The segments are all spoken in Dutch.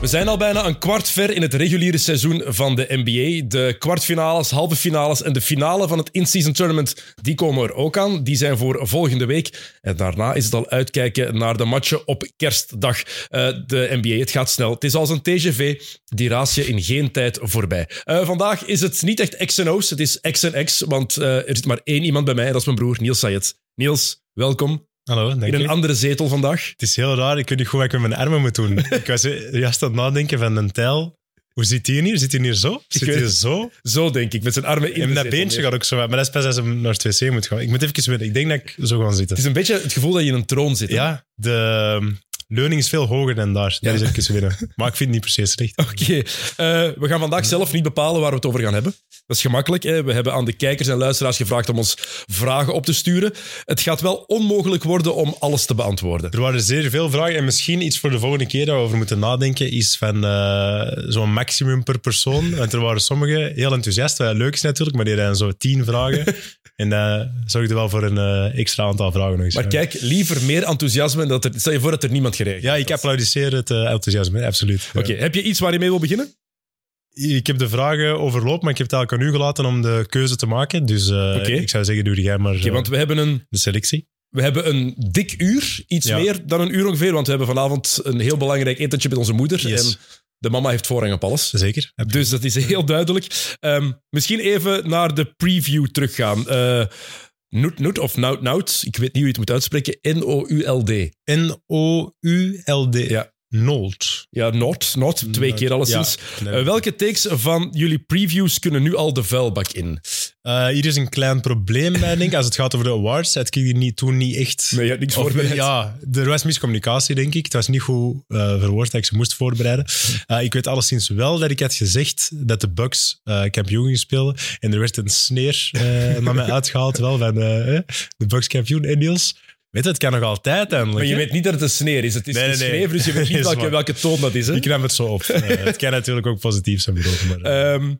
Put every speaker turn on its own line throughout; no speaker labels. We zijn al bijna een kwart ver in het reguliere seizoen van de NBA. De kwartfinales, halve finales en de finale van het in-season tournament, die komen er ook aan. Die zijn voor volgende week. En daarna is het al uitkijken naar de matchen op kerstdag. Eh, de NBA, het gaat snel. Het is als een TGV, die raas je in geen tijd voorbij. Eh, vandaag is het niet echt X en O's, het is X en X, want eh, er zit maar één iemand bij mij en dat is mijn broer Niels Sayed. Niels, welkom
Hallo,
in
denk
een
ik.
andere zetel vandaag.
Het is heel raar, ik weet niet goed wat ik met mijn armen moet doen. ik was juist aan het nadenken van een tijl. Hoe zit hij hier? Zit hij hier zo? Zit
weet
hij
het.
zo?
Zo denk ik, met zijn armen in
En
de
dat
zetel,
beentje gaat ook zo uit. Maar dat is pas als hij naar het wc moet gaan. Ik moet even winnen. Ik denk dat ik zo ga zitten.
Het is een beetje het gevoel dat je in een troon zit. hè?
Ja, de ehm, leuning is veel hoger dan daar.
Ja.
Dat is even winnen. Maar ik vind het niet precies slecht.
Oké, eh, we gaan vandaag zelf niet bepalen waar we het over gaan hebben. Dat is gemakkelijk. Hè? We hebben aan de kijkers en luisteraars gevraagd om ons vragen op te sturen. Het gaat wel onmogelijk worden om alles te beantwoorden.
Er waren zeer veel vragen en misschien iets voor de volgende keer dat we over moeten nadenken is van eh, zo'n maximum per persoon. Want er waren sommigen heel enthousiast, wat leuk is natuurlijk, maar die hadden zo tien vragen. En dat zorgde wel voor een eh, extra aantal vragen nog eens.
Maar kijk, liever meer enthousiasme. en Dat er, stel je voor dat er niemand gereageerd
Ja, ik
had.
applaudisseer het eh, enthousiasme, absoluut. Ja.
Oké, heb je iets waar je mee wil beginnen?
Ik heb de vragen overlopen, maar ik heb het eigenlijk aan u gelaten om de keuze te maken. Dus eh,
Oké.
ik zou zeggen, doe jij maar
Oké,
eh,
want we hebben, een,
de selectie.
we hebben een dik uur. Iets
Ja.
meer dan een uur ongeveer. Want we hebben vanavond een heel belangrijk etentje met onze moeder.
Yes.
En de mama heeft voorrang op alles.
Zeker.
Dus dat is heel duidelijk. Ehm, misschien even naar de preview teruggaan. Eh Noet Noet of Nout Nout, ik weet niet hoe je het moet uitspreken. N-O-U-L-D.
N-O-U-L-D.
Ja.
Nold.
Ja, Nout, Nout, twee keer alleszins. Eh, welke takes van jullie previews kunnen nu al de vuilbak in?
Eh, hier is een klein probleem bij, denk ik. Als het gaat over de awards, had ik hier niet, toen niet echt...
Nee, je hebt niks
Of-
voorbereid.
ja, er was miscommunicatie, denk ik. Het was niet goed eh, verwoord dat ik ze moest voorbereiden. Eh, ik weet alleszins wel dat ik had gezegd dat de Bucks eh, kampioen gingen spelen. En er werd een sneer eh, naar mij uitgehaald, wel, van eh, eh, de Bucks kampioen en Niels. Weet je, het kan nog altijd eindelijk.
Maar je
hè?
weet niet dat het een sneer is. Het is
Nee, nee, nee.
geschreven, dus je weet niet
Is
welke,
waar.
welke toon dat is. Hè?
Ik nam het zo op. Eh, het kan natuurlijk ook positief zijn bedoeld, maar... eh,
Ehm,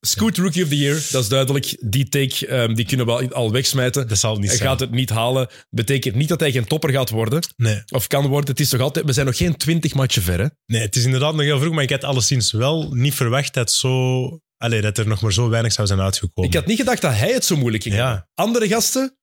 Scoot Rookie of the Year, dat is duidelijk. Die take ehm, die kunnen we al- al wegsmijten.
dat zal het niet
Hij
zijn.
gaat het niet halen. Betekent niet dat hij geen topper gaat worden.
Nee.
Of kan worden. Het is toch altijd... We zijn nog geen twintig matchen ver, hè?
Nee, het is inderdaad nog heel vroeg, maar ik had alleszins wel niet verwacht dat, zo, allee, dat er nog maar zo weinig zou zijn uitgekomen.
Ik had niet gedacht dat hij het zo moeilijk ging.
ja,
Andere gasten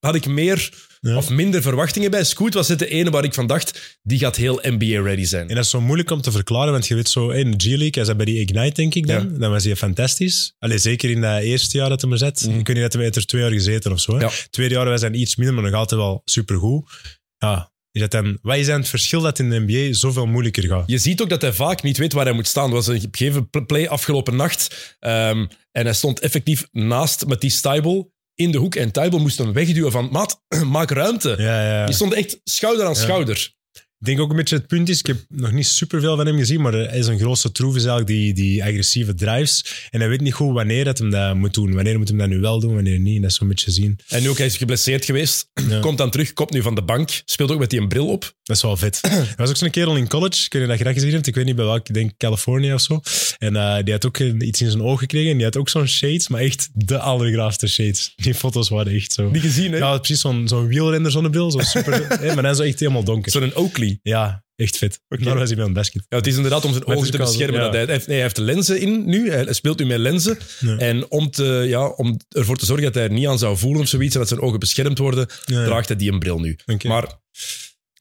had ik meer
Ja.
of minder verwachtingen bij. Scoot was het de ene waar ik van dacht, die gaat heel NBA-ready zijn.
en dat is zo moeilijk om te verklaren, want je weet zo, in de G-League, hij zat bij die Ignite, denk ik dan, dan was hij fantastisch. Allee, zeker in dat eerste jaar dat hij maar zat.
Mhm.
Ik weet niet dat hij heeft er twee jaar gezeten of zo. hè.
Ja.
Tweede jaar was hij iets minder, maar nog altijd wel supergoed. Ja, is dat dan, wat is dan het verschil dat in de NBA zoveel moeilijker gaat?
Je ziet ook dat hij vaak niet weet waar hij moet staan. Er was een gegeven pl- play afgelopen nacht. ehm, en hij stond effectief naast Matisse Tybel in de hoek. En Tybel moest hem wegduwen van, maat, maak ruimte.
Ja, ja.
Die stond echt schouder aan
Ja.
schouder.
Ik denk ook een beetje het punt is, ik heb nog niet superveel van hem gezien, maar hij is een grootste troef, is eigenlijk die, die agressieve drives. En hij weet niet goed wanneer dat hem dat moet doen. Wanneer moet hem dat nu wel doen, wanneer niet. Dat is zo'n beetje zien.
En nu ook, hij is geblesseerd geweest.
Ja.
Komt dan terug, komt nu van de bank. Speelt ook met die een bril op.
Dat is wel vet. Er was ook zo'n kerel in college, ik weet niet of je dat gezien hebt, ik weet niet bij welk, ik denk Californië of zo. En eh, die had ook een- iets in zijn oog gekregen en die had ook zo'n shades, maar echt de allergraafste shades. Die foto's waren echt zo.
Niet gezien, hè?
Ja, precies zo'n zo'n wielrenner zonnebril, zo super. hè, maar dan zo echt helemaal donker.
Zo'n Oakley.
Ja, echt vet.
Oké.
Daar was hij bij een basket.
Ja, het is inderdaad om zijn
Maar het
ogen
is
te
ook al zo,
beschermen.
ja.
Dat hij, hij heeft, nee, hij heeft de lenzen in nu. Hij hij speelt nu met lenzen.
Ja.
En om, te, ja, om ervoor te zorgen dat hij er niet aan zou voelen of zoiets, en dat zijn ogen beschermd worden,
Ja, ja.
draagt hij die een bril nu.
Oké.
Maar het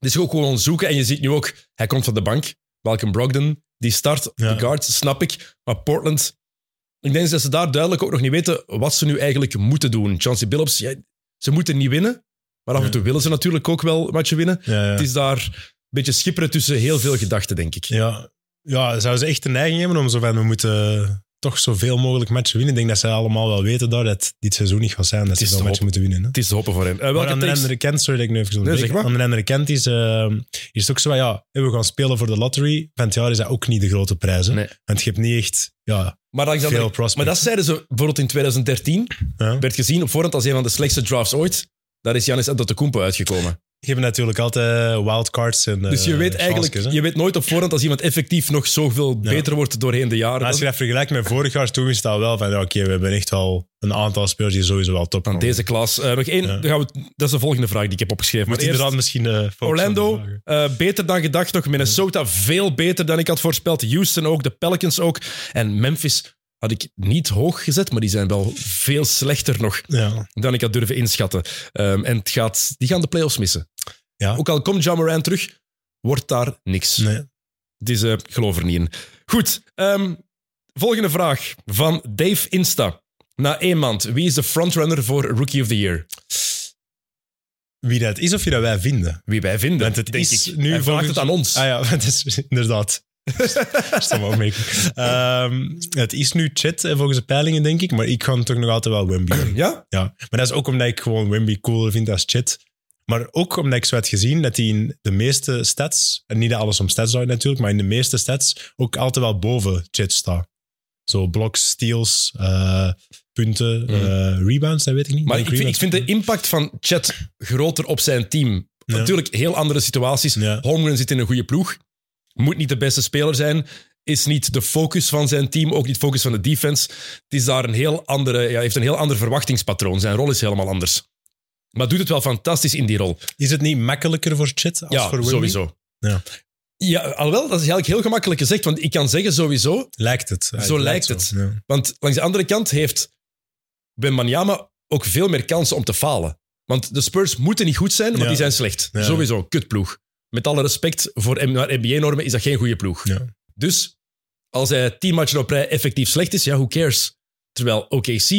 is ook gewoon zoeken. En je ziet nu ook, hij komt van de bank. Malcolm Brogdon, die start.
Ja.
De guards, snap ik. Maar Portland, ik denk dat ze daar duidelijk ook nog niet weten wat ze nu eigenlijk moeten doen. Chauncey Billups, ja, ze moeten niet winnen. Maar af en
Ja.
toe willen ze natuurlijk ook wel wat je winnen.
Ja, ja.
Het is daar een beetje schipperen tussen heel veel gedachten, denk ik.
Ja, ja zouden ze echt de neiging hebben om zo van, we moeten toch zoveel mogelijk matchen winnen. Ik denk dat ze allemaal wel weten daar dat dit seizoen niet gaat zijn, dat
is
ze
te
wel matchen moeten winnen. Hè?
Het is te hoppen voor hem. Eh,
Maar
welke
aan de
takes-
andere kant, sorry dat ik nu even zo
Nee, zeg
onderbreek.
maar.
Aan de andere kant is, eh, is het ook zo, van, ja, hè, we gaan spelen voor de lottery. Van het jaar is dat ook niet de grote prijzen.
Nee.
Want je hebt niet echt ja,
maar, langs de
veel
andere- maar
prospects.
dat zeiden ze bijvoorbeeld in 2013.
Ja.
Werd gezien op voorhand als een van de slechtste drafts ooit. Daar is Janis Antetokounmpo uitgekomen.
Je hebt natuurlijk altijd wildcards en
Dus je
eh,
weet eigenlijk
chances, hè.
je weet nooit op voorhand als iemand effectief nog zoveel
Ja.
beter wordt doorheen de jaren.
Maar als je
dan-
dat vergelijkt met vorig jaar, toen is dat wel van, ja, oké, we hebben echt wel een aantal spelers die sowieso wel top
Aan
komen.
deze klas. Eh, nog één,
Ja.
dan gaan we, dat is de volgende vraag die ik heb opgeschreven.
Moet
Maar eerst-
inderdaad misschien... eh, focussen op
Orlando,
de vragen.
eh, beter dan gedacht nog. Minnesota, veel beter dan ik had voorspeld. Houston ook, de Pelicans ook. En Memphis had ik niet hoog gezet, maar die zijn wel veel slechter nog
Ja.
dan ik had durven inschatten. Ehm, en het gaat, die gaan de playoffs missen.
Ja.
Ook al komt Ja Morant terug, wordt daar niks.
Nee.
Dus eh, ik geloof er niet in. Goed, ehm, volgende vraag van Dave Insta. Na één maand, wie is de frontrunner voor Rookie of the Year?
Wie dat is of wie dat wij vinden.
Wie wij vinden.
Want het
denk
is
ik.
nu
Hij vraagt
volgens-
het aan ons.
Ah ja, dat is inderdaad. Stomme opmerking. Ehm, het is nu chat eh, volgens de peilingen, denk ik. Maar ik ga toch nog altijd wel Wemby. doen.
ja?
ja. Maar dat is ook omdat ik gewoon Wemby cooler vind als chat. Maar ook omdat ik zo had gezien dat hij in de meeste stats, en niet dat alles om stats zou natuurlijk, maar in de meeste stats ook altijd wel boven chat staat. Zo blocks, steals, eh, punten, eh, rebounds, dat weet ik niet.
Mm. Maar
Denk
ik, vind- ik
rebounds.
vind de impact van Chet groter op zijn team.
Mm. Ja.
Natuurlijk, heel andere situaties.
Ja.
Holmgren zit in een goede ploeg. Moet niet de beste speler zijn. Is niet de focus van zijn team, ook niet focus van de defense. Het is daar een heel andere, ja, heeft een heel ander verwachtingspatroon. Zijn rol is helemaal anders. Maar doet het wel fantastisch in die rol.
Is het niet makkelijker voor chat als
ja,
voor Wemby?
sowieso.
Ja.
Ja, alhoewel, dat is eigenlijk heel gemakkelijk gezegd. Want ik kan zeggen sowieso,
Lijkt het.
Zo lijkt het.
zo, ja.
Want langs de andere kant heeft Wembanyama ook veel meer kansen om te falen. Want de Spurs moeten niet goed zijn, want
Ja.
die zijn slecht.
Ja.
Sowieso, kutploeg. Met alle respect voor M- naar NBA-normen is dat geen goede ploeg.
Ja.
Dus als hij tien matchen op rij effectief slecht is, ja, who cares? Terwijl OKC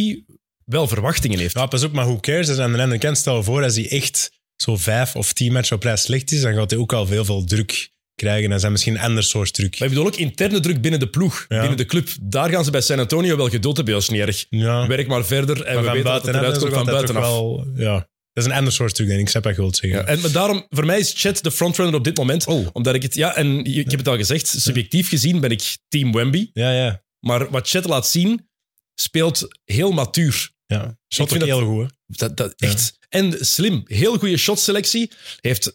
wel verwachtingen heeft.
Ja, pas op, maar who cares? Dus aan de andere kant, stel voor als hij echt zo vijf of tien matchen op rij slecht is, dan gaat hij ook al heel veel druk krijgen. Dan zijn misschien een ander soort druk.
Maar ik bedoel ook interne druk binnen de ploeg,
Ja.
binnen de club. Daar gaan ze bij San Antonio wel geduld hebben, dat is niet erg.
Ja,
Werk maar verder en
maar
we
van
weten dat het
buitenaf
eruit
is ook
komt van
altijd
buitenaf.
toch wel- ja, dat is een ander soort druk, denk ik. Ik snap wat je wilt zeggen.
Ja, en maar daarom, voor mij is Chet de frontrunner op dit moment. Omdat ik het, ja, en je- ik heb het al gezegd, subjectief gezien ben ik team Wemby.
Ja, ja.
Maar wat Chet laat zien, speelt heel matuur.
ja. Shot ook
vind dat-
heel goed, hè.
Dat, dat,
Ja.
echt. En slim. Heel goede shotselectie. Heeft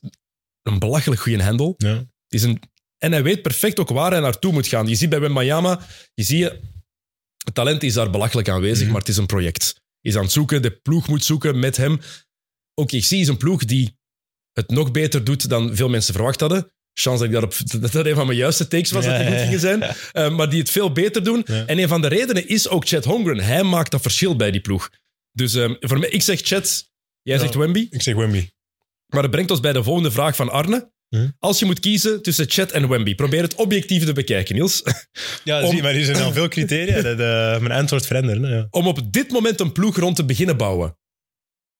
een belachelijk goede handle.
Ja.
Het is een, en hij weet perfect ook waar hij naartoe moet gaan. Je ziet bij Wembayama, je ziet, het talent is daar belachelijk aanwezig,
Mhm.
maar het is een project. Hij is aan het zoeken, de ploeg moet zoeken met hem. Ook ik zie is een ploeg die het nog beter doet dan veel mensen verwacht hadden. Chance dat ik daarop, dat dat een van mijn juiste takes was, dat die
Ja,
goed
ja,
gingen
ja.
zijn. Eh, maar die het veel beter doen.
Ja.
En een van de redenen is ook Chad Hongren. Hij maakt dat verschil bij die ploeg. Dus ehm, voor mij, ik zeg Chad, jij
Ja.
zegt Wemby.
Ik zeg Wemby.
Maar dat brengt ons bij de volgende vraag van Arne.
Hm?
Als je moet kiezen tussen Chat en Wemby, probeer het objectief te bekijken, Niels.
Ja,
Om-
zie, maar hier zijn al veel criteria. Dat, eh, mijn antwoord veranderen. hè, Ja.
Om op dit moment een ploeg rond te beginnen bouwen.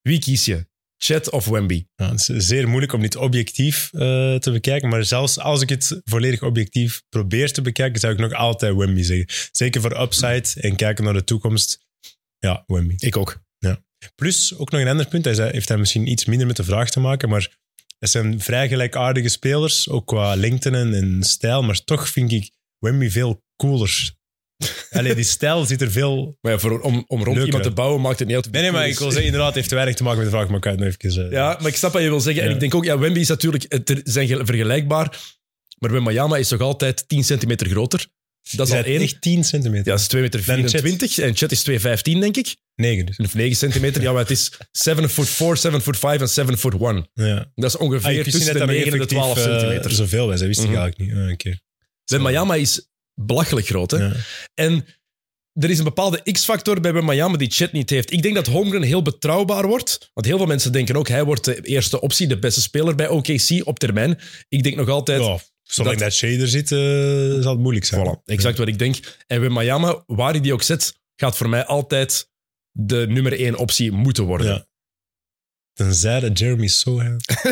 Wie kies je? Chat of Wemby?
Ja, het is zeer moeilijk om dit objectief eh, te bekijken. Maar zelfs als ik het volledig objectief probeer te bekijken, zou ik nog altijd Wemby zeggen. Zeker voor upside en kijken naar de toekomst. Ja, Wemby.
Ik ook.
Plus, ook nog een ander punt. Hij zei- heeft daar misschien iets minder met de vraag te maken, maar het zijn vrij gelijkaardige spelers, ook qua lengte en, en stijl. Maar toch vind ik Wemby veel cooler. Allee, die stijl zit er veel...
Maar ja, voor, om, om rond
Leuk,
iemand
hè?
te bouwen maakt het niet uit.
Nee, nee, maar ik wil zeggen, inderdaad, het heeft te weinig te maken met de vraag, maar ik kan het nog even... eh,
Ja, maar ik snap wat je wil zeggen. En
Ja.
ik denk ook, ja, Wemby is natuurlijk, het er- zijn gel- vergelijkbaar. Maar Wembayama is toch altijd 10 centimeter groter. Dat is
Hij
al
is
enig.
echt 10 centimeter.
Ja, dat is 2,24 meter.
Dan Chet.
24, En Chat is 2,15 denk ik.
9 dus.
Of 9 centimeter. Ja, maar het is 7 foot 4, 7 foot 5 en 7 foot 1.
Ja.
Dat is
Ah,
ongeveer
ik wist niet
tussen de
dat dat
9 en de 12
effectief, eh,
centimeter.
Zoveel was, dat wist
Mhm.
ik eigenlijk niet. Ah, oké.
Wembayama is belachelijk groot. Hè?
Ja.
En er is een bepaalde X-factor bij Wembayama die Chet niet heeft. Ik denk dat Holmgren heel betrouwbaar wordt. Want heel veel mensen denken ook, hij wordt de eerste optie, de beste speler bij OKC op termijn. Ik denk nog altijd...
Ja, zolang
dat-
dat, shader zit, eh, zal het moeilijk zijn.
Voilà, exact wat ik denk. En Wembayama, waar hij die ook zet, gaat voor mij altijd de nummer één optie moeten worden.
Ja. Tenzij dat Jeremy zo heeft.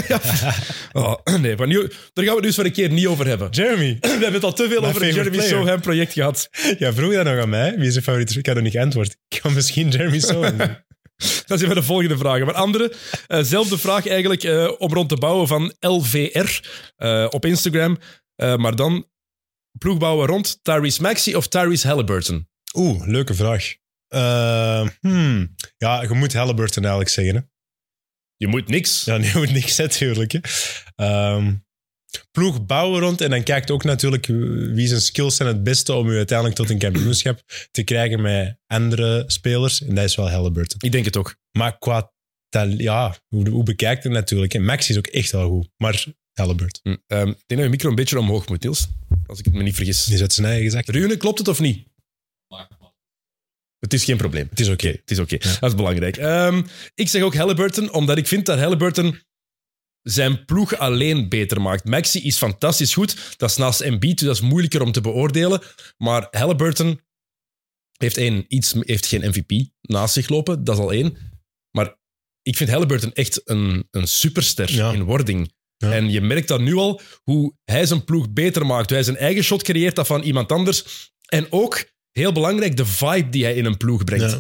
Oh, nee, maar nu, daar gaan we het dus voor een keer niet over hebben.
Jeremy,
We hebben het al te veel
My
over het
favorite
Jeremy
player.
Sohan project gehad.
ja, vroeg dat nog aan mij. Wie is je favoriete? Ik had nog niet geantwoord. Ik kan misschien Jeremy Sohan. doen.
Dan zijn we de volgende vragen. Maar andere, eh, zelfde vraag eigenlijk eh, om rond te bouwen van LVR eh, op Instagram. Eh, maar dan ploeg bouwen rond Tyrese Maxey of Tyrese Halliburton.
Oeh, leuke vraag. Eh, hmm. Ja, je moet Halliburton eigenlijk zeggen. Hè?
Je moet niks.
Ja, nee, moet niks natuurlijk. Hè. Ehm, ploeg bouwen rond en dan kijkt ook natuurlijk wie zijn skills zijn het beste om u uiteindelijk tot een kampioenschap te krijgen met andere spelers. En dat is wel Halliburton.
Ik denk het ook.
Maar qua tal- ja, hoe, hoe bekijkt het natuurlijk. En Max is ook echt wel goed. Maar Halliburton,
Hm. Ehm, ik denk dat je micro een beetje omhoog moet, Niels. Als ik het me niet vergis.
die zet zijn eigen gezegd.
Rune, klopt het of niet? Het is geen probleem.
Het is oké.
Oké, het is oké. Dat is belangrijk. Ehm, ik zeg ook Halliburton, omdat ik vind dat Halliburton zijn ploeg alleen beter maakt. Maxi is fantastisch goed. Dat is naast Embiid, dus dat is moeilijker om te beoordelen. Maar Halliburton heeft, één, iets, heeft geen MVP naast zich lopen. Dat is al één. Maar ik vind Halliburton echt een, een superster
Ja.
in wording.
Ja.
En je merkt dat nu al, hoe hij zijn ploeg beter maakt. Hoe hij zijn eigen shot creëert, dat van iemand anders. En ook, heel belangrijk, de vibe die hij in een ploeg brengt.
Ja.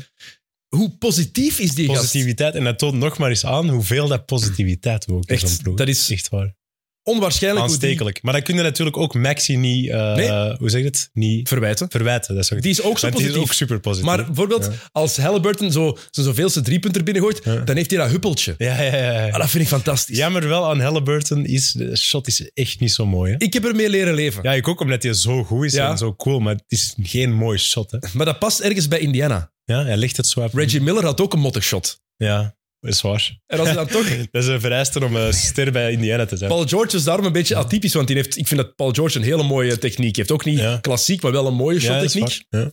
Hoe positief is die gast?
Positiviteit. En dat toont nog maar eens aan hoeveel dat positiviteit ook is.
Echt,
zo'n ploeg.
dat is
echt waar.
Onwaarschijnlijk hoe die
Aanstekelijk. Maar dat kun je natuurlijk ook Maxi niet, eh,
Nee.
hoe zeg je het? Niet
verwijten.
verwijten. Dat is ook
Die is ook zo
Want die
positief.
is ook super positief.
Maar bijvoorbeeld, als Halliburton zo, zijn zoveelste driepunter binnengooit,
Ja.
dan heeft hij dat huppeltje.
Ja, ja, ja.
Ah,
ja.
dat vind ik fantastisch.
Jammer wel aan Halliburton is, de shot is echt niet zo mooi. Hè?
Ik heb ermee leren leven.
Ja, ik ook, omdat hij zo goed is
Ja.
en zo cool, maar het is geen mooi shot. Hè?
Maar dat past ergens bij Indiana.
Ja, hij ligt het zo af.
Reggie Miller had ook een mottig shot.
Ja, is waar.
En als hij dan toch...
Dat is een vereiste om eh ster bij Indiana te zijn.
Paul George is daarom een beetje atypisch, want die heeft, ik vind dat Paul George een hele mooie techniek heeft. Ook niet
Ja.
klassiek, maar wel een mooie
ja, dat is
shottechniek.
waar.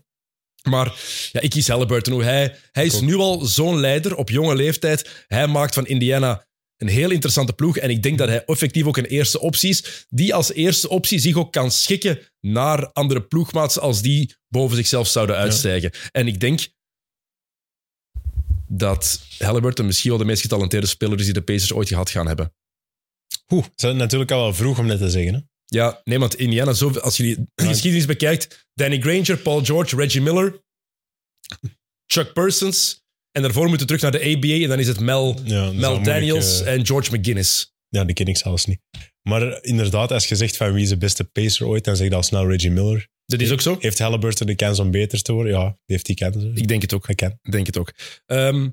Ja.
Maar ja, ik kies Halliburton. Hoe hij, hij is
ook.
nu al zo'n leider op jonge leeftijd. Hij maakt van Indiana een heel interessante ploeg. En ik denk dat hij effectief ook een eerste optie is. Die als eerste optie zich ook kan schikken naar andere ploegmaats als die boven zichzelf zouden uitstijgen. En ik denk dat Halliburton misschien wel de meest getalenteerde speler is die de Pacers ooit gehad gaan hebben.
Oeh, dat is natuurlijk al wel vroeg om dat te zeggen. Hè?
Ja, nee, want Indiana, zoveel, als je die geschiedenis bekijkt, Danny Granger, Paul George, Reggie Miller, Chuck Persons. En daarvoor moeten we terug naar de ABA en dan is het Mel,
Ja, dat is
Mel
wel moeilijk,
Daniels
eh,
en George McGuinness.
Ja, die ken ik zelfs niet. Maar inderdaad, als je zegt van wie is de beste pacer ooit, dan zeg je al snel Reggie Miller.
Dat is ook zo?
Heeft Halliburton de kans om beter te worden? Ja, die heeft die kans. hè.
Ik denk het ook.
Hij kan.
Ik Denk het ook. Ehm,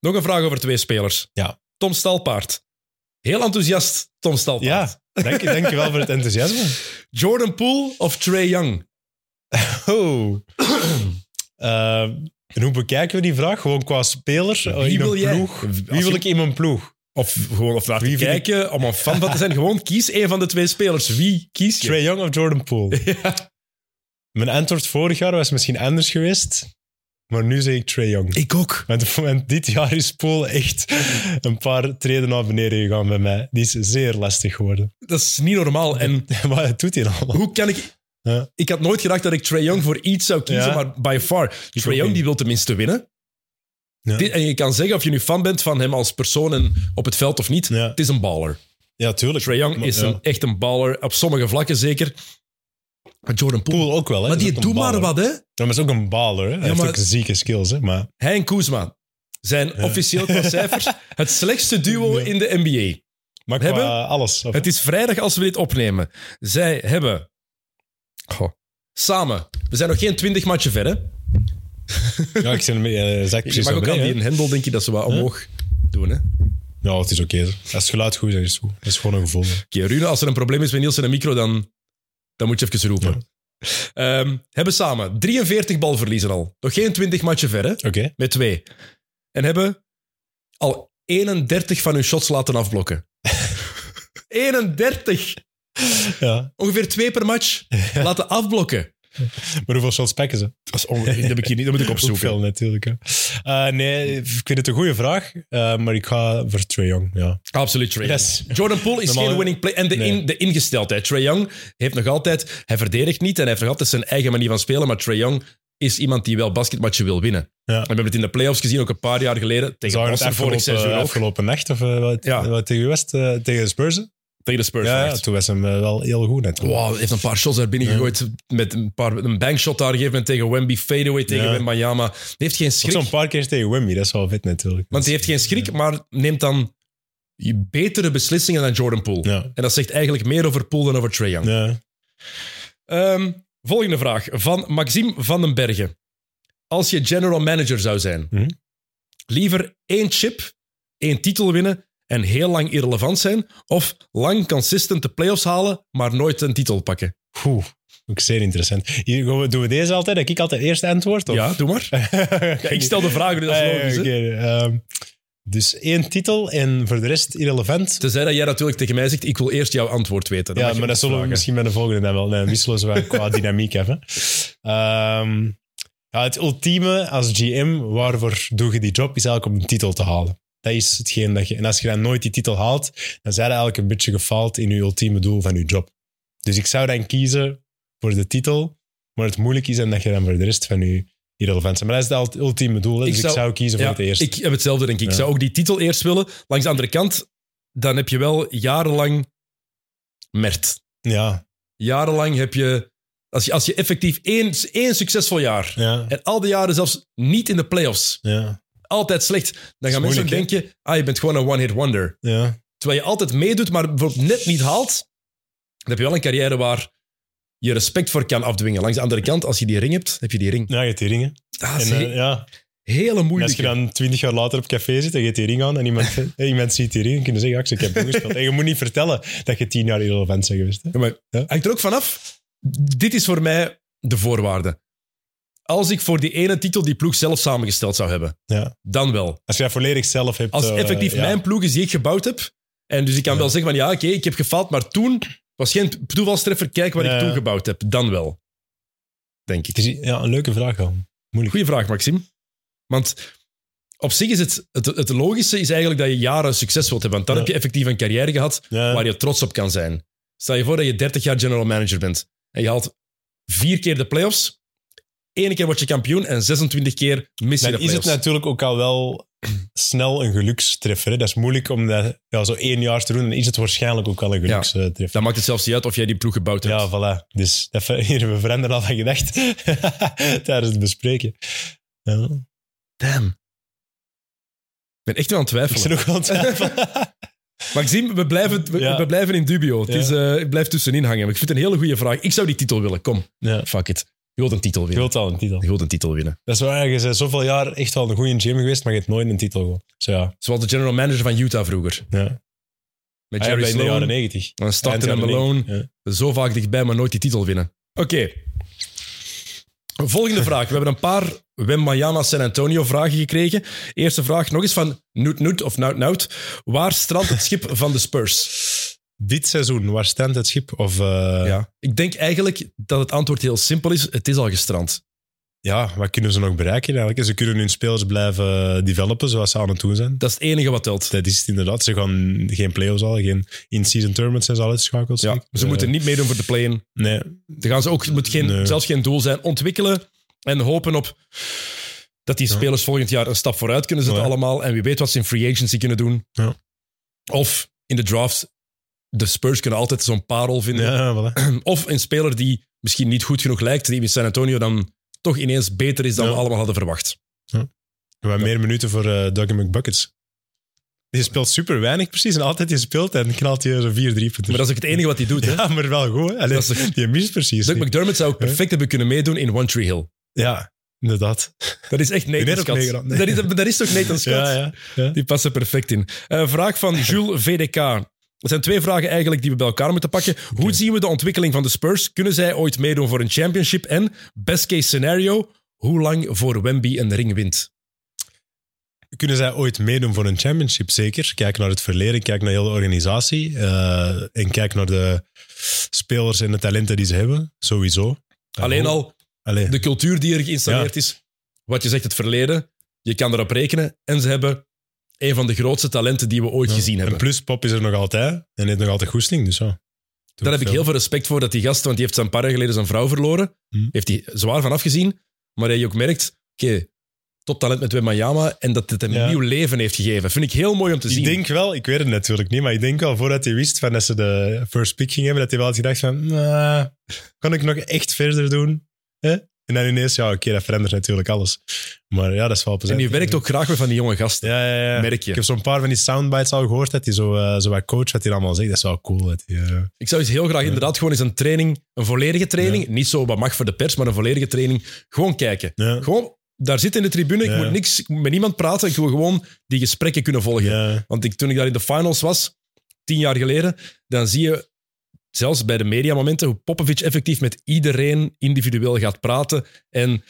nog een vraag over twee spelers.
Ja.
Tom Stalpaard. Heel enthousiast, Tom Stalpaard.
Ja, dank je, dank je wel voor het enthousiasme.
Jordan Poole of Trey Young?
Oh. Eh, en hoe bekijken we die vraag? Gewoon qua speler eh,
Wie
in
wil
een
jij?
ploeg?
Als
Wie wil
je-
ik in mijn ploeg?
Of gewoon of naar te
Wie vind ik-
kijken, om een fan van te zijn. Gewoon kies een van de twee spelers. Wie kies je?
Trey Young of Jordan Poole?
Ja.
Mijn antwoord vorig jaar was misschien anders geweest, maar nu zeg ik Trey Young.
Ik ook.
Want, want dit jaar is Poole echt een paar treden naar beneden gegaan bij mij. Die is zeer lastig geworden.
Dat is niet normaal. En
Wat doet hij allemaal?
hoe kan ik...
Ja.
Ik had nooit gedacht dat ik Trae Young voor iets zou kiezen,
Ja.
maar by far. Trae Young
niet.
die wil tenminste winnen.
Ja.
Dit- en je kan zeggen of je nu fan bent van hem als persoon en op het veld of niet.
Ja.
Het is een baller.
Ja, tuurlijk.
Trae Young
Maar-
is
ja.
een, echt een baller. Op sommige vlakken zeker. Maar Jordan Poole...
Poole ook wel. Hè?
maar
Is
die
ook een
doet maar
baller.
wat, hè.
Ja, maar is ook een baller. Hè? Hij
Ja,
heeft
maar-
ook zieke skills, hè? maar...
Hij en Koesma zijn officieel qua cijfers het slechtste duo
Ja.
in de NBA.
Maar qua
Hebben?
alles. Of-
Het is vrijdag als we dit opnemen. Zij hebben. Goh. Samen. We zijn nog geen twintig matchen ver, hè?
Ja, ik zit ermee, eh, zak
Je
precies
mag
naar
ook aan
beneden,
die hendel, denk je, dat ze wat omhoog doen, hè? Oké,
hè. Ja, het is oké. hè. Als het geluid goed is, dan is het goed. Dat is gewoon een gevoel. hè.
Rune, als er een probleem is met Niels en een micro, dan, dan moet je even roepen. Ehm, hebben samen 43 balverliezen al. Nog geen 20 matchen ver, hè?
Oké.
Met twee. En hebben al 31 van hun shots laten afblokken. 31!
Ja.
Ongeveer twee per match laten afblokken.
Maar hoeveel shots pakken ze?
Dat, is onge- dat heb ik hier niet, dat moet ik
Ook
opzoeken.
veel natuurlijk. Hè. Eh, nee, ik vind het een goede vraag, eh, maar ik ga voor Trae Young. Ja.
Absoluut, Trae Young.
Yes.
Jordan Poole is
Normaal,
geen
hè?
winning play. En de,
Nee.
in, de ingesteldheid. Trae Young heeft nog altijd... Hij verdedigt niet en hij heeft nog altijd zijn eigen manier van spelen. Maar Trae Young is iemand die wel basketmatchen wil winnen.
Ja.
En we hebben het in de playoffs gezien, ook een paar jaar geleden. Tegen
Zou het
Boston vorig seizoen
afgelopen,
ook.
afgelopen nacht of eh, wat,
Ja.
wat tegen u was? het, eh, tegen de Spurs? hè?
Tegen de Spurs.
Ja, ja,
echt.
toen was hem eh, wel heel goed net.
Wow, hij heeft een paar shots daar binnen
Ja.
gegooid. Met een, paar, een bankshot daar gegeven en tegen Wemby. Fadeaway tegen
Ja.
Wembayama. Die heeft geen
Ook
schrik.
Zo'n paar keer tegen Wimmy, dat is wel vet natuurlijk.
Want hij heeft geen schrik, maar neemt dan betere beslissingen dan Jordan Poole.
Ja.
En dat zegt eigenlijk meer over Poole dan over Trae Young.
Ja.
Ehm, volgende vraag van Maxime van den Bergen. Als je general manager zou zijn,
Mhm.
liever één chip, één titel winnen en heel lang irrelevant zijn, of lang consistent de playoffs halen, maar nooit een titel pakken?
Oeh, ook zeer interessant. Hier, gaan we- doen we deze altijd? Dat ik altijd eerst antwoord? Of?
Ja, doe maar. Ik stel de vragen, dus dat is
Ah, ja,
logisch. hè.
oké, ehm, dus één titel en voor de rest irrelevant.
Tenzij dat jij natuurlijk tegen mij zegt, ik wil eerst jouw antwoord weten. Dan
Ja,
mag je
maar dat
ook
zullen we
vragen.
misschien bij de volgende dan wel. Nee, wisselen ze wel qua dynamiek hebben. Ehm, ja, het ultieme als GM, waarvoor doe je die job, is eigenlijk om een titel te halen. Dat is hetgeen dat je... En als je dan nooit die titel haalt, dan zijn je eigenlijk een beetje gefaald in je ultieme doel van je job. Dus ik zou dan kiezen voor de titel, maar het moeilijk is dan dat je dan voor de rest van je irrelevant bent. Maar dat is het al- ultieme doel, hè.
Ik
dus
zou-
ik zou kiezen voor
Ja,
het eerste.
Ik heb hetzelfde, denk ik. Ik
Ja.
zou ook die titel eerst willen. Langs de andere kant, dan heb je wel jarenlang mert.
Ja,
Jarenlang heb je... Als je, als je effectief één, één succesvol jaar...
ja,
en al die jaren zelfs niet in de playoffs...
ja,
altijd slecht, dan gaan
Dat is
mensen
moeilijk,
denken... ah, je bent gewoon een one-hit wonder.
ja.
Terwijl je altijd meedoet, maar bijvoorbeeld net niet haalt... dan heb je wel een carrière waar je respect voor kan afdwingen. Langs de andere kant, als je die ring hebt, heb je die ring.
Ja, je hebt die ringen.
Dat
En,
is
eh,
een
ja,
hele
En
moeilijke.
Als je dan twintig jaar later op café zit en je hebt die ring aan en iemand, en iemand ziet die ring, dan kun je zeggen, ja, ik heb hem gespeeld. En je moet niet vertellen dat je tien jaar irrelevant bent geweest. Hè?
Ja, maar
Ja.
hangt er ook vanaf. Dit is voor mij de voorwaarde. Als ik voor die ene titel die ploeg zelf samengesteld zou hebben,
Ja.
dan wel.
Als je dat volledig zelf hebt...
Als
eh,
effectief
ja.
mijn ploeg is die ik gebouwd heb, en dus ik kan
Ja.
wel zeggen van ja, oké, ik heb gefaald, maar toen was geen toevalstreffer, kijk wat
Ja,
ik
ja.
toen gebouwd heb. Dan wel, denk ik.
Het is, ja, een leuke vraag wel. Moeilijk.
Goeie vraag, Maxime. Want op zich is het, het, het logische is eigenlijk dat je jaren succes wilt hebben, want dan
Ja.
heb je effectief een carrière gehad
Ja.
waar je trots op kan zijn. Stel je voor dat je 30 jaar general manager bent en je haalt vier keer de playoffs, één keer word je kampioen en 26 keer mis je de
Dan is het
playoffs.
natuurlijk ook al wel snel een gelukstreffer. Hè? Dat is moeilijk om dat ja, zo één jaar te doen. Dan is het waarschijnlijk ook al een gelukstreffer.
Dan maakt het zelfs niet uit of jij die ploeg gebouwd hebt.
Ja, voilà. Dus dat, ver- hier, we veranderen al van gedacht tijdens het bespreken. Ja.
Damn. Ik ben echt wel aan het
Ik
twijfelen.
zit ook wel aan het twijfelen.
Maxime, we blijven, we,
Ja.
we blijven in dubio. Het,
Ja.
is, eh, het blijft tussenin hangen. Maar ik vind het een hele goede vraag. Ik zou die titel willen. Kom,
Ja.
fuck it. Je wilt een titel
Ik
winnen.
wil het al, een titel.
Je wilt een titel winnen.
Dat is waar, je bent zoveel jaar echt wel een goede gym geweest, maar je hebt nooit een titel gewonnen. Zo ja.
Zoals de general manager van Utah vroeger.
ja.
Met
Hij
Jerry
heeft in de jaren
Sloan.
90.
Dan starten en
Eind jaren
Malone.
90, ja.
Zo vaak dichtbij, maar nooit die titel winnen. Oké. Volgende vraag. We hebben een paar Wem Mayana San Antonio vragen gekregen. Eerste vraag nog eens van Noot Noot of Nout Nout. Waar strandt het schip van de Spurs?
Dit seizoen, waar staat het schip? Of, eh, ja.
Ja. Ik denk eigenlijk dat het antwoord heel simpel is. Het is al gestrand.
wat kunnen ze nog bereiken eigenlijk? Ze kunnen hun spelers blijven developen zoals ze aan het doen zijn.
Dat is het enige wat telt.
Dat is het inderdaad. Ze gaan geen play-offs al, geen in-season tournaments zijn ze al uitgeschakeld.
Ja,
zeker?
ze
Eh,
moeten niet meedoen voor de play-in.
Nee,
Dan gaan ze ook, het moet geen,
Nee.
zelfs geen doel zijn. Ontwikkelen en hopen op dat die spelers volgend jaar een stap vooruit kunnen zetten
Ja.
allemaal. En wie weet wat ze in free agency kunnen doen.
Ja.
Of in de draft. De Spurs kunnen altijd zo'n parel vinden.
ja, voilà.
Of een speler die misschien niet goed genoeg lijkt, die in San Antonio dan toch ineens beter is dan
Ja. Dus-
we allemaal hadden verwacht.
Maar meer minuten voor eh Dougie McBuckets. Die speelt super weinig precies en altijd in speeltijd en knalt hij zo'n 4-3 punten.
Maar dat is ook het enige wat hij doet. Hè?
Ja, maar wel goed. hè. Allee,
Dat is-
Je mist precies.
Doug
niet.
McDermott zou ook perfect hebben kunnen meedoen in One Tree Hill.
Ja, inderdaad.
Dat is echt Nathan
bent ook
Scott.
meegedaan.
Dat, is, dat is toch Nathan Scott?
Ja, ja. ja.
Die passen perfect in. Eh, vraag van Jules VDK. Er zijn twee vragen eigenlijk die we bij elkaar moeten pakken. Hoe zien we de ontwikkeling van de Spurs? Kunnen zij ooit meedoen voor een championship? En best case scenario, hoe lang voor Wemby een ring wint?
Kunnen zij ooit meedoen voor een championship? Zeker. Kijk naar het verleden, kijk naar heel de organisatie. eh, en kijk naar de spelers en de talenten die ze hebben. Sowieso.
Alleen al
Allee.
de cultuur die er geïnstalleerd is. Wat je zegt, het verleden. Je kan erop rekenen. En ze hebben een van de grootste talenten die we ooit
Ja.
gezien hebben.
En plus, Pop is er nog altijd. En heeft nog altijd goesting. Dus ja.
Daar heb ik heel veel respect voor dat die gast, want die heeft een paar jaar geleden zijn vrouw verloren.
Hm.
Heeft hij zwaar van afgezien. Maar dat je ook merkt, oké, toptalent met Wembanyama en dat het hem
Ja.
een nieuw leven heeft gegeven. Vind ik heel mooi om te zien.
Ik denk wel, ik weet het natuurlijk niet, maar ik denk wel voordat hij wist van dat ze de first pick gingen hebben, dat hij wel had gedacht van, "Nah, kan ik nog echt verder doen? Hè? En dan ineens, ja, oké, dat verandert natuurlijk alles. Maar ja, dat is wel
en
plezant.
je werkt ook graag weer van die jonge gasten.
Ja, ja, ja.
Merk je.
Ik heb zo'n paar van die soundbites al gehoord, dat hij zo, eh, zo wat coach, wat hij allemaal zegt. Dat is wel cool. Dat hij, eh,
Ik zou eens heel graag inderdaad gewoon eens een training, een volledige training, niet zo wat mag voor de pers, maar een volledige training, gewoon kijken.
ja.
Gewoon daar zit in de tribune, ik
Ja.
moet niks, ik moet met niemand praten, ik wil gewoon die gesprekken kunnen volgen.
Ja.
Want ik, toen ik daar in de finals was, tien jaar geleden, dan zie je zelfs bij de mediamomenten hoe Popovic effectief met iedereen individueel gaat praten. En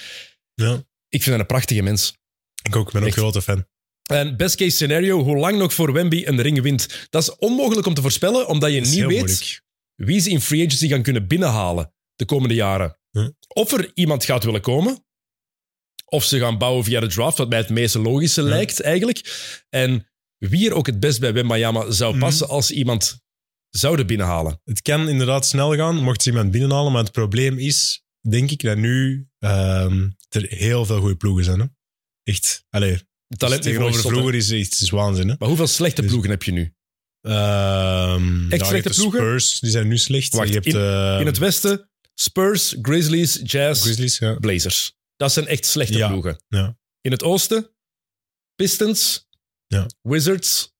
Ja.
ik vind hem een prachtige mens.
Ik ook, ben ook
Echt.
grote fan.
En best case scenario, hoe lang nog voor Wemby een ring wint. Dat is onmogelijk om te voorspellen, omdat je
Dat is
niet
heel
weet
moeilijk.
wie ze in free agency gaan kunnen binnenhalen de komende jaren.
Hm.
Of er iemand gaat willen komen, of ze gaan bouwen via de draft, wat mij het meest logische lijkt eigenlijk. En wie er ook het best bij Wembayama zou
Mhm.
passen als ze iemand zouden binnenhalen.
Het kan inderdaad snel gaan, mocht ze iemand binnenhalen, maar het probleem is, denk ik, dat nu ehm, er heel veel goede ploegen zijn. Hè? Echt, allee,
Talent
dus tegenover vroeger is iets is waanzin. Hè?
Maar hoeveel slechte
Dus-
ploegen heb je nu? Echt
Ehm, ja, je
slechte
hebt de
ploegen?
Spurs, die zijn nu slecht.
Wacht,
je hebt de ehm,
in het Westen, Spurs, Grizzlies, Jazz,
Grizzlies, ja.
Blazers. Dat zijn echt slechte
Ja,
ploegen.
ja.
In het Oosten, Pistons,
Ja.
Wizards,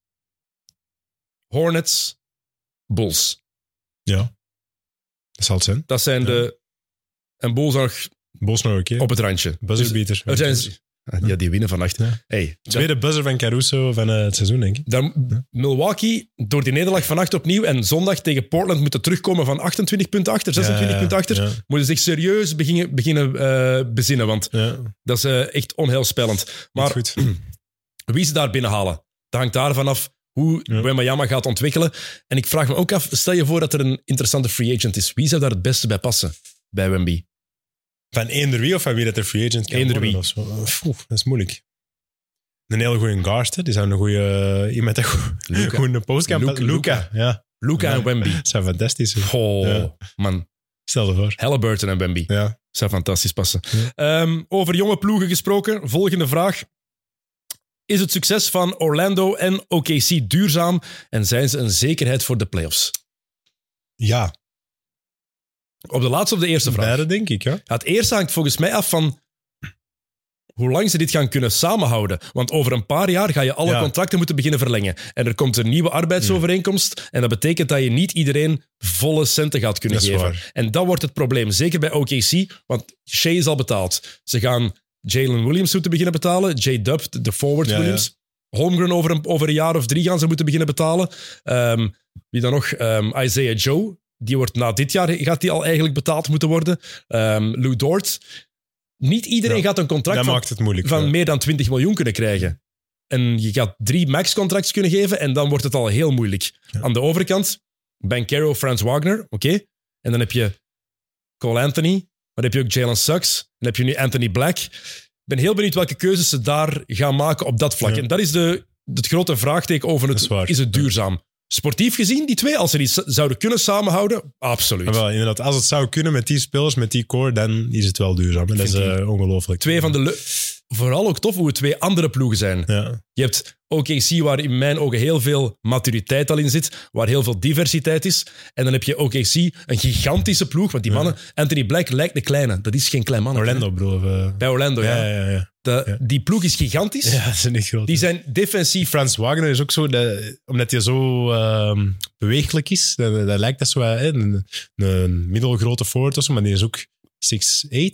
Hornets, Bulls.
Dat zal het zijn.
Dat zijn
Ja.
de. En Bulls nog
Bos nog een keer.
op het randje. Dus
Buzzerbeater.
Er zijn, Ah, ja, die winnen vannacht.
Ja.
Hey, dat-
Tweede buzzer van Caruso van eh, het seizoen, denk ik.
daar- Milwaukee, door die nederlaag vannacht opnieuw en zondag tegen Portland moeten terugkomen van 28 punten achter, 26
Ja,
punten achter.
ja,
Moeten zich serieus beginnen, beginnen eh, bezinnen, want
ja. Niet
dat is eh, echt onheilspellend. Maar
goed.
wie ze daar binnenhalen. Dat hangt daarvan af hoe
Ja.
Wembayama gaat ontwikkelen. En ik vraag me ook af, stel je voor dat er een interessante free agent is. Wie zou daar het beste bij passen bij Wemby?
Van eender wie of van wie dat de free agent kan
Eender
worden
wie.
of zo. Oeh, dat is moeilijk. Een hele goede guard, hè. die zijn een goede... Iemand dat goed-
Luca,
goed in de post kan...
Luca,
Luca, Luca. ja.
Luca en
Ja.
Wemby.
Dat zijn fantastisch.
Oh,
Ja.
man.
Stel je voor.
Halliburton en Wemby.
Ja.
Zou fantastisch passen.
Ja.
Ehm, over jonge ploegen gesproken, volgende vraag. Is het succes van Orlando en OKC duurzaam en zijn ze een zekerheid voor de playoffs?
Ja,
Op de laatste of de eerste vraag?
beide denk ik. Ja.
Ja, het eerste hangt volgens mij af van hoe lang ze dit gaan kunnen samenhouden. Want over een paar jaar ga je alle
Ja.
contracten moeten beginnen verlengen. En er komt een nieuwe arbeidsovereenkomst. En dat betekent dat je niet iedereen volle centen gaat kunnen
Dat is
geven.
waar.
En dat wordt het probleem. Zeker bij OKC, want Shea is al betaald. Ze gaan Jalen Williams moeten beginnen betalen. J-Dub, de forward
Ja, ja.
Williams. Holmgren over een, over een jaar of drie gaan ze moeten beginnen betalen. Ehm, wie dan nog? Ehm, Isaiah Joe. Die wordt na dit jaar gaat die al eigenlijk betaald moeten worden. Ehm, Lou Dort. Niet iedereen
Ja.
gaat een contract
Dat
van,
maakt het moeilijk.
van
ja.
meer dan 20 miljoen kunnen krijgen. En je gaat drie max-contracts kunnen geven en dan wordt het al heel moeilijk.
Ja.
Aan de overkant, Bankero, Franz Wagner, oké. En dan heb je Cole Anthony, maar dan heb je ook Jalen Suggs. En dan heb je nu Anthony Black. Ik ben heel benieuwd welke keuzes ze daar gaan maken op dat vlak.
Ja.
En dat is de, het grote vraagteken over het,
Dat is waar.
het duurzaam? Sportief gezien, die twee, als ze die s- zouden kunnen samenhouden, absoluut.
Maar wel, inderdaad, als het zou kunnen met die spelers, met die core, dan is het wel duurzaam. En dat is
Vind ik.
eh, ongelooflijk.
Twee van de... le- Vooral ook tof hoe het twee andere ploegen zijn.
Ja,
Je hebt OKC, waar in mijn ogen heel veel maturiteit al in zit, waar heel veel diversiteit is. En dan heb je OKC, een gigantische ploeg, want die mannen... Anthony Black lijkt de kleine. Dat is geen klein man.
Orlando bedoel ik, eh.
Bij Orlando, ja.
Ja, ja, ja.
De-
ja.
Die ploeg is gigantisch.
Ja, dat is niet groot.
Die zijn defensief...
Frans Wagner is ook zo, dat- omdat hij zo ehm, beweeglijk is, dat, dat lijkt dat zo eh, een, een middelgrote forward of zo, maar die is ook 6'8 of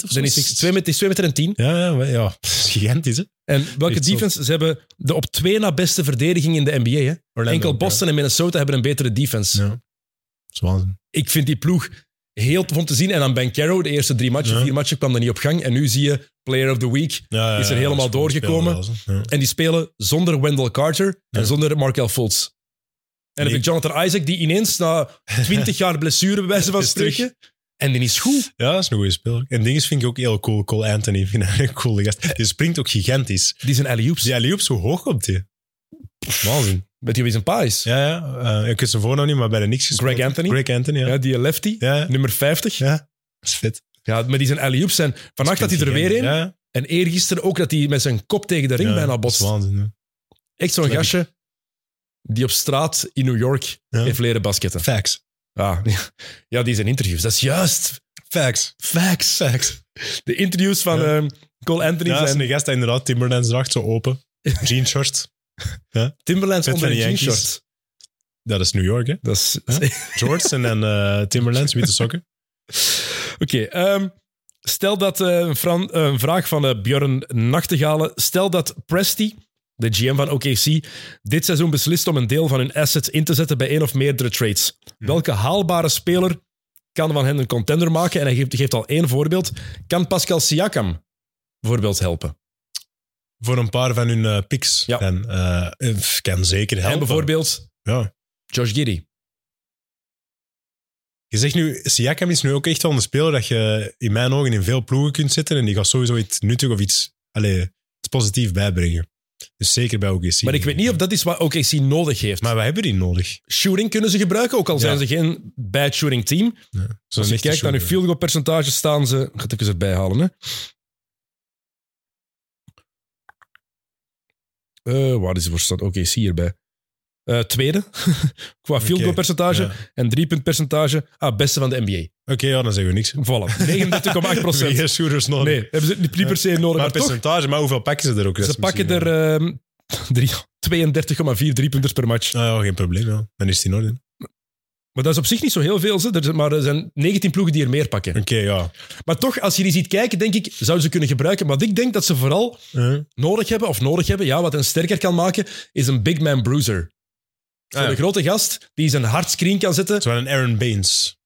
zo.
Dan is
6'-
2 meter, is twee meter en 10.
Ja, ja, maar ja. gigantisch hè.
En welke
Echt zo.
defense? Ze hebben de op twee na beste verdediging in de NBA. Hè?
Orlando,
Enkel Boston en Minnesota hebben een betere defense.
Ja. Ja. Dat is waanzin.
Ik vind die ploeg heel tof om te zien. En aan Ben Caro, de eerste drie matchen,
Ja.
vier matchen, kwam dat niet op gang. En nu zie je Player of the Week.
Ja, ja,
Is er
ja,
helemaal
dat gewoon
doorgekomen.
een speler wel, hè. Ja.
En die spelen zonder Wendell Carter en
Ja.
zonder Markel Fultz. En dan
Nee.
heb je Jonathan Isaac, die ineens na twintig jaar blessure, bij wijze van
Is terug.
spreken... En die is goed.
Ja, dat is een goede speler. En dinges vind ik ook heel cool. Cole Anthony vind ik een coole gast. Die springt ook gigantisch.
Die zijn alley-oops.
Die alley hoe hoog komt die? Waanzin.
Weet je wie zijn pa is?
Ja, ja. eh, ik weet zijn voornaam niet, maar bij de niks gespeeld.
Greg Anthony?
Greg Anthony, ja.
Ja, die lefty,
Ja, ja.
nummer 50.
Ja. Dat is vet.
Ja, maar die zijn alley-oops. zijn. Vannacht had hij er weer in.
Ja, ja.
En eergisteren ook dat hij met zijn kop tegen de ring
Ja,
bijna
dat is
botst.
waanzin, ja.
Echt zo'n
Dat heb
gastje die op straat in New York
Ja.
heeft leren basketten.
Facts.
Ja, ja, die zijn interviews. Dat is juist.
Facts.
Facts.
Facts.
De interviews van
Ja.
ehm, Cole Anthony
Ja, dat is
zijn
een gast die inderdaad Timberlands draagt, zo open. Jean shorts.
Timberlands
Vet
onder een
van de Yankees.
jeanshirt.
Dat is New York, hè.
Dat is...
Shorts en dan eh, Timberlands, witte sokken.
Oké. ehm, Stel dat, eh, een Fran- eh, een vraag van eh, Björn Nachtegalen. Stel dat Presti, de GM van OKC, dit seizoen beslist om een deel van hun assets in te zetten bij één of meerdere trades.
Hm.
Welke haalbare speler kan van hen een contender maken? En hij geeft, geeft al één voorbeeld. Kan Pascal Siakam bijvoorbeeld helpen?
Voor een paar van hun eh, picks.
Ja.
En, eh, het kan zeker helpen.
En bijvoorbeeld
Ja.
Josh Giddy.
Je zegt nu, Siakam is nu ook echt wel een speler dat je in mijn ogen in veel ploegen kunt zetten. En die gaat sowieso iets nuttig of iets, allez, iets positiefs bijbrengen. Dus zeker bij OKC.
Maar ik weet niet of dat is wat OKC nodig heeft.
Maar wij hebben die nodig.
shooting kunnen ze gebruiken, ook al zijn ze geen bad shooting team.
Zo'n
Als je
echte
kijkt naar hun
shooter.
field goal percentage staan ze... Ik ga het even erbij halen, hè. Eh, waar is het voor stand? Oké, zie hierbij. Eh, tweede, qua field
Oké,
goal percentage
ja.
en driepunt percentage. Ah, beste van de NBA.
Oké, ja, dan zeggen we niks.
Voilà, 39,8 procent.
Geen shooters nodig.
Nee, hebben ze niet niet per se nodig, maar, toch.
maar percentage, maar hoeveel pakken ze er ook? Dat
Ze
is
pakken
misschien-
er ehm, drie- 32,4 driepunters per match.
Ah, ja, geen probleem. Ja. Dan is die in orde.
Maar dat is op zich niet zo heel veel, ze. Er zijn- maar er zijn 19 ploegen die er meer pakken.
Oké, ja.
Maar toch, als je die ziet kijken, denk ik, zouden ze kunnen gebruiken. Maar ik denk dat ze vooral
Huh?
nodig hebben, of nodig hebben, ja, wat hen sterker kan maken, is een big man bruiser. Zo'n
Ah, ja.
grote gast die zijn hard screen kan zetten.
Zo een Aaron Baines.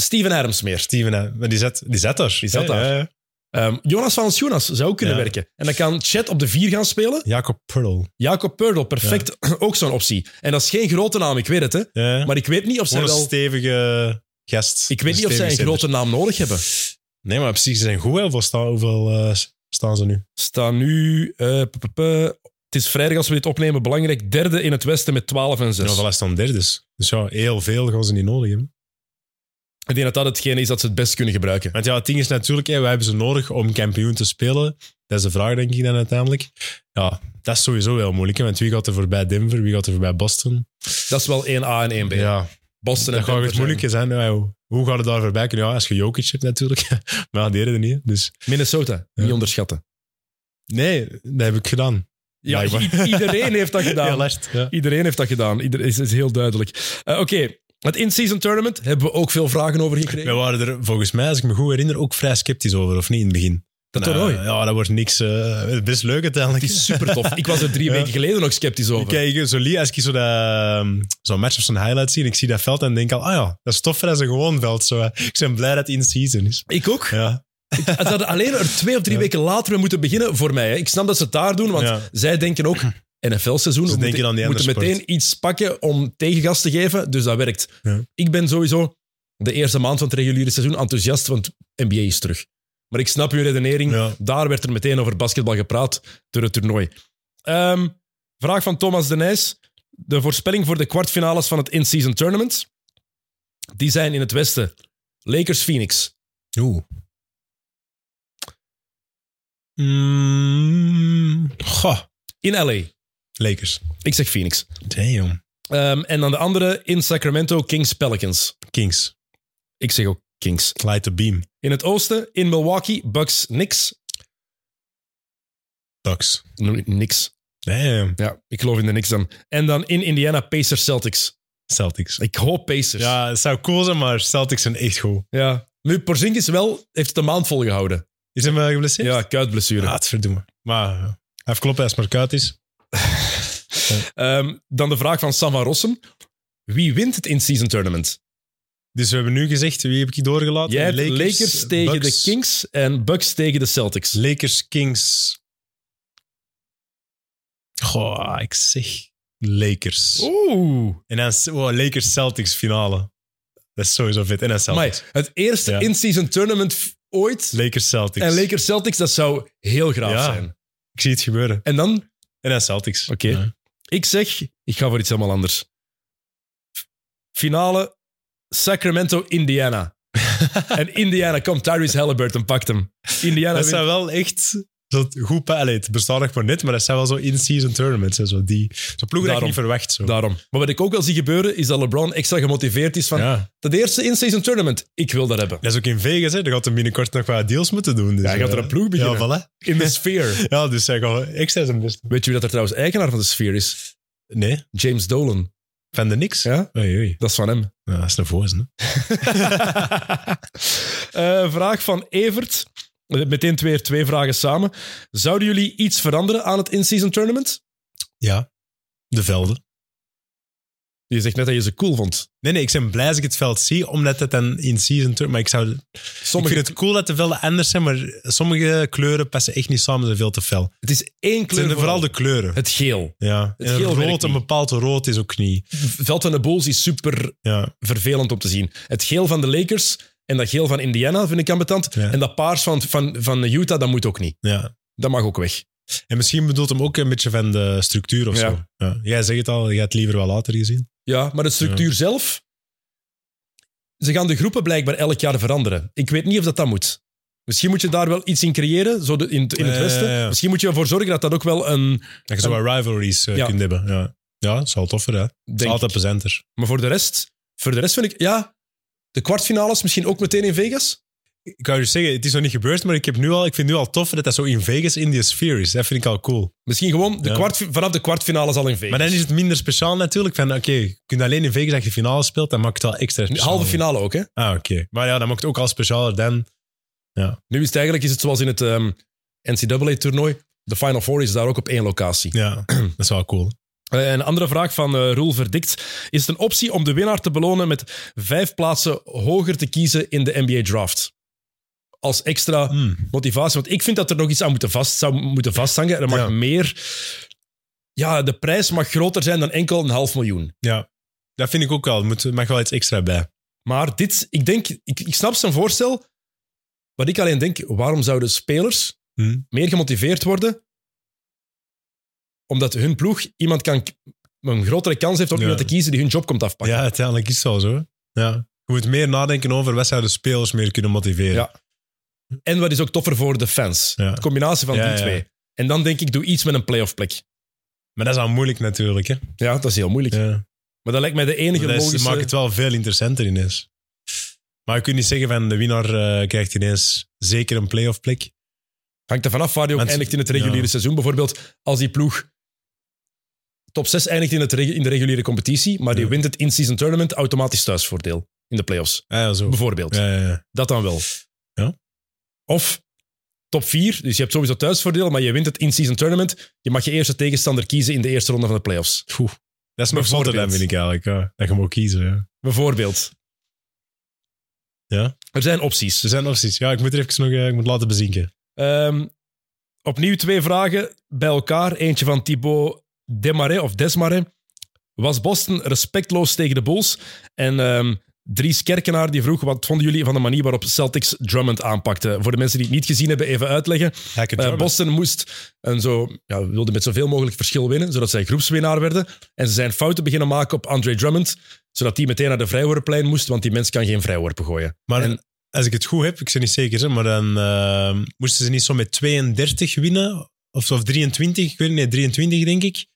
Steven Adams meer.
Steven, hè. maar die zat, die zat daar. Die
zat daar. Ehm, Jonas van Jonas zou ook kunnen
Ja.
werken. En dan kan Chet op de vier gaan spelen.
Jacob Pearl.
Jacob Purdle, perfect. ook zo'n optie. En dat is geen grote naam, ik weet het. Hè.
Ja.
Maar ik weet niet of zij
Gewoon een
wel...
stevige gast.
Ik weet niet of zij een
stevige
grote naam nodig hebben.
center. Nee, maar precies, ze zijn goed. hè. Hoeveel, staan, hoeveel eh, staan ze nu?
Staan nu... eh, p- p- p- het is vrijdag als we dit opnemen. Belangrijk, derde in het westen met 12 en 6.
Ja, voilà, staan derdes. Dus ja, heel veel gaan ze niet nodig hebben.
Ik denk dat dat hetgene is dat ze het best kunnen gebruiken.
Want ja, het ding is natuurlijk, hè, wij hebben ze nodig om kampioen te spelen. Dat is de vraag, denk ik, dan uiteindelijk. Ja, dat is sowieso heel moeilijk. Hè, want wie gaat er voorbij Denver? Wie gaat er voorbij Boston?
Dat is wel 1A en 1B.
Ja,
Boston en
dat gaat
Denver
het
zijn-
moeilijk zijn. Ja, hoe- hoe gaat het daar voorbij kunnen? Ja, als je Jokic hebt natuurlijk. maar ja, die deden er niet. hè. Dus
Minnesota, niet onderschatten.
nee, dat heb ik gedaan.
Ja,
Blijkbaar.
i- iedereen heeft dat gedaan.
Heel hard. Ja.
iedereen heeft dat gedaan. Ieder, is, is heel duidelijk. Eh, Oké, het in-season tournament hebben we ook veel vragen over gekregen.
We waren er volgens mij, als ik me goed herinner, ook vrij sceptisch over, of niet, in het begin.
dat
Nou,
toernooi.
Ja, dat wordt niks. eh, best leuk uiteindelijk.
Het is super tof. Ik was er drie
Ja.
weken geleden nog sceptisch over.
Ik kijk zo lief, als ik zo dat, ehm, zo'n match of zo'n highlight zie en ik zie dat veld en denk al, ah ja, dat is toffer dan een gewoon veld. Zo, eh, ik ben blij dat het in season is.
Ik ook.
Ja.
Ze hadden alleen er twee of drie
Ja.
weken later mee moeten beginnen voor mij. Hè. Ik snap dat ze het daar doen, want
Ja.
zij denken ook... NFL-seizoen, we
denken
moeten,
aan die
we moeten
andere sport.
meteen iets pakken om tegengas te geven, dus dat werkt.
Ja.
Ik ben sowieso de eerste maand van het reguliere seizoen enthousiast, want NBA is terug. Maar ik snap uw redenering,
Ja.
daar werd er meteen over basketbal gepraat door het toernooi. Ehm, vraag van Thomas de Nijs. De voorspelling voor de kwartfinales van het in-season tournament. Die zijn in het westen. Lakers-Phoenix.
Oeh. Mm, goh.
In LA.
Lakers.
Ik zeg Phoenix.
Damn.
Ehm, en dan de andere in Sacramento, Kings Pelicans.
Kings.
Ik zeg ook Kings.
Light the beam.
In het oosten, in Milwaukee, Bucks, Knicks.
Ducks.
Noem- Knicks.
Damn.
Ja, ik geloof in de Knicks dan. En dan in Indiana, Pacers, Celtics.
Celtics.
Ik hoop Pacers.
Ja, het zou cool zijn, maar Celtics zijn echt goed.
Ja. Nu, Porzingis wel, heeft het een maand volgehouden.
Is hem eh, geblesseerd?
Ja, kuitblessure.
Ja, het verdoemen. Maar eh, even kloppen als het maar koud is.
Ehm, dan de vraag van Sam van Rossum. Wie wint het in-season tournament?
Dus we hebben nu gezegd, wie heb ik doorgelaten?
Jij hebt Lakers, tegen
Bucks.
de Kings en Bucks tegen de Celtics.
Lakers, Kings. Goh, ik zeg Lakers.
Oeh.
En dan wow, Lakers Celtics finale. Dat is sowieso vet. En dan Celtics.
Maar het eerste
Ja.
in-season tournament f- ooit.
Lakers Celtics.
En Lakers Celtics, dat zou heel graaf
Ja.
zijn.
Ik zie het gebeuren.
En dan,
En dan Celtics.
Oké.
Ja.
ik zeg, ik ga voor iets helemaal anders. F- Finale Sacramento, Indiana. en Indiana komt, Tyrese Halliburton pakt hem. Indiana
Dat
wint.
zijn wel echt zo goed pa- Allee, Het bestaat nog maar net, maar dat zijn wel zo in-season tournaments. hè, Zo, die, zo ploegen dat
Daarom.
je niet verwacht. Zo.
Daarom. Maar wat ik ook wel zie gebeuren, is dat LeBron extra gemotiveerd is van
Ja.
dat eerste in-season tournament, ik wil dat hebben.
Dat is ook in Vegas, hè. Daar gaat hij binnenkort nog wat deals moeten doen. Dus,
Ja, hij gaat
eh,
er een ploeg beginnen.
Ja, voilà.
In de sfeer.
Ja, dus hij gaat extra zijn best doen.
Weet je wie dat er trouwens eigenaar van de sfeer is?
Nee.
James Dolan.
Van de niks?
Ja?
Oei, oei.
Dat is van hem.
Ja, dat is een voos, hè?
Eh, vraag van Evert. Eh, Meteen twee, twee vragen samen. Zouden jullie iets veranderen aan het in-season tournament?
Ja. De velden.
Je zegt net dat je ze cool vond.
Nee, nee, ik ben blij als ik het veld zie, omdat het dan in season tour... Maar ik, zou,
Sommige,
ik vind het cool dat de velden anders zijn, maar sommige kleuren passen echt niet samen, ze zijn veel te fel.
het is één
Het
kleur.
zijn de- vooral
vooral.
de kleuren.
Het geel.
Ja.
het
En
geel werkt
rood, een
niet.
bepaald rood is ook niet.
Veld van de Bulls is super
Ja.
vervelend om te zien. Het geel van de Lakers en dat geel van Indiana vind ik ambetant.
Ja.
En dat paars van, van, van Utah, dat moet ook niet.
ja.
Dat mag ook weg.
En misschien bedoelt hem ook een beetje van de structuur of
Ja.
zo. Ja. Jij zegt het al, jij hebt liever wel later gezien.
Ja, maar de structuur zelf... Ze gaan de groepen blijkbaar elk jaar veranderen. Ik weet niet of dat dat moet. Misschien moet je daar wel iets in creëren, zo de- in, in het
Ja, ja,
westen.
ja.
Misschien moet je ervoor zorgen dat dat ook wel een...
Dat je zo wat rivalries eh,
Ja.
kunt hebben. Ja, ja dat is wel toffer, hè? Het is
Denk,
altijd plezanter.
Maar voor de rest, voor de rest vind ik... Ja, de kwartfinales misschien ook meteen in Vegas.
Ik wou dus zeggen, het is nog niet gebeurd, maar ik, heb nu al, ik vind nu al toffer dat dat zo in Vegas in die sfeer is. Dat vind ik al cool.
Misschien gewoon de
Ja.
kwart, vanaf de kwartfinales al in Vegas.
Maar dan is het minder speciaal natuurlijk. Van oké, je kunt alleen in Vegas als je finale speelt, dan maakt het wel extra speciaal.
Halve finale ook, hè?
Ah, oké. Maar ja, dan maakt het ook al specialer dan.
Nu is het eigenlijk is het zoals in het ehm, NCAA-toernooi. De Final Four is daar ook op één locatie.
Ja, dat is wel cool.
Eh, een andere vraag van eh, Roel Verdikt. Is het een optie om de winnaar te belonen met vijf plaatsen hoger te kiezen in de NBA Draft? Als extra
Hmm.
motivatie. Want ik vind dat er nog iets aan moeten vast, zou moeten vasthangen. Er mag
Ja.
meer... Ja, de prijs mag groter zijn dan enkel een half miljoen.
Ja, dat vind ik ook wel. Er moet- er mag wel iets extra bij.
Maar dit, ik denk, ik, ik snap zijn voorstel. Wat ik alleen denk, waarom zouden spelers
Hm.
meer gemotiveerd worden? Omdat hun ploeg iemand kan, een grotere kans heeft om
Ja.
iemand te kiezen die hun job komt afpakken.
Ja, uiteindelijk is het wel zo. Ja. Je moet meer nadenken over wat zouden spelers meer kunnen motiveren.
Ja. En wat is ook toffer voor de fans?
Ja.
De combinatie van
Ja,
die
ja.
twee. En dan denk ik, doe iets met een playoff plek.
Maar dat is al moeilijk natuurlijk. Hè?
Ja, dat is heel moeilijk.
Ja.
Maar dat lijkt mij de enige
Dat is-
logische...
maakt het wel veel interessanter ineens. Maar je kunt niet zeggen van de winnaar eh, krijgt ineens zeker een playoff plek.
Hangt er vanaf waar je ook
Mensen-
eindigt in het reguliere
ja.
seizoen. Bijvoorbeeld als die ploeg top 6 eindigt in, het regu- in de reguliere competitie, maar die
Ja.
wint het in-season tournament, automatisch thuisvoordeel in de playoffs.
Ah, ja, zo.
Bijvoorbeeld.
Ja, ja, ja.
Dat dan wel.
Ja.
Of top 4, dus je hebt sowieso thuisvoordeel, maar je wint het in-season tournament. Je mag je eerste tegenstander kiezen in de eerste ronde van de playoffs.
Oeh. Dat is nog zotter dan,
Bijvoorbeeld.
vind ik eigenlijk. Ja. Dat je moet kiezen. Ja.
Bijvoorbeeld.
Ja.
Er zijn opties.
Er zijn opties. Ja, ik moet er even nog eh, ik moet laten bezinken.
Ehm, opnieuw twee vragen bij elkaar. Eentje van Thibaut Desmarais of Desmarais. Was Boston respectloos tegen de Bulls? En ehm Dries Kerkenaar die vroeg, wat vonden jullie van de manier waarop Celtics Drummond aanpakte? Voor de mensen die het niet gezien hebben, even uitleggen.
Hack
Eh, Boston moest en zo, ja, wilde met zoveel mogelijk verschil winnen, zodat zij groepswinnaar werden. En ze zijn fouten beginnen maken op Andre Drummond, zodat die meteen naar de vrijworpplein moest, want die mens kan geen vrijworpen gooien.
Maar
En-
als ik het goed heb, ik ben niet zeker, hè, maar dan eh, moesten ze niet zo met 32 winnen? Of, of 23? Ik weet niet, nee, 23 denk ik.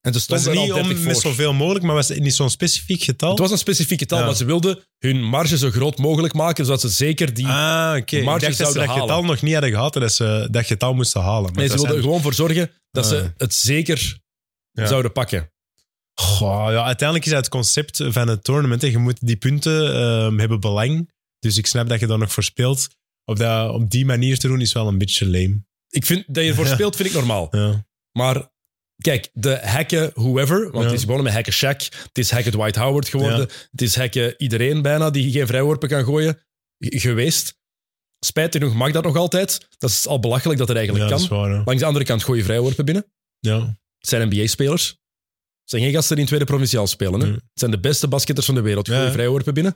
En ze
Was
stonden
het
er al
niet
30
om, met
voor.
zoveel mogelijk, maar was het niet zo'n specifiek getal?
Het was een specifieke taal,
Ja.
maar ze wilden hun marge zo groot mogelijk maken, zodat ze zeker die...
ah,
marges
oké. Ik dacht dat ze
zouden
dat
halen.
getal nog niet hadden gehad en dat ze dat getal moesten halen. Maar
nee, ze
dat
wilden er
zijn-
gewoon voor zorgen dat
Ah.
ze het zeker
Ja.
zouden pakken.
Goh, ja, uiteindelijk is dat het concept van het tournament. hè. Je moet die punten ehm, hebben belang. Dus ik snap dat je daar nog voor speelt. Op, dat, op die manier te doen is wel een beetje lame.
Ik vind, dat je ervoor
Ja.
speelt, vind ik normaal.
Ja.
Maar kijk, de hacken whoever, want
Ja.
het is begonnen met hacken Shaq, het is hacken Dwight Howard geworden, het is hacken iedereen bijna die geen vrijworpen kan gooien g- geweest. Spijtig genoeg mag dat nog altijd. Dat is al belachelijk dat het eigenlijk
Ja, dat
kan.
is waar. hè.
Langs de andere kant gooi je vrijworpen binnen.
Ja.
Het zijn NBA-spelers. Het zijn geen gasten die in tweede provinciaal spelen. Hè?
Nee.
Het zijn de beste basketters van de wereld. Goeie
Hmm. Ja, ja.
vrijworpen binnen.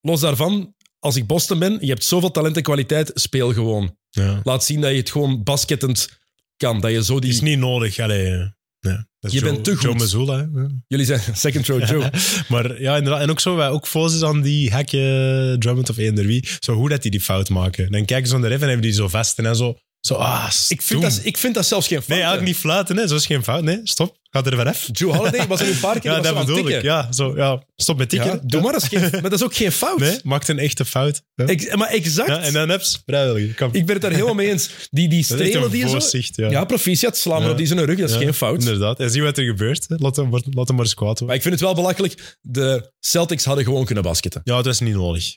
Los daarvan, als ik Boston ben, je hebt zoveel talent en kwaliteit, speel gewoon.
ja.
Laat zien dat je het gewoon baskettend kan. Dat je zo die...
Is niet nodig. Allee, eh, nee. Dat is
Je
Joe-
bent te goed.
Joe Mazzulla, hè. Ja.
Jullie zijn second row Joe.
Maar ja, inderdaad. En ook zo, wij ook volgens aan die hekje Drummond of eender wie, zo hoe dat die die fout maken. Dan kijken ze naar de ref en hebben die zo vast en dan zo Zo, ah,
Ik vind, dat,
stoem.
ik vind dat zelfs geen fout.
Nee,
hè.
eigenlijk niet fluiten, hè. Zo is geen fout. Nee, stop. Ga er vanaf.
Drew Holiday was er een paar keer
Ja,
was zo
dat
aan het
bedoel
tikken.
ik. Ja, zo, ja, stop met tikken.
Ja, doe maar, dat is geen, maar dat is ook geen fout.
Nee, maakt een echte fout. Ja.
Ik- maar exact.
Ja, en dan apps. Vrijwilliger. Kom.
Ik ben het daar helemaal mee eens. Die, die
dat is echt
strelen
een
die je zo...
voorzicht. Ja.
Ja, proficiat, slaan maar
Ja.
op die zijn rug, dat is
Ja,
geen fout.
Inderdaad. En zie wat er gebeurt. hè. Laat hem, maar- laat hem maar eens kwaad worden.
Maar ik vind het wel belachelijk. De Celtics hadden gewoon kunnen basketten.
Ja, het was niet nodig.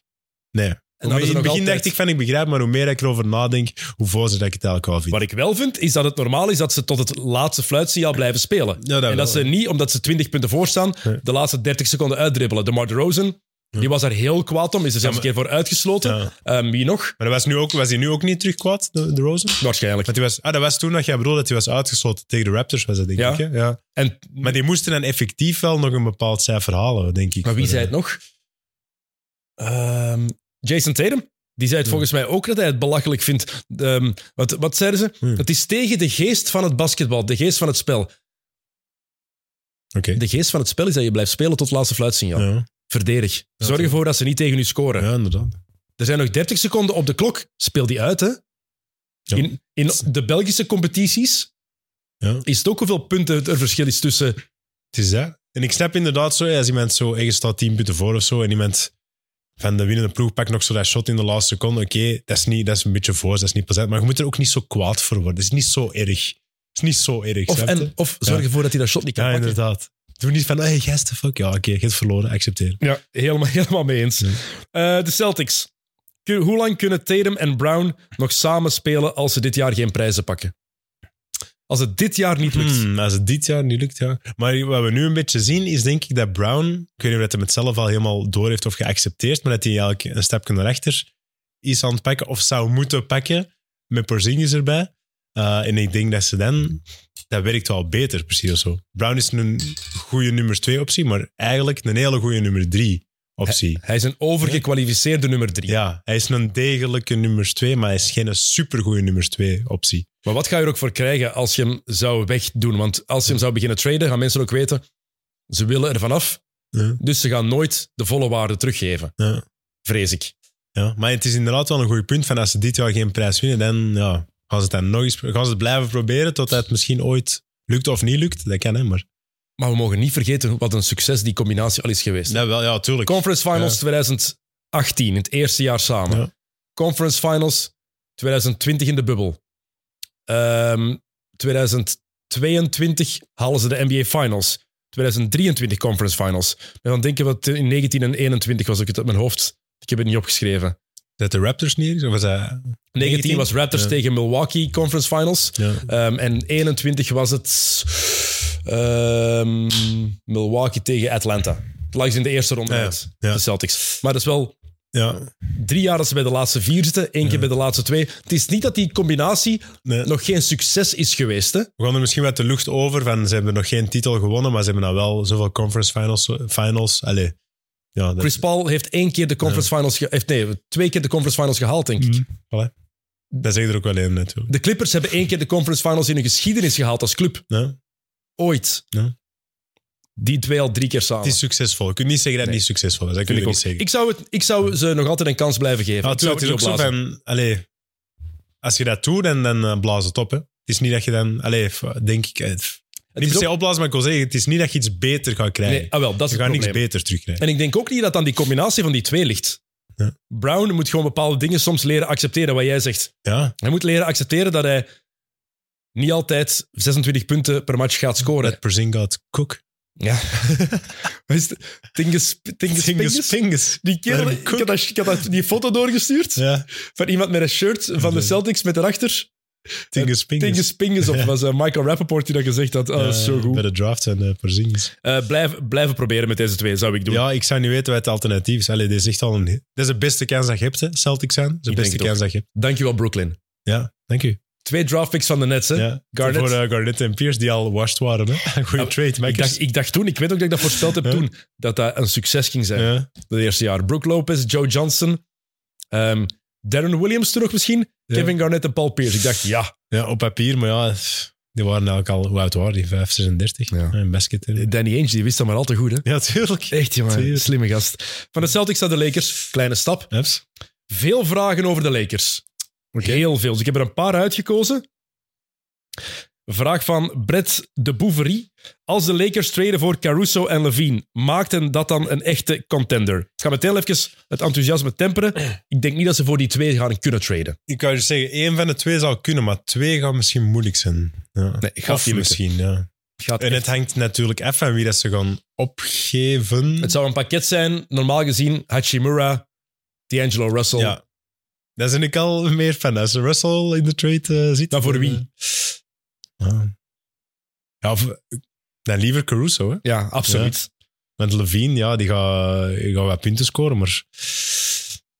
Nee.
En
Hoe meer-
hadden ze
in
nog
het begin
altijd.
dacht ik van, ik begrijp, maar hoe meer ik erover nadenk, hoe voorzitter ik het eigenlijk wel vind.
Wat ik wel vind, is dat het normaal is dat ze tot het laatste fluitsignaal blijven spelen.
Ja, dat
en
wel,
dat ze niet, omdat ze 20 punten voor staan,
Nee.
de laatste 30 seconden uitdribbelen. De Mark Rosen, die was daar heel kwaad om, is er zelfs een
maar-
keer voor uitgesloten.
Ja.
Ehm, wie nog?
Maar dat was, nu ook, was hij nu ook niet terug kwaad, de, de Rosen?
Waarschijnlijk.
Want die was, ah, dat was toen dat jij bedoelde dat hij was uitgesloten tegen de Raptors, was dat denk
Ja.
ik. Hè? Ja.
En,
Maar die moesten dan effectief wel nog een bepaald cijfer halen, denk ik.
maar wie
Voor,
zei
eh,
het nog? Ehm, Jason Tatum. Die zei het volgens mij ook dat hij het belachelijk vindt. Ehm, wat, wat zeiden ze?
Hmm.
Het is tegen de geest van het basketbal, de geest van het spel.
Oké.
De geest van het spel is dat je blijft spelen tot het laatste fluitsignaal.
Ja.
Verdedig. Zorg ervoor dat ze niet tegen u scoren.
ja, inderdaad.
Er zijn nog 30 seconden op de klok. Speel die uit, hè?
Ja.
In, in de Belgische competities
Ja.
is het ook hoeveel punten er verschil is tussen.
Het is dat. En ik snap inderdaad zo, ja, als iemand zo, hey, je staat 10 punten voor of zo, en iemand van de winnende ploeg pakt nog zo dat shot in de laatste seconde, oké, dat is niet, dat is een beetje voor, dat is niet plezant, maar je moet er ook niet zo kwaad voor worden. Het is niet zo erg. Het is niet zo erg,
Of,
snap je?
en, of zorg
Ja.
ervoor dat hij dat shot niet kan
Ja,
pakken.
inderdaad. Doe niet van, hey, gast, fuck. Ja, oké, je hebt verloren, accepteer.
Ja, helemaal, helemaal mee eens.
Ja.
Eh, de Celtics. Kun- Hoe lang kunnen Tatum en Brown nog samen spelen als ze dit jaar geen prijzen pakken? Als het dit jaar niet lukt.
Hmm, als het dit jaar niet lukt, ja. Maar wat we nu een beetje zien, is denk ik dat Brown, ik weet niet of dat hij het zelf al helemaal door heeft of geaccepteerd, maar dat hij eigenlijk een stapje naar achter is aan het pakken of zou moeten pakken met Porzingis erbij. Eh, en ik denk dat ze dan, dat werkt wel beter, precies of zo. Brown is een goede nummer 2 optie, maar eigenlijk een hele goede nummer 3 optie.
Hij is een overgekwalificeerde nummer drie.
Ja, hij is een degelijke nummer 2, maar hij is geen supergoeie nummer 2 optie.
Maar wat ga je er ook voor krijgen als je hem zou wegdoen? Want als je hem zou beginnen traden, gaan mensen ook weten, ze willen er vanaf.
Ja.
Dus ze gaan nooit de volle waarde teruggeven.
Ja.
Vrees ik.
Ja, maar het is inderdaad wel een goed punt van als ze dit jaar geen prijs winnen, dan ja, gaan ze het dan nog eens gaan ze het blijven proberen totdat het misschien ooit lukt of niet lukt. Dat kan, hè, maar...
Maar we mogen niet vergeten wat een succes die combinatie al is geweest.
Dat wel, ja, tuurlijk.
Conference Finals 2018, in het eerste jaar samen.
Ja.
Conference Finals 2020 in de bubbel. Ehm, 2022 halen ze de NBA Finals. 2023 Conference Finals. En dan denken we dat in 19 en 21 was ik het uit mijn hoofd. Ik heb het niet opgeschreven.
Dat de Raptors neer is? Of was dat...
19 was Raptors
Ja.
tegen Milwaukee Conference Finals.
Ja.
Ehm, en 21 was het ehm, Milwaukee tegen Atlanta. Het lag ze in de eerste ronde
Ja,
uit,
ja.
de Celtics. Maar dat is wel
ja.
drie jaar dat ze bij de laatste vier zitten, één keer bij de laatste twee. Het is niet dat die combinatie
Nee.
nog geen succes is geweest. Hè?
We gaan er misschien wat de lucht over van ze hebben nog geen titel gewonnen, maar ze hebben nou wel zoveel conference finals. finals. Allee. Ja, dat-
Chris Paul heeft één keer de conference finals... ge- heeft, nee, twee keer de conference finals gehaald, denk
Mhm.
ik.
Voilà. Dat zeg je er ook wel in natuurlijk.
De Clippers hebben één keer de conference finals in hun geschiedenis gehaald als club.
Ja.
Ooit.
Ja.
Die twee al drie keer
Het
samen.
is succesvol. Je kunt niet zeggen dat het niet succesvol is. Dat kun
Vind
je
ik,
niet
ook.
zeggen.
ik, zou het, ik zou ze nog altijd een kans blijven geven.
Ja,
Ik zou
natuurlijk. Ah, Het is ook
het niet
zo
opblazen.
van... Allee, als je dat doet, dan, dan eh, blaas het op. Hè. Het is niet dat je dan... Allee, f- denk ik... eh, f-
Het
niet
is
per se
ook-
opblazen, maar ik wil zeggen... Het is niet dat je iets beter gaat krijgen.
Nee, ah, wel, dat is
je
het
gaat niks
probleem.
beter terugkrijgen.
En ik denk ook niet dat aan die combinatie van die twee ligt.
Ja.
Brown moet gewoon bepaalde dingen soms leren accepteren, wat jij zegt.
Ja,
Hij moet leren accepteren dat hij niet altijd 26 punten per match gaat scoren.
dat Perzingat Cook.
Ja. Wat is het? Tingus, Tingus, Pingus?
Pingus.
Die kerel,
Larry
ik had, dat- ik had dat- die foto doorgestuurd
Ja,
van iemand met een shirt van de Celtics met erachter.
Tingus Pingus.
Tingus Pingus, of
Ja.
was eh, Michael Rappaport die dat gezegd had. Oh, dat is zo
Ja, Eh, Bij
goed.
de draft en de Porzingis.
Eh, blijf, blijven proberen met deze twee, zou ik doen.
Ja, ik zou niet weten wat het alternatief is. Allee, dit is echt al een... Dat is de beste kans dat je hebt, hè. Celtics zijn. Dat is de
Ik denk het
beste
ook.
kans dat je hebt.
Dankjewel, Brooklyn.
Ja, dank u.
Twee draftpicks van de Nets, hè?
Ja.
Garnett.
Voor eh, Garnett en Pierce, die al washed waren. Hè. Goeie
Ja,
trade, maar
Ik dacht, ik dacht toen, ik weet ook dat ik dat voorspeld heb
Ja.
toen, dat dat een succes ging zijn.
Ja.
dat eerste jaar. Brooke Lopez, Joe Johnson, ehm, Darren Williams terug misschien,
Ja.
Kevin Garnett en Paul Pierce. Ik dacht, ja,
Ja, op papier, maar ja, die waren eigenlijk al, hoe oud waren die? 5, 36?
Ja.
Ja. Een basket. hè.
Danny Ainge die wist dat maar al te goed. Hè?
Ja, tuurlijk.
Echt, jongen,
Tuurlijk.
slimme gast. Van de Celtics naar de Lakers, kleine stap.
Eps.
Veel vragen over de Lakers. Heel veel. Dus ik heb er een paar uitgekozen. Vraag van Brett de Bouverie. Als de Lakers traden voor Caruso en Levine, maakten dat dan een echte contender? Ik ga meteen even het enthousiasme temperen. Ik denk niet dat ze voor die twee gaan kunnen traden.
Ik kan je zeggen, één van de twee zou kunnen, maar twee gaat misschien moeilijk zijn. Ja.
Nee, gaat
of
niet lukken.
misschien, ja.
Gaat
En het hangt natuurlijk af van wie dat ze gaan opgeven.
Het zou een pakket zijn, normaal gezien, Hachimura, D'Angelo Russell.
Ja. Daar ben ik al meer van. Als Russell in de trade eh, zit.
Dan Nou, voor wie?
eh, ja. Ja, of, dan liever Caruso, hè.
Ja, absoluut.
Want Levine, ja, die gaat, die gaat wat punten scoren, maar...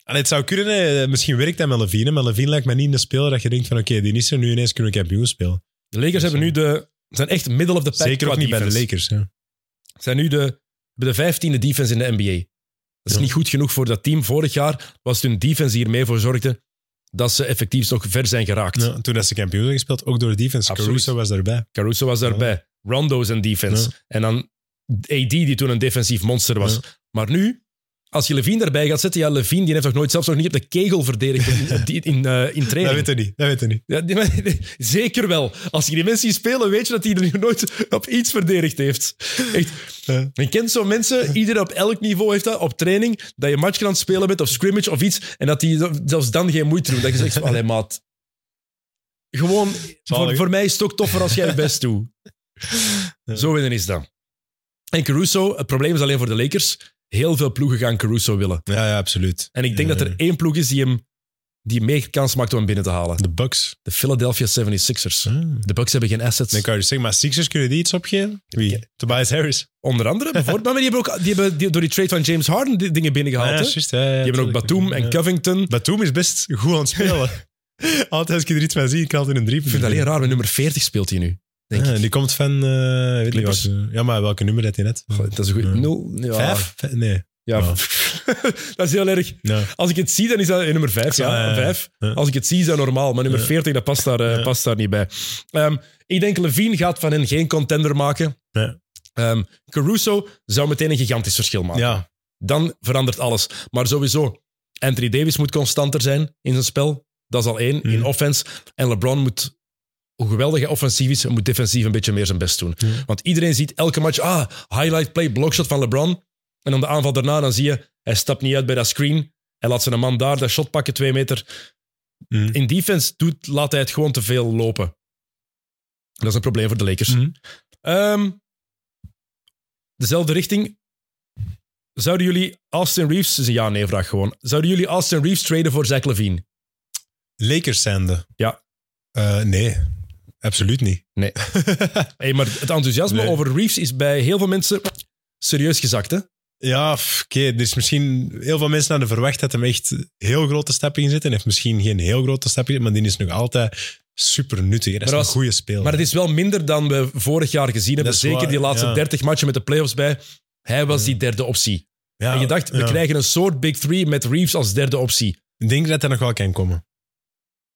Allee, het zou kunnen, hè. misschien werkt dat met Levine, hè, maar Levine lijkt mij niet in de speler dat je denkt van oké, die is er nu ineens kunnen we kampioen spelen.
De Lakers hebben nu de, zijn echt middle of the pack.
Zeker
qua
ook niet bij de
defense.
Lakers. Ja.
zijn nu de, de vijftiende defense in de NBA. Dat is
Ja.
niet goed genoeg voor dat team. Vorig jaar was het hun defense die ermee voor zorgde dat ze effectief nog ver zijn geraakt.
Ja, toen dat ze kampioen zijn gespeeld, ook door de defense.
Absoluut.
Caruso was daarbij.
Caruso was daarbij. Rondo zijn defense. En dan AD, die toen een defensief monster was. Maar nu, als je Levine daarbij gaat zetten... Ja, Levine die heeft nog nooit zelfs nog niet op de kegel verdedigd in, in, in, eh, in
Dat
training.
weet ik niet, dat weet ik niet.
Ja, die men- zeker wel. Als je die mensen ziet spelen, weet je dat hij er nog nooit op iets verdedigd heeft. Echt.
Ja.
Je kent zo'n mensen, iedereen op elk niveau heeft dat, op training, dat je match kan aan het spelen bent of scrimmage of iets, en dat die zelfs dan geen moeite doen. Dat je zegt, van, allee maat, gewoon, voor, voor mij is het ook toffer als jij je best doet. Zo winnen is dat. En Caruso, het probleem is alleen voor de Lakers, heel veel ploegen gaan Caruso willen.
Ja, ja, absoluut.
En ik denk
Ja.
dat er één ploeg is die hem die meer kans maakt om hem binnen te halen.
De Bucks.
De Philadelphia 76ers.
Ah.
De Bucks hebben geen assets.
Dan kan je dus zeggen, maar Sixers kunnen die iets opgeven? Wie? Tobias Harris.
Onder andere, bijvoorbeeld. maar die hebben ook die hebben die- door die trade van James Harden die dingen
Ah
binnengehaald. hè? die hebben ook Batum en
Kevin.
Covington. Ik
Batum is best goed aan het spelen. altijd als ik er iets van zie, ik kan het in een drie.
vind het alleen raar, met nummer 40 speelt hij nu. denk
Ja, en die komt van, eh weet niet
Clippers.
welke- ja, maar welke nummer had hij net?
Goh, Dat is een goed.
Ja.
Nul? Ja.
Vijf? Vijf? Nee.
Ja.
Ja.
dat is heel erg.
Ja.
Als ik het zie, dan is dat eh, nummer 5. Ja,
Ja, ja, ja.
vijf.
Ja.
Als ik het zie, is dat normaal. Maar nummer
Ja.
40, dat past daar, eh,
Ja.
past daar niet bij. Ehm, ik denk Levine gaat van hen geen contender maken.
Ja.
Ehm, Caruso zou meteen een gigantisch verschil maken.
Ja.
dan verandert alles. Maar sowieso, Anthony Davis moet constanter zijn in zijn spel. Dat is al één, in
Mm.
offense. En LeBron moet, hoe geweldig hij offensief is, moet defensief een beetje meer zijn best doen.
Mm.
Want iedereen ziet elke match, ah, highlight play, blokshot van LeBron. En dan de aanval daarna, dan zie je, hij stapt niet uit bij dat screen. Hij laat zijn man daar dat shot pakken, twee meter.
Mm.
In defense doet, laat hij het gewoon te veel lopen. Dat is een probleem voor de Lakers.
Mhm.
Ehm, dezelfde richting. Zouden jullie Austin Reeves... Dat is een ja-nee-vraag gewoon. Zouden jullie Austin Reeves traden voor Zach Levine?
Lakers zijnde.
Ja.
Eh, nee, absoluut niet.
Nee. Hey, maar het enthousiasme
Nee.
over Reeves is bij heel veel mensen serieus gezakt, hè?
Ja, f- oké. Er is misschien heel veel mensen hadden verwacht dat hem echt heel grote stappen in zit. En heeft misschien geen heel grote stappen gezet, maar die is nog altijd super nuttig. hè. Dat is
Maar
een
als-
goede speler.
Maar het is wel minder dan we vorig jaar gezien hebben.
is
Zeker
waar,
die laatste
ja.
30 matchen met de playoffs bij. Hij was die derde optie.
Ja,
en je dacht, we
ja.
krijgen een soort Big Three met Reeves als derde optie.
Ik denk dat hij nog wel kan komen.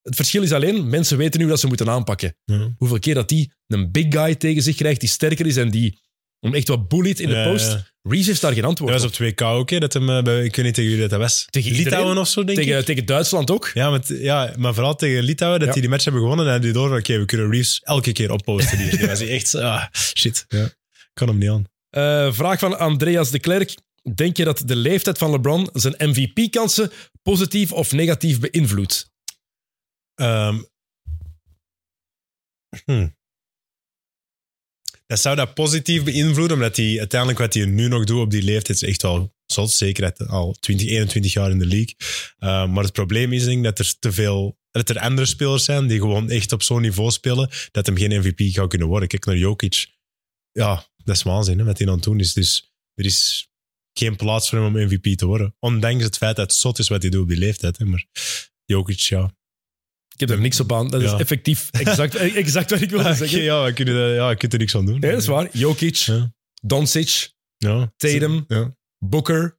Het verschil is alleen, mensen weten nu dat ze moeten aanpakken.
Ja.
hoeveel keer dat die een big guy tegen zich krijgt die sterker is en die hem echt wat bullied in de
Ja,
post.
ja.
Reeves heeft daar geen
Dat
antwoord
was
op.
op 2K ook, hè, dat hem, eh, bij, ik weet niet tegen wie dat, dat was.
Tegen iedereen?
Litouwen of zo, denk ik.
Tegen, tegen Duitsland ook.
Ja, maar, t- ja, maar vooral tegen Litouwen, dat
Ja.
die die match hebben gewonnen. En die door, oké, we kunnen Reeves elke keer opposten. hier. Die was echt, ah, shit. Ja. Kan hem niet aan.
Eh, vraag van Andreas de Klerk. Denk je dat de leeftijd van LeBron zijn MVP-kansen positief of negatief beïnvloedt?
Ehm. hm. Dat zou dat positief beïnvloeden, omdat hij uiteindelijk wat hij nu nog doet op die leeftijd is echt wel zot. Zeker dat- al 20, 21 jaar in de league. Ehm, maar het probleem is denk ik dat er te veel, dat er andere spelers zijn die gewoon echt op zo'n niveau spelen dat hem geen MVP gaat kunnen worden. Kijk naar Jokic. Ja, dat is waanzin hè, wat hij aan het doen is. Dus er is geen plaats voor hem om MVP te worden. Ondanks het feit dat het zot is wat hij doet op die leeftijd. Hè. Maar Jokic, ja,
Ik heb er niks op aan. Dat is
Ja. Ah,
effectief exact, exact wat ik wilde
Ja,
zeggen.
ja, je kunt er, ja, je kunt er niks aan doen.
Nee, dat is waar. Jokic,
Ja.
Doncic,
Ja.
Tatum.
Ja.
Booker,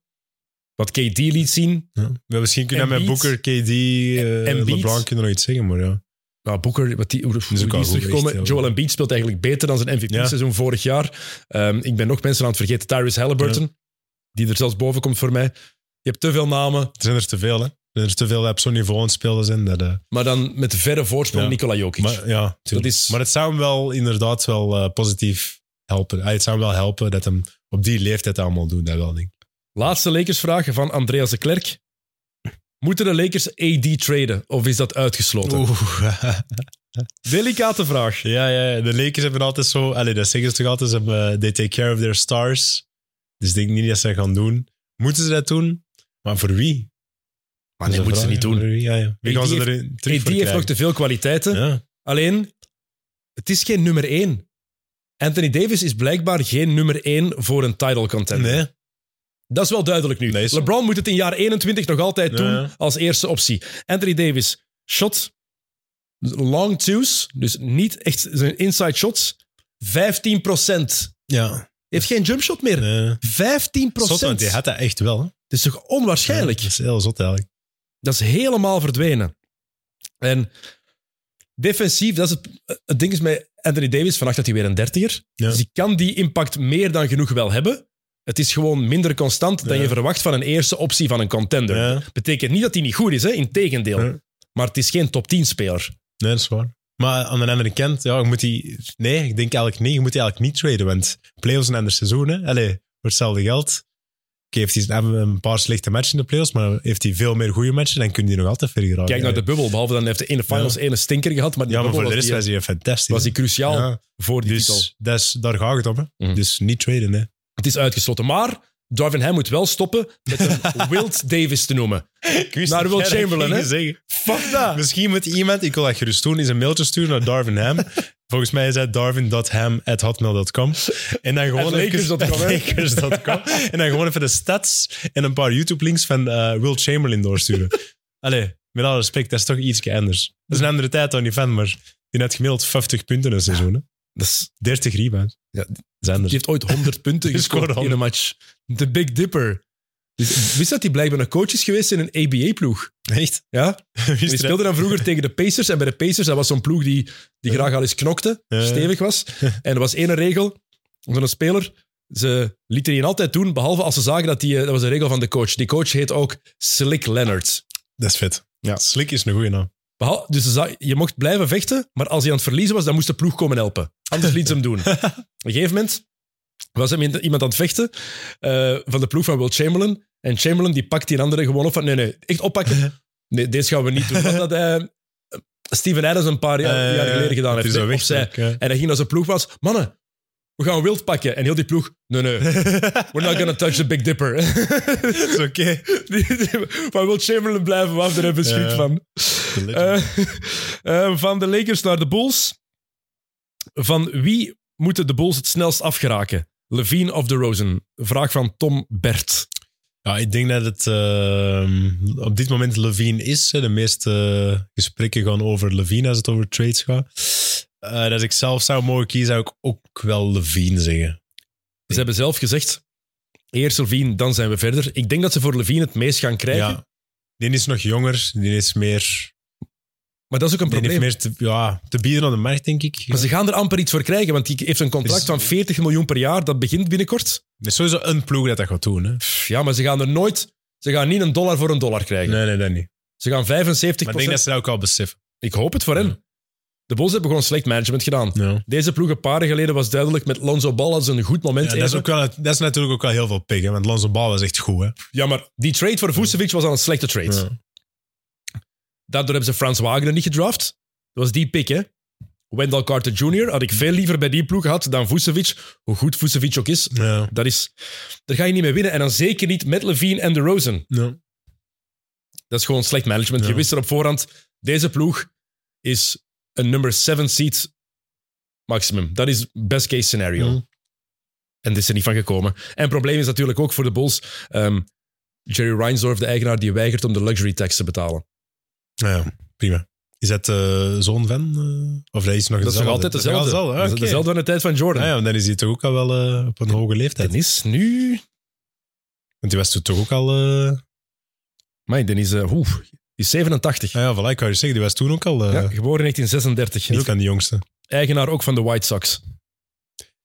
wat KD liet zien.
Ja. Maar misschien kunnen we met
Embiid.
Booker, KD, eh,
Embiid.
LeBron kunnen nog iets zeggen, maar ja.
Nou, Boeker, wat die, hoe, hoe
ook
die
al
is
goed,
teruggekomen.
echt heel
Joel
goed.
Embiid speelt eigenlijk beter dan zijn MVP-seizoen vorig jaar. Ehm, ik ben nog mensen aan het vergeten. Tyrese Halliburton, die er zelfs boven komt voor mij. Je hebt te veel namen.
Er zijn er te veel, hè. dat er te veel op zo'n niveau aan het spelen zijn. Dat, eh,
Maar dan met verre voorsprong
Ja.
Nikola Jokic.
maar, ja, tuurlijk.
is-
maar het zou hem wel inderdaad wel eh, positief helpen. Ah, het zou hem wel helpen dat hem op die leeftijd allemaal doet. Dat wel, denk ik.
Laatste Lakers-vraag van Andreas de Klerk. Moeten de Lakers AD traden of is dat uitgesloten?
Oeh.
Delicate vraag.
Ja, ja, ja. de Lakers hebben altijd zo... Allee, dat zeggen ze toch altijd, ze hebben, eh, they take care of their stars. Dus ik denk niet dat ze dat gaan doen. Moeten ze dat doen? Maar voor wie?
Maar nee,
Dat is
moeten ze
de
niet
vraag, hè.
doen.
Voor wie, ja, ja.
AD
wie gaan ze
heeft-
erin terug
AD
voor
heeft nog
krijgen?
te veel kwaliteiten.
Ja.
Alleen, het is geen nummer één. Anthony Davis is blijkbaar geen nummer één voor een title contender.
Nee.
Dat is wel duidelijk nu.
Nee, is-
LeBron moet het in jaar 21 nog altijd
Ja,
doen
ja.
als eerste optie. Anthony Davis, shot. Long twos, dus niet echt zijn inside shots. 15
Ja.
Heeft geen jumpshot meer.
Nee.
15
Zot, want die had dat echt wel. hè.
Dat is toch onwaarschijnlijk?
Ja, dat is heel zot eigenlijk.
Dat is helemaal verdwenen. En defensief, dat is het, het ding is met Anthony Davis, vannacht had hij weer een dertiger.
Ja.
Dus die kan die impact meer dan genoeg wel hebben. Het is gewoon minder constant dan
Ja.
je verwacht van een eerste optie van een contender.
Ja.
Betekent niet dat hij niet goed is, hè? integendeel.
Ja.
Maar het is geen top 10 speler.
Nee, dat is waar. Maar aan de andere kant, ja, je moet die... Nee, ik denk eigenlijk niet. Je moet die eigenlijk niet traden, want playoffs een ander seizoen, hè. Allee, voor hetzelfde geld. Oké, heeft hij een- een paar slechte matchen in de playoffs, maar heeft hij veel meer goede matchen, dan kun je nog altijd verder geraken.
Kijk naar de bubbel, behalve dan heeft hij in de finals
Ja.
ene stinker gehad. Maar die
Ja, maar
bubbel
voor de
was
rest
die-
was hij fantastisch.
was hij cruciaal
Ja,
voor die titel.
dus dat is, daar gaat het om, hè.
Mhm.
Dus niet traden, hè.
Het is uitgesloten. Maar Darvin Ham moet wel stoppen met hem Wild Davis te noemen.
Ik wist
Naar Will Chamberlain, hè?
Fuck dat! Misschien moet iemand, ik wil dat gerust doen, is een mailtje sturen naar Darvin Ham. Volgens mij is dat darvin.ham.hotmail.com. En dan gewoon
At
even...
lakers.com, hè?
lakers.com. En dan gewoon even de stats en een paar YouTube-links van eh, Will Chamberlain doorsturen. Allee, met alle respect, dat is toch iets anders. Dat is een andere tijd dan die van, maar die had gemiddeld 50 punten een seizoen. hè.
Dat is-
30 rebounds.
Ja,
dat is anders.
Die heeft ooit 100 punten
Die
gescoord
scoorde
in een match. De Big Dipper. Dus, wist dat hij blijkbaar een coach is geweest in een ABA-ploeg?
Echt?
Ja?
Wist
Die
je dat?
speelde dan vroeger tegen de Pacers. En bij de Pacers, dat was zo'n ploeg die, die graag al eens knokte,
Ja.
stevig was. En er was één regel van een speler. Ze lieten die altijd doen, behalve als ze zagen dat die... eh, Dat was een regel van de coach. Die coach heet ook Slick Leonard.
Dat is vet.
Ja.
Slick is een goede naam.
Behal- dus ze zei- je mocht blijven vechten, maar als hij aan het verliezen was, dan moest de ploeg komen helpen. Anders liet ze hem doen. Op een gegeven moment was hem in- iemand aan het vechten eh, van de ploeg van Will Chamberlain. En Chamberlain die pakt die andere gewoon op van, nee, nee, echt oppakken. Nee, deze gaan we niet doen. Wat dat eh, Steven Adams een paar jaar,
Eh,
jaar geleden gedaan
het
heeft.
is al
hè,
weg,
opzij.
Slick, ja.
En hij ging naar zijn ploeg was, mannen, we gaan wild pakken. En heel die ploeg, nee, nee, we're not gonna touch the Big Dipper.
Dat is oké.
Die- die- Van Will Chamberlain blijven we af, daar hebben we schrik
Ja.
van.
De legend.
Eh, eh, van de Lakers naar de Bulls. Van wie moeten de Bulls het snelst afgeraken? Levine of DeRozan? Vraag van Tom Bert.
Ja, ik denk dat het ehm, op dit moment Levine is. hè. De meeste eh, gesprekken gaan over Levine als het over trades gaat. Eh dat ik zelf zou mogen kiezen, zou ik ook wel Levine zeggen.
Ze hebben zelf gezegd, eerst Levine, dan zijn we verder. Ik denk dat ze voor Levine het meest gaan krijgen.
Ja. Die is nog jonger, die is meer...
Maar dat is ook een
Die heeft
probleem.
meer te, ja, te bieden aan de markt, denk ik.
Maar ze gaan er amper iets voor krijgen, want die heeft een contract
Dus-
van 40 miljoen per jaar. Dat begint binnenkort.
Er is sowieso een ploeg dat dat gaat doen. Hè?
Pff, Ja, maar ze gaan er nooit... Ze gaan niet een dollar voor een dollar krijgen.
Nee, nee, dat niet.
Ze gaan 75
Maar ik denk dat ze dat ook al beseffen.
Ik hoop het voor hen. De Bulls hebben gewoon slecht management gedaan.
Ja.
Deze ploeg een paar jaar geleden was duidelijk met Lonzo Ball als een goed moment.
Ja, dat, is
even.
ook wel, dat is natuurlijk ook wel heel veel pik, hè, want Lonzo Ball was echt goed. Hè?
Ja, maar die trade voor Vucevic was al een slechte trade.
Ja.
Daardoor hebben ze Frans Wagner niet gedraft. Dat was die pick, hè. Wendell Carter Jr. had ik veel liever bij die ploeg gehad dan Vucevic. Hoe goed Vucevic ook is,
Ja.
dat is, daar ga je niet mee winnen. En dan zeker niet met Levine en DeRozan.
Ja.
Dat is gewoon slecht management. Je
Ja.
wist er op voorhand, deze ploeg is een number 7 seed maximum. Dat is best case scenario.
Ja.
En dit is er niet van gekomen. En het probleem is natuurlijk ook voor de Bulls. ehm, Jerry Reinsdorf, de eigenaar, die weigert om de luxury tax te betalen.
Nou ja, prima. Is dat de zoon van? eh, of dat is nog
Dat is nog altijd dezelfde.
Dat is nog
Dat is
altijd
dezelfde aan de tijd van Jordan.
Nou ja, dan is hij toch ook al wel eh, op een hoge leeftijd.
Dennis, nu...
Want die was toen toch ook al... eh
Mijn Dennis, eh, oeh, die is 87.
nou ja, voilà, ik kan je zeggen, die was toen ook al eh
Ja, geboren in 1936. En
niet
ook
van de jongste.
eigenaar ook van de White Sox.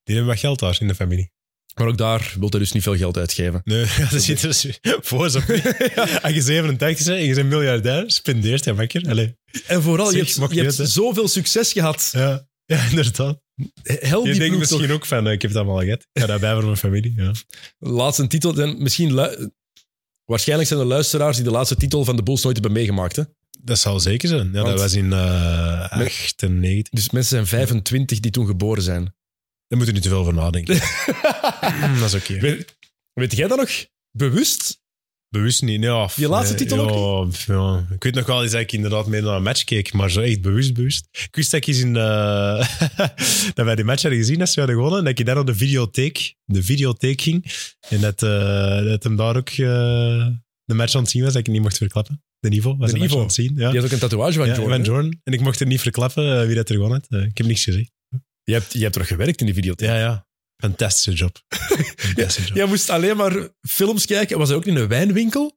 Die hebben wat geld daar in de familie.
Maar ook daar wilt hij dus niet veel geld uitgeven.
Nee, ja, dat zit dus voor zo. Als je 87 bent en je bent miljardair, spendeert hij wakker. Allee.
En vooral, je
Zeg,
hebt,
mag
je
niet,
hebt
hè?
zoveel succes gehad.
Ja. ja, inderdaad.
Help
Je
die
denkt
ploeg
misschien
toch.
ook van, eh, ik heb het allemaal al gehad. Ik ga daarbij voor mijn familie. Ja.
Laatste titel. En misschien lu- Waarschijnlijk zijn er luisteraars die de laatste titel van de Bulls nooit hebben meegemaakt. Hè?
Dat zal zeker zijn. Ja,
Want-
dat was in eh, 98.
Dus mensen zijn 25 die toen geboren zijn.
Daar moet je niet te veel voor nadenken. Mm, dat is oké.
weet, weet jij dat nog? Bewust?
Bewust niet, nee. Of,
Je laatste titel
ja, of, ja. Ik weet nog wel eens dat ik inderdaad mee naar een match keek, maar zo echt bewust, bewust. Ik wist dat ik eens in... eh, dat wij die match hadden gezien, dat ze hadden gewonnen, en dat ik daar naar de videotheek, de videotheek ging. En dat, eh, dat hem daar ook eh, de match aan het zien was, dat ik het niet mocht verklappen. De Nivo was
De
de, match
Nivo.
aan het zien. Ja.
Je hebt ook een tatoeage van
Ja,
Jordan.
Van
hè?
Jordan. En ik mocht het niet verklappen eh, wie dat er gewonnen had. Eh, ik heb niks gezegd.
Je hebt, je hebt er gewerkt in die videotheek.
Ja, ja. Fantastische job. Fantastische job.
Jij moest alleen maar films kijken. Was hij ook in een wijnwinkel?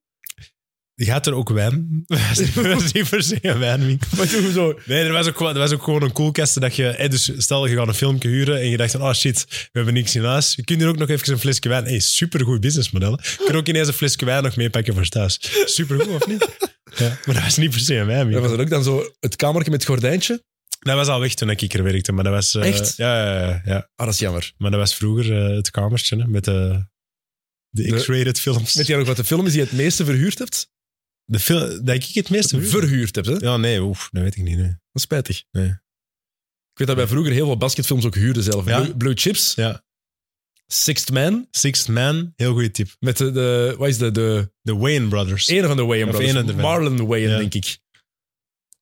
Je gaat er ook wijn. Dat was niet per se een wijnwinkel.
Maar toen zo...
Nee, er was ook, gewoon- er was ook gewoon een koelkast dat je... Hey, dus stel, je gaat een filmpje huren en je dacht van, oh shit, we hebben niks in huis. Je kunt hier ook nog even een flesje wijn... Hey, supergoed businessmodel. hè. Je kunt ook ineens een flesje wijn nog meepakken voor thuis. Supergoed, of niet? Ja, maar dat was niet per se een
Dat
wijnwinkel.
was dan ook dan zo het kamertje met het gordijntje.
Dat was al weg toen ik er werkte, maar dat was... eh,
Echt?
Ja, ja, ja, ja.
Ah, dat is jammer.
Maar dat was vroeger eh, het kamertje, hè, met de, de
De-
X-rated films.
Weet jij nog wat de film is die je het meeste verhuurd hebt?
de fil- dat ik het meeste verhuur-
Verhuurd hebt, hè? Dat
Ja, nee, oef, dat weet ik niet. nee.
is spijtig.
Nee.
Ik weet dat wij vroeger heel veel basketfilms ook huurden zelf.
Ja.
Blue, Blue Chips,
Ja.
Sixth Man,
Sixth Man, heel goede tip.
met de, de wat is de, de
De Wayne Brothers.
ene van de Wayans
Of
brothers,
ene ervan.
Marlon Wayans,
Ja.
denk ik.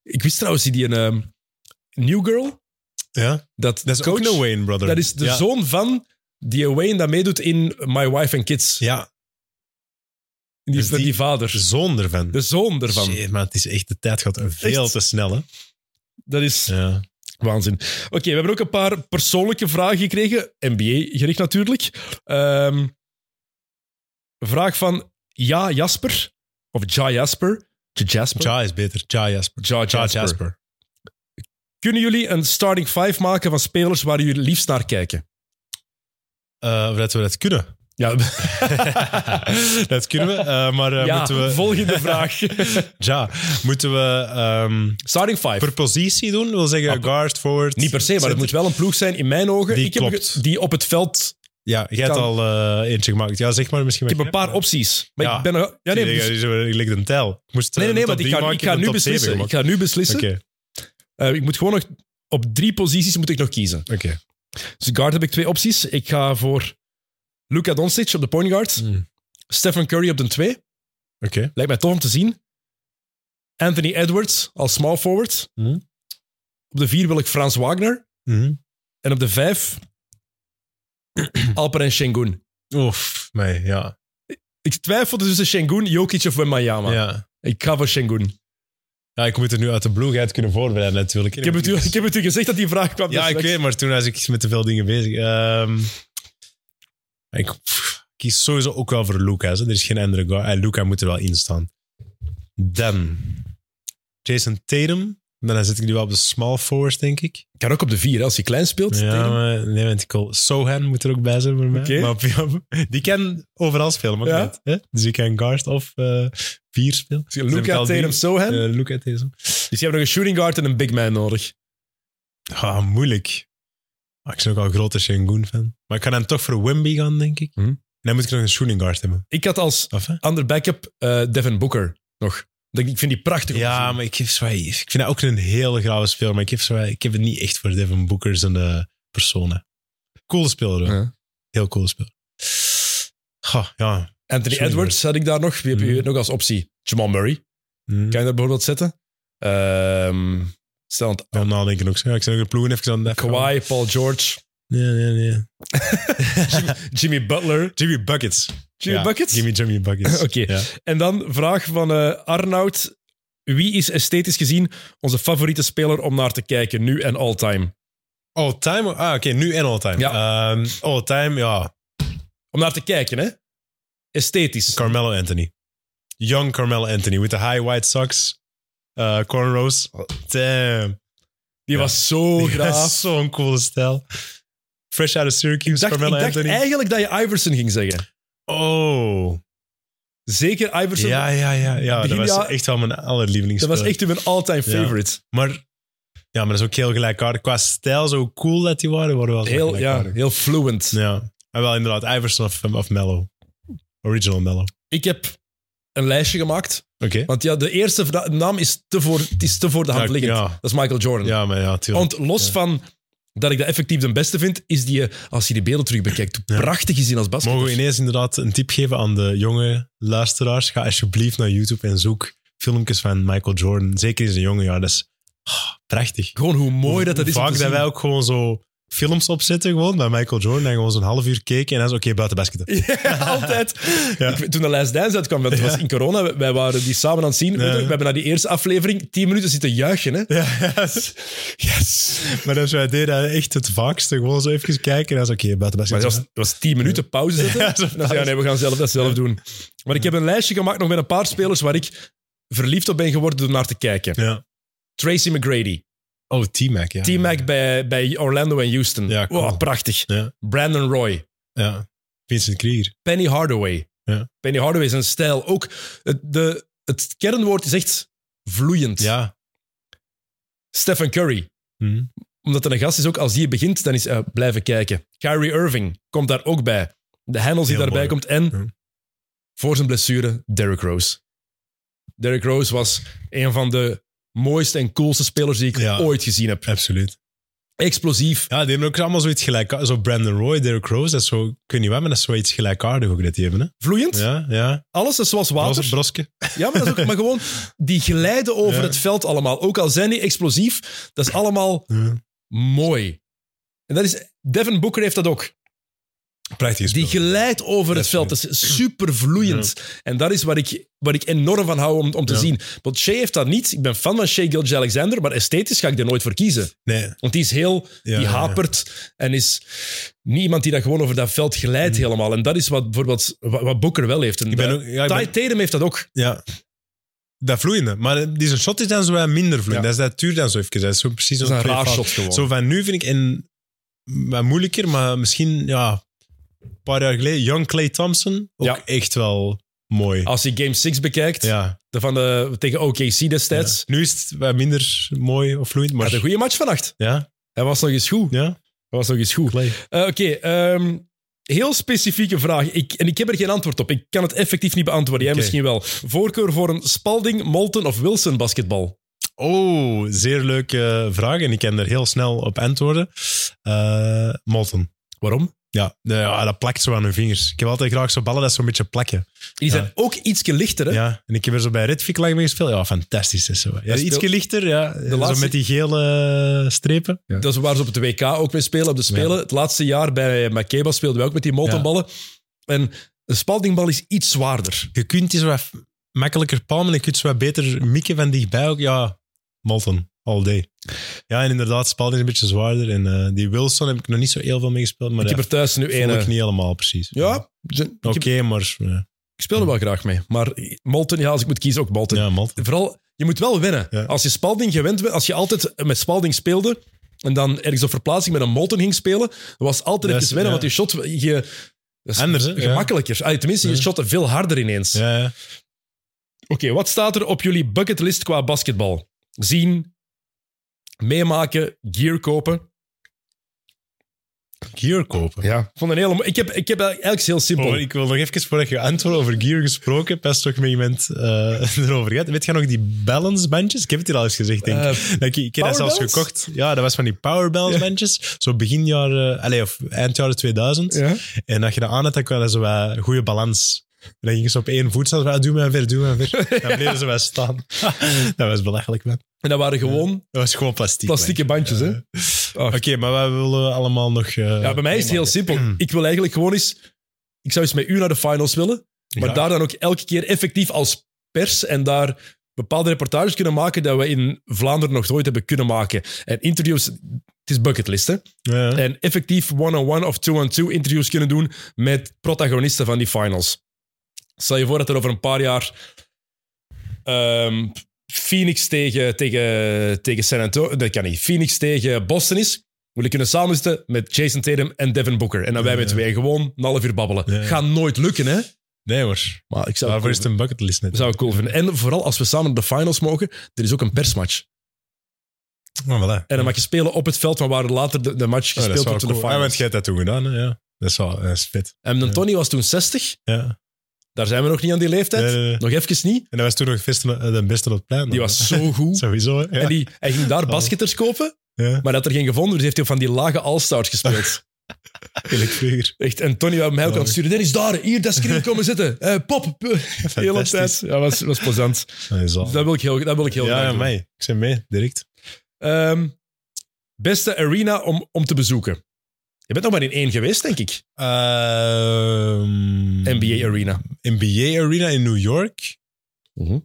Ik wist trouwens die, die een ehm, New Girl,
Ja,
dat,
dat is
coach,
ook een Wayne Brother.
dat is de
ja.
zoon van die Wayne dat meedoet in My Wife and Kids.
Ja,
die,
dus
met die,
die-
vader.
de zoon ervan.
De zoon ervan.
Shit, maar het is echt, de tijd gaat veel
Echt?
te snel, hè.
Dat is
Ja.
waanzin. Oké, we hebben ook een paar persoonlijke vragen gekregen. NBA-gericht natuurlijk. Ehm, vraag van Ja Jasper. Of Ja Jasper. Ja Jasper.
Ja is beter. Ja Jasper.
Ja
Ja
Jasper.
Jasper.
Kunnen jullie een starting five maken van spelers waar jullie liefst naar kijken?
Eh, of dat we dat kunnen.
Ja,
dat kunnen we, eh, maar eh,
ja,
moeten we...
volgende vraag.
Ja, moeten we ehm,
starting five.
per positie doen? wil zeggen
Ah,
guard, forward...
Niet per se, maar het moet wel een ploeg zijn in mijn ogen.
Die
ik heb
klopt.
ge- die op het veld.
Ja, jij hebt
Kan.
al eh, eentje gemaakt. Ja, zeg maar misschien...
Ik heb
wat
een
jij
paar
hebt.
opties. Maar
Ja.
ik ben er- ja, nee,
Die-
dus-
die- die- die ligt een tel. Ik moest, eh,
nee, nee, nee,
een top
want ik
drie
ga, ik
maken,
ga
heb
nu
een top zeven
beslissen. Ik
gemaakt.
ga nu beslissen.
Oké,
Eh, ik moet gewoon nog op drie posities moet ik nog kiezen.
oké.
Dus guard heb ik twee opties. Ik ga voor Luka Doncic op de point guard.
Hmm.
Stephen Curry op de twee.
Oké.
Lijkt mij tof om te zien. Anthony Edwards als small forward.
Mhm.
Op de vier wil ik Frans Wagner.
Mhm.
En op de vijf Alper en Shengun.
Oef, mij, ja.
Ik twijfelde tussen Shengun, Jokic of Wembanyama.
ja.
Ik ga voor Shengun.
Ja, ik moet het nu uit de bloegheid kunnen voorbereiden natuurlijk.
Ik heb, het u, ik heb het u gezegd dat die vraag kwam.
Ja,
dus
ik
straks.
weet, maar toen was ik met te veel dingen bezig. Ehm, ik pff, kies sowieso ook wel voor Lucas. Hè. Er is geen andere guard. Eh, Luca moet er wel in staan. Dan Jason Tatum. Dan zit ik nu wel op de small forward, denk ik.
Kan ook op de vier, hè, als hij klein speelt.
Ja,
Tegen-
maar, nee, want ik wil- Sohan moet er ook bij zijn voor mij.
Oké.
Maar op- ja, die kan overal spelen, maar ook
Ja.
net, hè? Dus ik kan guard of eh, vier spelen.
Dus
Dus heb ik
Luca,
al drie.
Tatum, Sohan.
Eh, Luca Tatum.
Dus je hebt nog een shooting guard en een big man nodig.
Ah, moeilijk. Maar ik ben ook al een grote Shangoon-fan. Maar ik kan dan toch voor Wimby gaan, denk ik.
Mhm.
En dan moet ik nog een shooting guard hebben.
Ik had als
Of, hè?
ander backup eh, Devin Booker nog. Dat Ik ik vind die prachtig. om te
Ja,
zien.
maar ik, heb zo, ik vind dat ook een hele grave speler, maar ik heb, zo, ik heb het niet echt voor Devin Booker zijn eh, persona. Coole speler, hoor.
Ja.
Heel coole speler. Ha, ja.
Anthony
Sorry,
Edwards had ik daar nog. Wie heb je
Mhm.
nog als optie? Jamal Murray.
Hm.
Kan je daar bijvoorbeeld zetten? Ehm stel aan het-
Dan nadenken ook. zo. Ja, ik zou ook de ploegen even aan het
Kawhi, Paul George,
Nee, nee, nee.
Jimmy Butler.
Jimmy Buckets.
Jimmy
Ja,
Buckets?
Jimmy Jimmy Buckets.
Oké.
Ja.
En dan vraag van eh, Arnoud. Wie is esthetisch gezien onze favoriete speler om naar te kijken, nu en all-time?
All time? Ah, oké. nu en all time. Ja. all time, ja.
Om naar te kijken, hè? Esthetisch.
Carmelo Anthony. Young Carmelo Anthony with the high white socks. Uh, cornrows. Damn.
Die was zo
Dat
Oh. graaf.
is zo'n coole stijl. Fresh out of Syracuse,
dacht, ik
Carmelo
dacht
Anthony.
eigenlijk dat je Iverson ging zeggen.
Oh.
Zeker Iverson.
Ja, ja, ja. ja dat
Begin-
was
ja.
echt wel mijn
dat
allerlievelingsspeler.
was echt mijn all-time
Ja.
favorite.
Maar, ja, maar dat is ook heel gelijkaardig. Qua stijl, zo cool dat die waren, worden wel zo
Heel, ja,
gelijkaardig.
heel fluent.
Ja. En wel inderdaad, Iverson of, of Mello. Original Mello. Oké.
Ik heb een lijstje gemaakt. Want ja, de eerste vra- naam is te voor, het is te voor de hand
Ja,
liggend.
ja.
Dat is Michael Jordan.
Ja, maar ja, tuurlijk.
Want los van dat ik dat effectief de beste vind, is die, eh, als je die beelden terug bekijkt, hoe prachtig is die als basket.
Mogen we ineens inderdaad een tip geven aan de jonge luisteraars? Ga alsjeblieft naar YouTube en zoek filmpjes van Michael Jordan. Zeker in zijn jonge jaar. Dat is ah, prachtig.
Gewoon hoe mooi dat dat is. om
Vaak
te
dat
zien.
wij ook gewoon zo films opzetten gewoon, bij Michael Jordan. En gewoon zo'n half uur keken en dan is oké, buiten basket.
Ja, altijd.
Ja.
Ik weet- toen de Last Dance uitkwam, dat was in corona, wij- wij waren die samen aan het zien. Weet je,
Ja.
We hebben naar die eerste aflevering tien minuten zitten juichen. Hè?
Ja,
Yes!
maar als wij deden echt het vaakste, gewoon zo even kijken en dan is oké, buiten
Maar
basket.
dat was, dat was tien minuten pauze zetten.
Ja, zo
En dan zei, ja, nee, we gaan zelf dat zelf doen. Maar ik heb een lijstje gemaakt nog met een paar spelers waar ik verliefd op ben geworden door naar te kijken.
Ja.
Tracy McGrady.
Oh, T-Mac, ja.
T-Mac bij, bij Orlando en Houston.
Ja, cool.
Wow, prachtig.
Ja.
Brandon Roy.
Ja. Vincent Krieger.
Penny Hardaway.
Ja.
Penny Hardaway is een stijl. Ook het, de, het kernwoord is echt vloeiend.
Ja.
Stephen Curry.
Mhm.
Omdat er een gast is ook, als die begint, dan is eh, blijven kijken. Kyrie Irving komt daar ook bij. De handles die
Heel
daarbij
mooi.
komt. En
Ja.
voor zijn blessure, Derrick Rose. Derrick Rose was een van de mooiste en coolste spelers die ik
Ja.
ooit gezien heb.
Absoluut.
Explosief.
Ja, die hebben ook allemaal zoiets gelijk. Zo Brandon Roy, Derrick Rose, dat is zo, ik weet niet waar, maar dat is zoiets gelijkaardig ook dat die hebben. Hè?
Vloeiend.
Ja, ja.
Alles is zoals water.
Bros- Broske.
Ja, maar, dat is ook, maar gewoon, die glijden over
Ja.
het veld allemaal. Ook al zijn die explosief, dat is allemaal
Ja.
mooi. En dat is, Devin Booker heeft dat ook.
Prachtig
Die
gespeeld.
glijdt over het
Absoluut.
veld. Dat is super vloeiend. En dat is waar ik, waar ik enorm van hou om, om te
Ja.
zien. Want Shea heeft dat niet. Ik ben fan van Shea Gilge Alexander, maar esthetisch ga ik er nooit voor kiezen.
Nee.
Want die is heel,
Ja,
die
ja, ja.
hapert en is niet iemand die dat gewoon over dat veld glijdt helemaal. En dat is wat bijvoorbeeld wat, wat Booker wel heeft. En
Mm. Ik ben
dat-
ook... Ja, ik
Ty
ben-
Tatum heeft dat ook.
ja. Dat vloeiende. Maar eh, die zijn shot is dan zo wat minder vloeiend.
Ja.
Dat, is, dat duurt dan zo even. Dat is zo precies
Dat is een
twee
raar
fases.
shot gewoon.
Zo van nu vind ik een, wat moeilijker, maar misschien ja, een paar jaar geleden. Young Clay Thompson, ook
Ja.
echt wel mooi.
Als je Game 6 bekijkt,
Ja.
de van de, tegen OKC destijds,
Ja. Nu is het wat minder mooi of vloeiend,
had
maar...
een goede match vannacht.
Ja,
Hij was nog eens goed.
ja.
Hij was nog eens goed.
Clay.
Eh, Oké, ehm, heel specifieke vraag. Ik, en ik heb er geen antwoord op. Ik kan het effectief niet beantwoorden. Jij
Oké.
misschien wel. Voorkeur voor een Spalding, Molten of Wilson basketbal?
Oh, zeer leuke vraag. En ik kan er heel snel op antwoorden. Eh Molten.
Waarom?
Ja, nou ja, dat plakt zo aan hun vingers. Ik heb altijd graag zo ballen dat zo'n beetje plakken.
Die
Ja.
zijn ook iets lichter, hè?
Ja, en ik heb er zo bij Redvik lang mee gespeeld. Ja, fantastisch. Is zo. Ja,
speel-
ietsje lichter, ja. zo
laatste-
met die gele strepen. Ja.
Dat is waar ze op het WK ook mee spelen, op de Spelen. Het laatste jaar bij Makeba speelden wij ook met die moltenballen. En een Spaldingbal is iets zwaarder.
Je kunt die zo wat makkelijker palmen. Je kunt zo wat beter mikken van dichtbij ook. Ja, Molten, all day. Ja, en inderdaad, Spalding is een beetje zwaarder. En eh, die Wilson heb ik nog niet zo heel veel mee gespeeld. Maar
Ik
dat
heb er thuis nu
voel
één.
ik niet helemaal precies.
Ja, ze-
Oké,
ik,
maar... ja.
ik speel er wel graag mee. Maar Molten, ja, als ik moet kiezen, ook Molten.
Ja, Molten.
vooral, je moet wel wennen.
Ja.
Als je Spalding gewend bent, als je altijd met Spalding speelde en dan ergens op verplaatsing met een Molten ging spelen, dan was het altijd
Dat
even
is-
wennen,
ja.
want je shot je, dat is
Anders, hè? Ja.
gemakkelijker. Ah, tenminste, je
Ja.
shotte veel harder ineens.
Ja, ja.
Oké, wat staat er op jullie bucketlist qua basketbal? Zien, meemaken, gear kopen.
gear kopen.
Ja. Ik vond een hele mo- ik, heb, ik heb eigenlijk heel simpel.
Oh, ik wil nog even, voordat je antwoord over gear gesproken hebt, best toch met iemand eh, erover gaat. Weet je nog die balance bandjes? Ik heb het hier al eens gezegd, denk ik.
Eh,
Dat ik, ik heb dat zelfs
powerbands?
gekocht. Ja, dat was van die power balance bandjes. Zo begin jaar, eh, allee, of eind jaren 2000.
ja.
En dat je dat aan had, dan kwam dat zo wat goede balans. En dan gingen ze op één voet staan. zo van, "Ah, Doe maar weer, doe maar weer. Dan bleven ze wel staan. dat was belachelijk, man.
En dat waren gewoon
Dat was gewoon plastiek.
plastieke bandjes, hè?
man. Oké, maar wij willen allemaal nog... eh,
Ja, bij mij is het heel simpel. Ik wil eigenlijk gewoon eens... Ik zou eens met u naar de finals willen, maar
Ja.
daar dan ook elke keer effectief als pers en daar bepaalde reportages kunnen maken dat we in Vlaanderen nog nooit hebben kunnen maken. En interviews... Het is bucketlist, hè?
Ja.
En effectief one-on-one of two-on-two interviews kunnen doen met protagonisten van die finals. Stel je voor dat er over een paar jaar ehm, Phoenix tegen, tegen, tegen San Antonio... Dat kan niet. Phoenix tegen Boston is. Wil ik kunnen samenzitten met Jason Tatum en Devin Booker. En dan wij met
Ja.
twee gewoon een half uur babbelen.
Ja.
Gaat nooit lukken, hè?
Nee hoor.
Maar ik zou, het
Waarvoor
cool
is het een bucketlist
vinden.
net?
zou ik cool vinden. En vooral als we samen naar de finals mogen, er is ook een persmatch.
Oh, voilà.
En dan mag je spelen op het veld van waar later de, de match
Oh, dat is
gespeeld
wel
wordt in de
cool. Ja,
finals.
want jij hebt dat toen gedaan, hè? ja. Dat is wel dat is vet.
en
Ja.
Tony was toen 60.
Ja.
Daar zijn we nog niet aan die leeftijd.
Nee, nee, nee.
Nog even niet.
En dat was toen nog het beste- eh, de beste op het plein.
Die
dan.
was zo goed.
Sowieso, hè? Ja. Oh.
En die, hij ging daar basketters kopen,
ja.
maar dat er geen gevonden. Dus heeft hij op van die lage all-stars gespeeld.
Eerlijk vroeger.
Echt, en Tony wou mij ook
Oh.
aan het sturen. Dennis, daar, hier, dat screen komen zitten. Eh, pop. Hele tijd.
Fantastisch.
Ja, was, was plezant.
Dat is al.
Dus dat wil ik heel, dat wil ik heel
ja,
graag
ja,
doen.
mij. Ik ben mee, direct.
Ehm, beste arena om, om te bezoeken. Je bent nog maar in één geweest, denk ik.
Ehm,
NBA Arena.
NBA Arena in New York.
Mhm.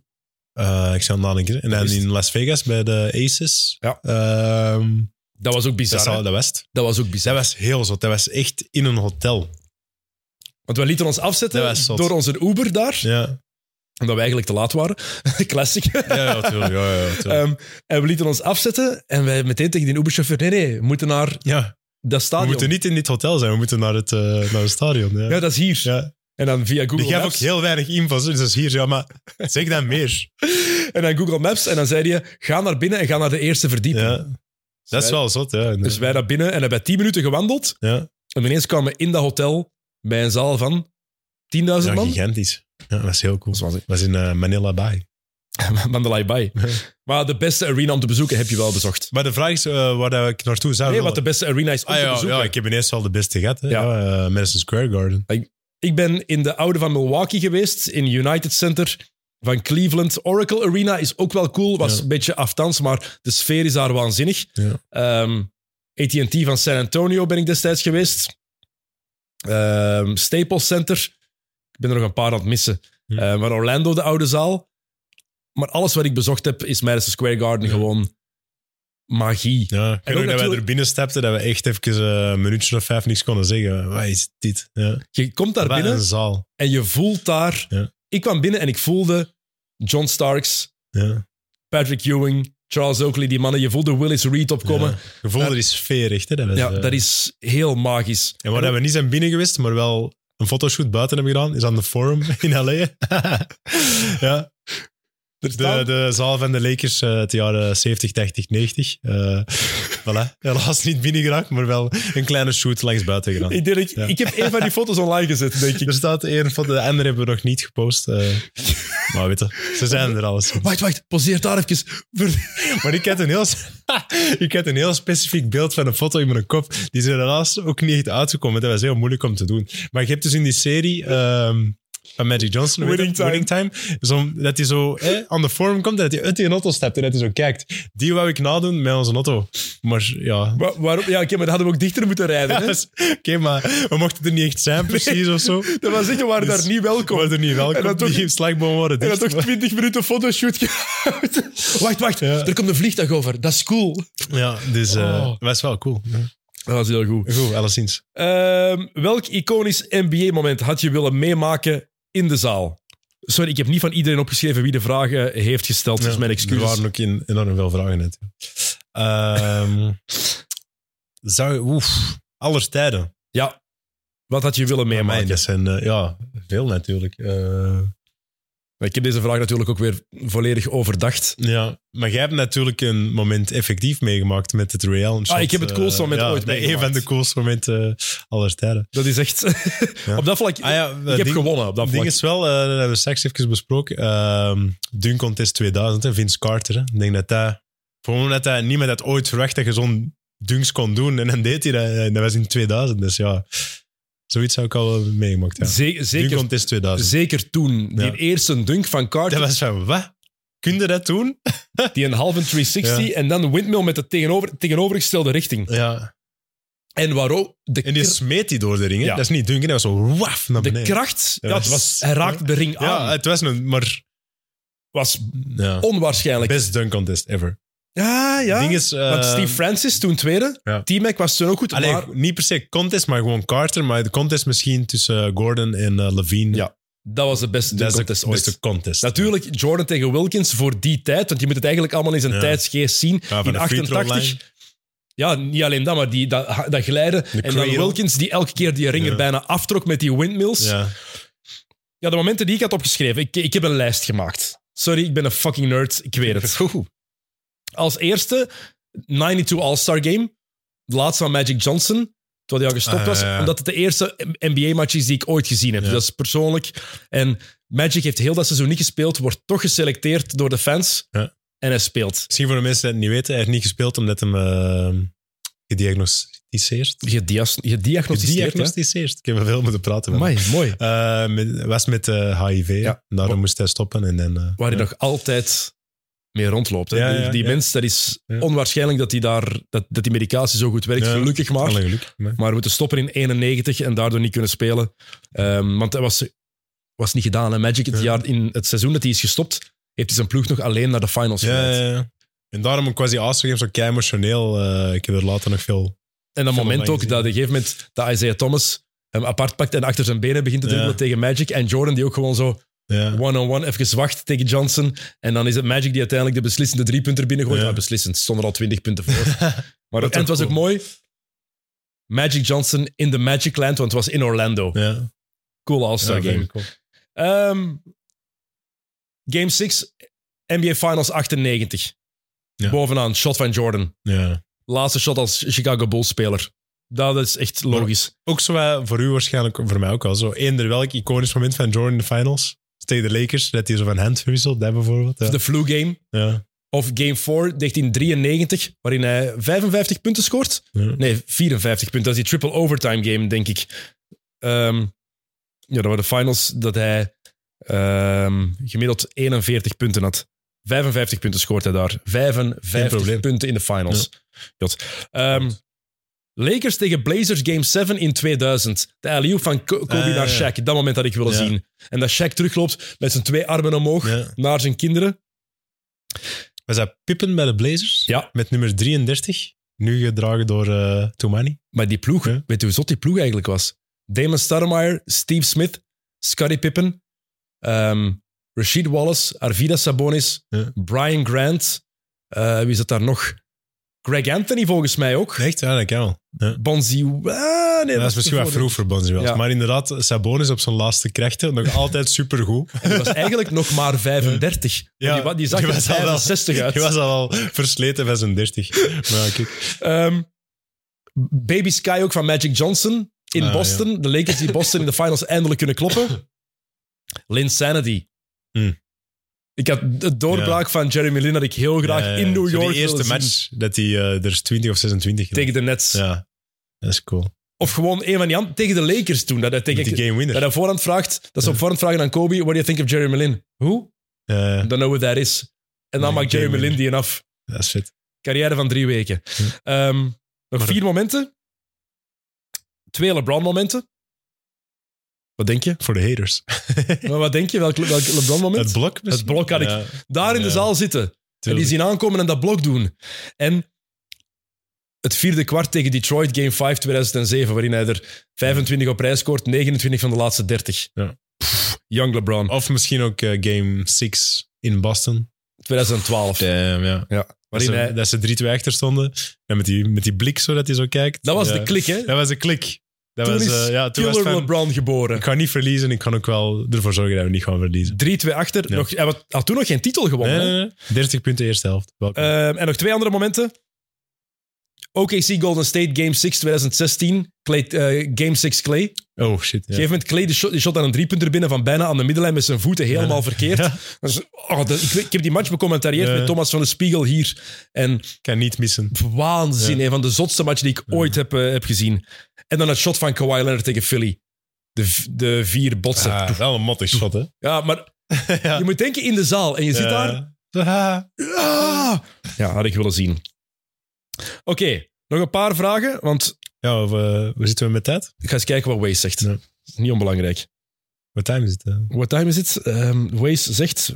Eh, ik zal nadenken. En dan
Is het-
in Las Vegas bij de Aces.
Ja.
Ehm,
Dat was ook bizar.
dat,
hè?
zal, dat was het.
Dat was ook
Dat
bizar.
was heel zot. Dat was echt in een hotel.
Want wij lieten ons
Dat
afzetten
was zot.
door onze Uber daar.
Ja,
Omdat we eigenlijk te laat waren. Classic.
ja, ja, tuurlijk, ja, ja, ja, tuurlijk.
Ehm, en we lieten ons afzetten en wij meteen tegen die Uberchauffeur, nee, nee, we moeten naar
ja.
dat
We
stadion.
moeten niet in dit hotel zijn. We moeten naar het, eh, naar het stadion. Ja.
Ja, dat is hier.
Ja.
En dan via
Die
Google
gaf ook
Maps.
heel weinig info's. Dus dat is hier, ja, maar zeg dan meer.
En dan Google Maps en dan zei je, ga naar binnen en ga naar de eerste verdieping.
Ja. Dat is wel zot, ja.
Dus wij naar binnen en hebben 10 minuten gewandeld.
Ja.
En ineens kwamen we in dat hotel bij een zaal van 10.000
Ja,
man.
gigantisch. Ja, dat is heel cool.
was
was in eh, Manila Bay.
Mandalay Bay. Maar de beste arena om te bezoeken heb je wel bezocht.
Maar de vraag is eh, waar ik naartoe zou
Nee,
willen.
wat de beste arena is om
Ah,
te
ja,
bezoeken.
ja, ik
ik...
heb ineens al de beste gehad. Hè.
Ja.
Ja. eh, Madison Square Garden.
ben in de oude van Milwaukee geweest, in United Center van Cleveland. Oracle Arena is ook wel cool, was
Ja.
een beetje aftans, maar de sfeer is daar waanzinnig.
Ja.
Ehm, AT&T van San Antonio ben ik destijds geweest. Ehm, Staples Center. Ik ben er nog een paar aan het missen.
Hm.
Eh, maar Orlando, de oude zaal. Maar alles wat ik bezocht heb, is Madison Square Garden
Ja.
gewoon magie.
Ja. Ik weet ook dat wij
natuurlijk-
er binnen stapten, dat we echt even eh, een minuutje of vijf niks konden zeggen. Wat is dit? Ja.
Je komt daar
Wat
binnen
een zaal.
en je voelt daar...
Ja.
Ik kwam binnen en ik voelde John Starks,
Ja.
Patrick Ewing, Charles Oakley, die mannen. Je voelde Willis Reed opkomen.
Ja. Je voelde die sfeer echt. Hè, dat was,
Ja,
eh,
dat is heel magisch.
En waar dat we niet zijn binnen geweest, maar wel een fotoshoot buiten hebben gedaan, is aan de Forum in L.A. ja. De,
staan-
de zaal van de Lakers eh het jaren 70, 80, 90. Eh voilà. Helaas niet binnen geraakt, maar wel een kleine shoot langs buiten gedaan.
Ik, denk, dat ik,
Ja.
ik heb een van die foto's online gezet, denk ik.
Er staat één foto, de andere hebben we nog niet gepost. eh. maar weet je, ze zijn er alles.
Wacht, wacht, poseer daar even.
Maar ik had, een heel, ik had een heel specifiek beeld van een foto in mijn kop. Die is er helaas ook niet echt uitgekomen. Dat was heel moeilijk om te doen. Maar je hebt dus in die serie ehm, van Magic Johnson, weet je,
Winning Time.
Time, zo, dat hij zo eh, aan de vorm komt en dat hij uit die auto stapt en dat hij zo kijkt. Die wou ik nadoen met onze auto. Maar ja...
Wa- waarom? Ja, oké, maar dan hadden we ook dichter moeten rijden.
dat
Hè?
is- Oké, maar we mochten er niet echt zijn, precies of zo.
Dat was echt, we waren
Dus-
daar niet welkom.
We waren er niet welkom.
En dan toch-
die slagbomen worden
En
dicht.
dat toch 20 minuten fotoshoot gehouden. Wacht, wacht.
Ja.
Er komt een vliegtuig over. Dat is cool.
Ja, dus eh
Oh.
dat was wel cool.
Dat was heel goed.
Goed, alleszins.
Ehm, welk iconisch NBA-moment had je willen meemaken in de zaal? Sorry, ik heb niet van iedereen opgeschreven wie de vragen heeft gesteld. Dus mijn
Er
excuses.
waren ook in, enorm veel vragen net. Ehm, zou, oef, aller tijden.
Ja. Wat had je willen
Bij mij,
meemaken?
dat zijn eh, ja, veel natuurlijk. Eh,
Ik heb deze vraag natuurlijk ook weer volledig overdacht.
ja. Maar jij hebt natuurlijk een moment effectief meegemaakt met het Real. eh,
Ah, ik heb het coolste moment ooit
Een
meegemaakt.
van de coolste momenten eh, aller tijden.
Dat is echt...
Ja.
Op dat vlak...
Ah ja,
ik heb
ding,
gewonnen op dat vlak.
ding is wel, eh, dat hebben we straks even besproken. ehm Dunk Contest 2000, hè, Vince Carter. hè. Ik denk dat dat... Voor mij dat dat niemand had ooit verwacht dat je zo'n dunks kon doen. En dan deed hij dat. En dat was in 2000, dus ja. Zoiets zou ik al wel meegemaakt hebben.
Ze-
Dunk
zeker,
Contest 2000.
zeker toen. Die
Ja.
eerste dunk van Carter,
Dat was van, wat? Kun je dat doen?
die een halve 360 en dan de windmill met de tegenover, tegenovergestelde richting.
Ja.
En waarom? De,
En die
kr-
smeet die door de ring, hè.
Ja.
Dat is niet dunken, dat was zo waf naar
de
beneden.
kracht, Ah. ja,
was-
het was, hij raakte de ring aan.
ja, het was een... Maar...
was
Ja.
onwaarschijnlijk.
Best Dunk Contest ever.
ja, ja.
Ding is... eh,
Want Steve Francis, toen tweede.
ja.
T-Mac was toen ook goed.
Allee,
maar
niet per se contest, maar gewoon Carter. Maar de contest misschien tussen eh, Gordon en eh, Levine.
Ja, dat was de beste
dat is de,
contest
dat
ooit.
is de contest.
Natuurlijk, Jordan tegen Wilkins voor die tijd. Want je moet het eigenlijk allemaal in zijn
Ja.
tijdsgeest zien.
Ja, van
in
de free throw
88 Ja, niet alleen dat, maar die, dat, dat glijden.
De
en dan
cradle.
Wilkins, die elke keer die ringer
Ja.
bijna aftrok met die windmills. Ja.
Ja.
de momenten die ik had opgeschreven. Ik, ik heb een lijst gemaakt. Sorry, ik ben een fucking nerd. Ik weet het. Als eerste, 92 All-Star Game. De laatste van Magic Johnson. Toen hij al gestopt
Ah,
was.
ja, ja.
Omdat het de eerste NBA-match is die ik ooit gezien heb.
Ja.
Dus dat is persoonlijk. En Magic heeft heel dat seizoen niet gespeeld. Wordt toch geselecteerd door de fans.
Ja.
En hij speelt.
Misschien voor de mensen die het niet weten, hij heeft niet gespeeld omdat hem eh, gediagnosticeerd.
Gedias- Gediagnosticeerd. hè?
Gediagnosticeerd. Ik heb er veel moeten praten. met
Amai, mooi.
hem. Eh, met- was met eh, HIV.
Ja.
En Daarom moest hij stoppen. En dan, eh,
waar hij
ja.
nog altijd mee rondloopt. hè.
Ja,
die
ja,
die
ja.
mens, dat is
Ja.
onwaarschijnlijk dat die, daar, dat, dat die medicatie zo goed werkt.
Ja.
Gelukkig maar.
Alle geluk. Maar-
Maar we moeten stoppen in 91 en daardoor niet kunnen spelen. Ehm, want dat was, was niet gedaan. Hè. Magic, het,
Ja.
jaar, in het seizoen dat hij is gestopt, heeft hij zijn ploeg nog alleen naar de finals
Ja,
geleid.
ja, ja. En daarom ook quasi Astro Games ook kei emotioneel. eh, ik heb er later nog veel.
En dat
Veel
moment ook,
online
dat op een gegeven moment dat Isaiah Thomas hem apart pakt en achter zijn benen begint te
Ja.
dribbelen tegen Magic. En Jordan die ook gewoon zo
Ja.
one-on-one even wacht tegen Johnson. En dan is het Magic die uiteindelijk de beslissende driepunter binnengooit.
Ja.
Ja. beslissend, stond er al 20 punten voor. Maar
Dat
en het
was
was ook
cool.
mooi. Magic Johnson in de Magic Land, want het was in Orlando.
ja.
Cool All-Star
Ja,
game.
vind ik ook.
Ehm, game 6, NBA Finals 98.
Ja.
Bovenaan, shot van Jordan.
Ja.
Laatste shot als Chicago Bulls-speler. Dat is echt logisch.
Ook zo eh, voor u waarschijnlijk, voor mij ook wel zo. Eender welk iconisch moment van Jordan in de finals. Tegen de Lakers, dat hij zo van hand verwisselt, dat bijvoorbeeld. Ja.
De flu game.
Ja.
Of game 4, 1993, waarin hij 55 punten scoort.
Ja.
Nee, 54 punten. Dat is die triple overtime game, denk ik. Ehm, ja, dat waren de finals dat hij ehm, gemiddeld 41 punten had. 55 punten scoort hij daar.
Geen
55
probleem.
punten in de finals. Jot. Ehm, Lakers tegen Blazers Game 7 in 2000. De alley van Ko- Kobe
Ah, ja,
naar
ja.
Shaq. Dat moment had ik willen
Ja.
zien. En dat Shaq terugloopt met zijn twee armen omhoog
Ja.
naar zijn kinderen.
Was dat Pippen bij de Blazers?
Ja.
Met nummer 33. Nu gedragen door eh Toumani.
Maar die ploeg,
Ja.
weet je hoe zot die ploeg eigenlijk was? Damon Stoudemire, Steve Smith, Scottie Pippen, ehm, Rashid Wallace, Arvida Sabonis,
Ja.
Brian Grant. eh, wie zit daar nog? Greg Anthony volgens mij ook.
Echt? Ja, dat kan wel. Ja.
Bonzi... ah, nee,
dat is misschien wat vroeg voor Bonzi wel.
Ja.
Maar inderdaad, Sabonis op zijn laatste krachten, nog altijd supergoed.
En die was eigenlijk nog maar 35.
Ja,
die, wa- die zag
die
er
was al wel-
65 uit.
Hij was al wel versleten van zijn 30. Maar ja, kijk.
Ehm, Baby Sky ook van Magic Johnson in
Ah,
Boston. De Lakers die Boston in de finals eindelijk kunnen kloppen. Linsanity.
Hmm.
Ik had de doorbraak van Jeremy Lin dat ik heel graag
Ja, ja,
in New
eh, zo
York
Die eerste
wilde
match
zien
dat hij eh, er is 20 of 26 gedaan.
tegen de Nets.
Ja, dat is cool.
Of gewoon een van die anderen tegen de Lakers toen. Dat hij,
Met
tegen,
die game winner.
dat hij voorhand vraagt, dat ze op voorhand vragen aan Kobe, what do you think of Jeremy Lin? Who?
Ja,
I don't know what that is. En dan
Nee,
maakt
game
Jeremy Lin
winner.
die een af.
dat is vet.
Carrière van drie weken. Ehm, nog
Maar-
vier momenten. Twee LeBron-momenten. Wat denk je?
Voor de haters.
Maar wat denk je? Welk, welk LeBron-moment?
Het blok misschien?
blok had ik.
Ja,
Daar in de
ja,
zaal zitten. En die
tuurlijk.
zien aankomen en dat blok doen. En het vierde kwart tegen Detroit, Game 5 2007, waarin hij er 25 op rij scoort, 29 van de laatste 30.
Ja.
Pff, young LeBron,
Of misschien ook eh, game 6 in Boston.
2012.
Damn, ja. Dat
Waarin
ze,
hij,
dat ze 3-2 achter stonden. En met die, met die blik zo dat hij zo kijkt.
dat was
Ja.
de klik, hè?
Dat was de klik. Dat
toen
was,
is
eh, ja, toen was
Killer
het van,
LeBron geboren.
ik ga niet verliezen. Ik kan ook wel ervoor zorgen dat we niet gaan verliezen.
3-2 achter.
Ja.
Nog, hij had- had toen nog geen titel gewonnen.
Nee,
hè?
nee, nee. 30 punten eerste helft. Welkom.
Ehm, en nog twee andere momenten. OKC Golden State, Game 6 2016. Clay, eh, game 6 Clay. Op een
oh shit. Ja.
gegeven moment Clay die shot, die shot aan een driepunter binnen van bijna aan de middenlijn met zijn voeten helemaal verkeerd.
Ja.
Dat is- oh, dat- ik, weet- ik heb die match becommentarieerd
Ja.
met Thomas van de Spiegel hier. En
Ik kan niet missen.
waanzin,
Ja.
een van de zotste matchen die ik ooit heb, eh, heb gezien. En dan het shot van Kawhi Leonard tegen Philly. De, v- de vier botsen.
Ah, wel een mottig shot, hè?
Ja, maar
Ja.
je moet denken in de zaal. En je zit daar
Ah.
Ah! Ja, had ik willen zien. Oké, nog een paar vragen, want
Ja, we, we zitten we met tijd?
ik ga eens kijken wat Waze zegt.
Ja.
Niet onbelangrijk.
Wat time is het? hè?
What time is it? Ehm Waze zegt...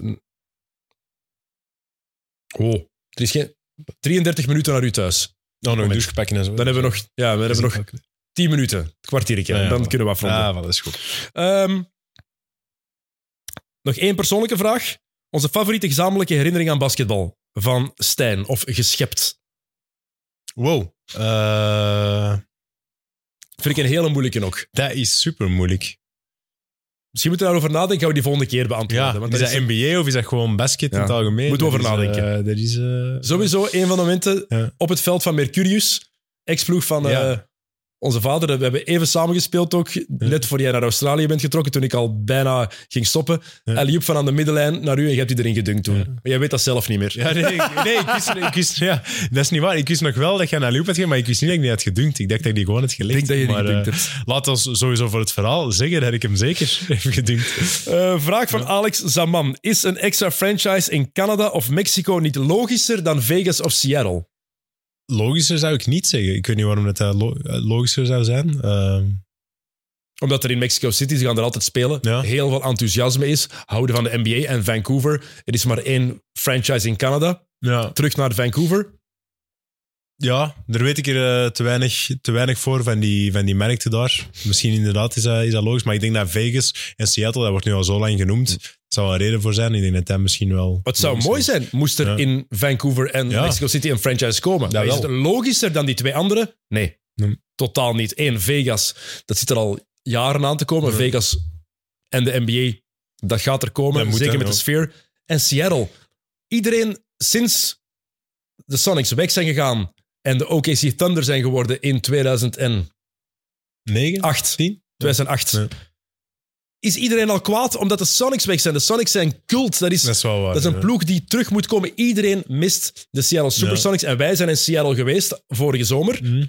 Oh, er is geen... 33 minuten naar u thuis.
Oh, nog een
Moment.
douche pakken en zo.
Dan hebben we nog, ja, we hebben nog 10 minuten, een kwartiertje.
Ja, ja,
dan
voilà.
kunnen we afronden.
Ah, wel, dat is goed.
Ehm, nog één persoonlijke vraag. Onze favoriete gezamenlijke herinnering aan basketbal. Van Stijn, of geschept.
Wow. Eh,
Vind ik een hele moeilijke ook.
dat is super moeilijk.
Misschien moeten we daarover nadenken. Gaan we die volgende keer beantwoorden.
Ja,
want
is
dat
dat
is
NBA of is dat gewoon basket in
Ja.
het algemeen?
Moeten we
Dat
over
is, eh, dat is... eh,
sowieso een van de momenten
Ja.
op het veld van Mercurius. Ex-ploeg van eh,
Ja.
onze vader. We hebben even samengespeeld ook. Net voor jij naar Australië bent getrokken. Toen ik al bijna ging stoppen.
Ja.
Ja. van aan de middenlijn naar u. En je hebt die erin gedunkt toen.
Ja.
Maar jij weet dat zelf niet meer.
Ja, nee, ik, nee, ik wist, ik wist- ja, dat is niet waar. Ik wist nog wel dat je naar Loop had gegaan, maar ik wist niet dat ik die had gedunkt. Ik dacht dat ik die gewoon had
Ik
gelegd.
denk dat je die
maar,
gedunkt
eh,
hebt.
laat ons sowieso voor het verhaal zeggen dat ik hem zeker heb gedunkt.
Eh, vraag van Alex Zaman. Is een extra franchise in Canada of Mexico niet logischer dan Vegas of Seattle?
Logischer zou ik niet zeggen. Ik weet niet waarom dat, dat lo- eh, logischer zou zijn. Ehm,
Omdat er in Mexico City, ze gaan er altijd spelen,
Ja.
heel veel enthousiasme is. Houden van de NBA en Vancouver. Er is maar één franchise in Canada.
ja.
Terug naar Vancouver.
ja, daar weet ik er eh, te, weinig, te weinig voor van die, van die merkten daar. Misschien inderdaad is dat, is dat logisch, maar ik denk dat Vegas en Seattle, dat wordt nu al zo lang genoemd, het zou een reden voor zijn. Ik denk dat dat misschien wel...
Wat Mm. zou
logisch
mooi
is.
zijn, moest er
Ja.
in Vancouver en
Ja.
Mexico City een franchise komen.
Dat
Maar is
wel.
het logischer dan die twee andere? Nee,
Nee.
totaal niet. Eén, Vegas, dat zit er al jaren aan te komen.
Ja.
Vegas en de NBA, dat gaat er komen.
Dat moet,
zeker
hè,
met de
ja.
sfeer. En Seattle. Iedereen sinds de Sonics weg zijn gegaan en de OKC Thunder zijn geworden in 2008. Ah,
Negen?
2008.
Ja.
Is iedereen al kwaad omdat de Sonics weg zijn? De Sonics zijn cult. Dat is,
Dat is wel waar.
dat is een
ja.
ploeg die terug moet komen. Iedereen mist de Seattle Supersonics. En wij zijn in Seattle geweest vorige zomer.
Mhm.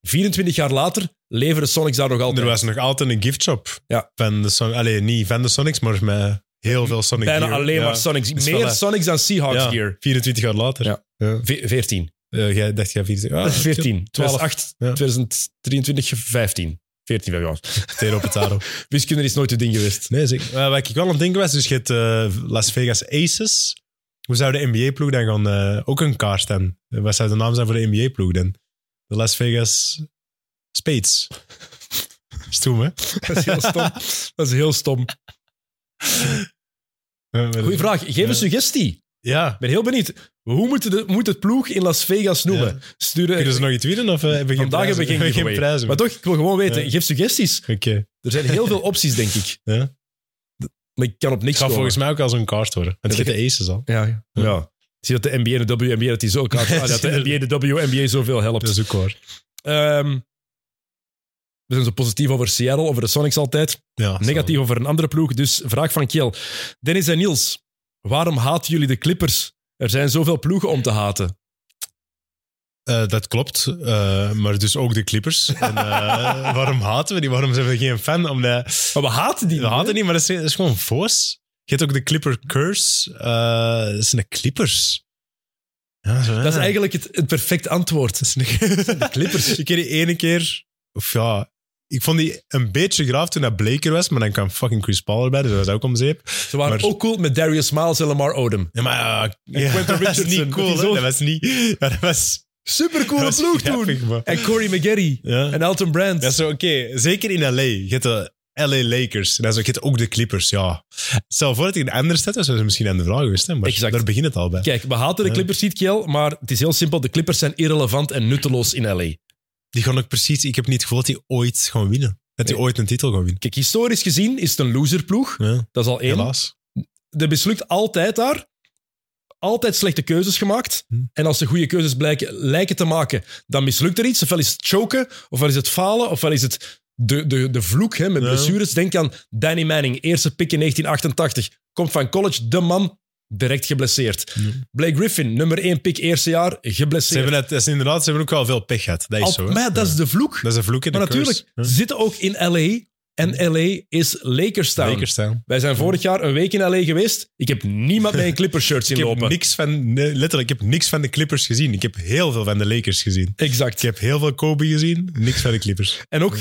24 jaar later leveren de Sonics daar nog altijd.
Er was nog altijd een gift shop
Ja.
van de Sonics. Allee, niet van de Sonics, maar met heel veel Sonic
Bijna
gear.
alleen
Ja.
maar Sonics.
is
Meer
wel, hè.
Sonics dan Seahawks
Ja,
gear.
24 jaar later.
Ja.
Ja.
Ve- 14.
Eh, jij dacht jij 24 ah,
14. 2008,
Ja.
2023, 15. 14 van jou.
Tero Petaro.
Wiskunde is nooit het ding geweest.
Nee, zeker. Eh, wat ik wel aan het denken was, dus je hebt eh, Las Vegas Aces. Hoe zou de NBA-ploeg dan gaan? eh, ook een kaart dan. Eh, Wat zou de naam zijn voor de NBA-ploeg dan? De Las Vegas Spades. Stoem, hè?
Dat is heel stom. Dat is heel stom. Goeie vraag. Geef een
Ja.
suggestie.
Eh, Ja.
Ik ben heel benieuwd. Hoe moet, de, moet het ploeg in Las Vegas noemen?
Ja.
Sturen,
Kunnen ze nog iets winnen? Of eh, hebben we geen
Vandaag hebben
prijzen?
we geen, giveaway.
prijzen.
Maar toch, ik wil gewoon weten.
Ja.
Geef suggesties.
Oké.
Er zijn heel veel opties, denk ik.
Ja.
Maar ik kan op niks
Het gaat
komen.
volgens mij ook als een kaart worden. Want je
Ja,
hebt de aces al.
Ja, ja. ja. Zie dat de NBA en de WNBA dat die zo elkaar ah, dat de NBA de WNBA zoveel helpt.
Dat is ook waar.
Ehm, we zijn zo positief over Seattle, over de Sonics altijd.
Ja,
Negatief over een andere ploeg. Dus vraag van Kiel. Dennis en Niels, waarom haten jullie de Clippers? Er zijn zoveel ploegen om te haten.
Eh, dat klopt, Eh, maar dus ook de Clippers. En, eh, waarom haten we die? Waarom zijn we geen fan? Omdat,
Maar we haten die.
we haten niet, maar dat is, dat is gewoon voos. Je hebt ook de Clipper Curse. Eh, dat zijn de Clippers. Ja, zo,
Dat is
ja.
eigenlijk het, het perfect antwoord.
Dat zijn de, Clippers. Ik ken die ene keer... Of ja... Ik vond die een beetje graaf toen dat Blake er was, maar dan kwam fucking Chris Paul erbij, dus dat was ook om zeep.
Ze waren
Maar-
ook cool met Darius Miles en Lamar Odom.
Ja, maar ja,
En Quentin
dat was
Richardson,
niet cool,
dat is
hè.
ook-
dat was niet... ja, dat was...
Supercoole
dat was
ploeg
grappig,
toen.
maar-
En Corey McGarry.
Ja.
En Elton Brand.
Dat is zo, oké. Zeker in LA. Je hebt de LA Lakers. En dan zo, je hebt ook de Clippers, ja. Stel voor dat ik in een andere stad was, was het misschien aan de vraag geweest. Hè? Maar
Exact.
daar begint het al bij.
Kijk, we haten de
Ja.
Clippers niet, Kiel, maar het is heel simpel. De Clippers zijn irrelevant en nutteloos in L.A.
Die gaan ook precies... Ik heb niet het gevoel dat die ooit gaan winnen. Dat die
Nee.
ooit een titel gaan winnen.
Kijk, historisch gezien is het een loserploeg.
Ja,
Dat is al één.
helaas.
Er beslukt altijd daar. Altijd slechte keuzes gemaakt.
Hm.
En als ze goede keuzes blijken, lijken te maken, dan mislukt er iets. Ofwel is het choken, ofwel is het falen, ofwel is het de, de, de vloek hè, met
Ja.
blessures. Denk aan Danny Manning, eerste pick in 1988. Komt van college, de man, direct geblesseerd.
Ja.
Blake Griffin, nummer één pick, eerste jaar,
Ze
geblesseerd.
hebben, het, dat is inderdaad, ze hebben ook wel veel pech gehad. Dat is
Al-
zo. hè.
maar ja, dat is
Ja.
de vloek.
dat is een vloek in
Maar
de curse.
natuurlijk,
Ja.
ze zitten ook in LA. En LA is Lakers Town.
Lakers staan.
Wij zijn vorig jaar een week in LA geweest. Ik heb niemand met een Clippers shirt zien
Ik heb
lopen.
niks van... nee, letterlijk, ik heb niks van de Clippers gezien. Ik heb heel veel van de Lakers gezien.
Exact.
Ik heb heel veel Kobe gezien. Niks van de Clippers.
En ook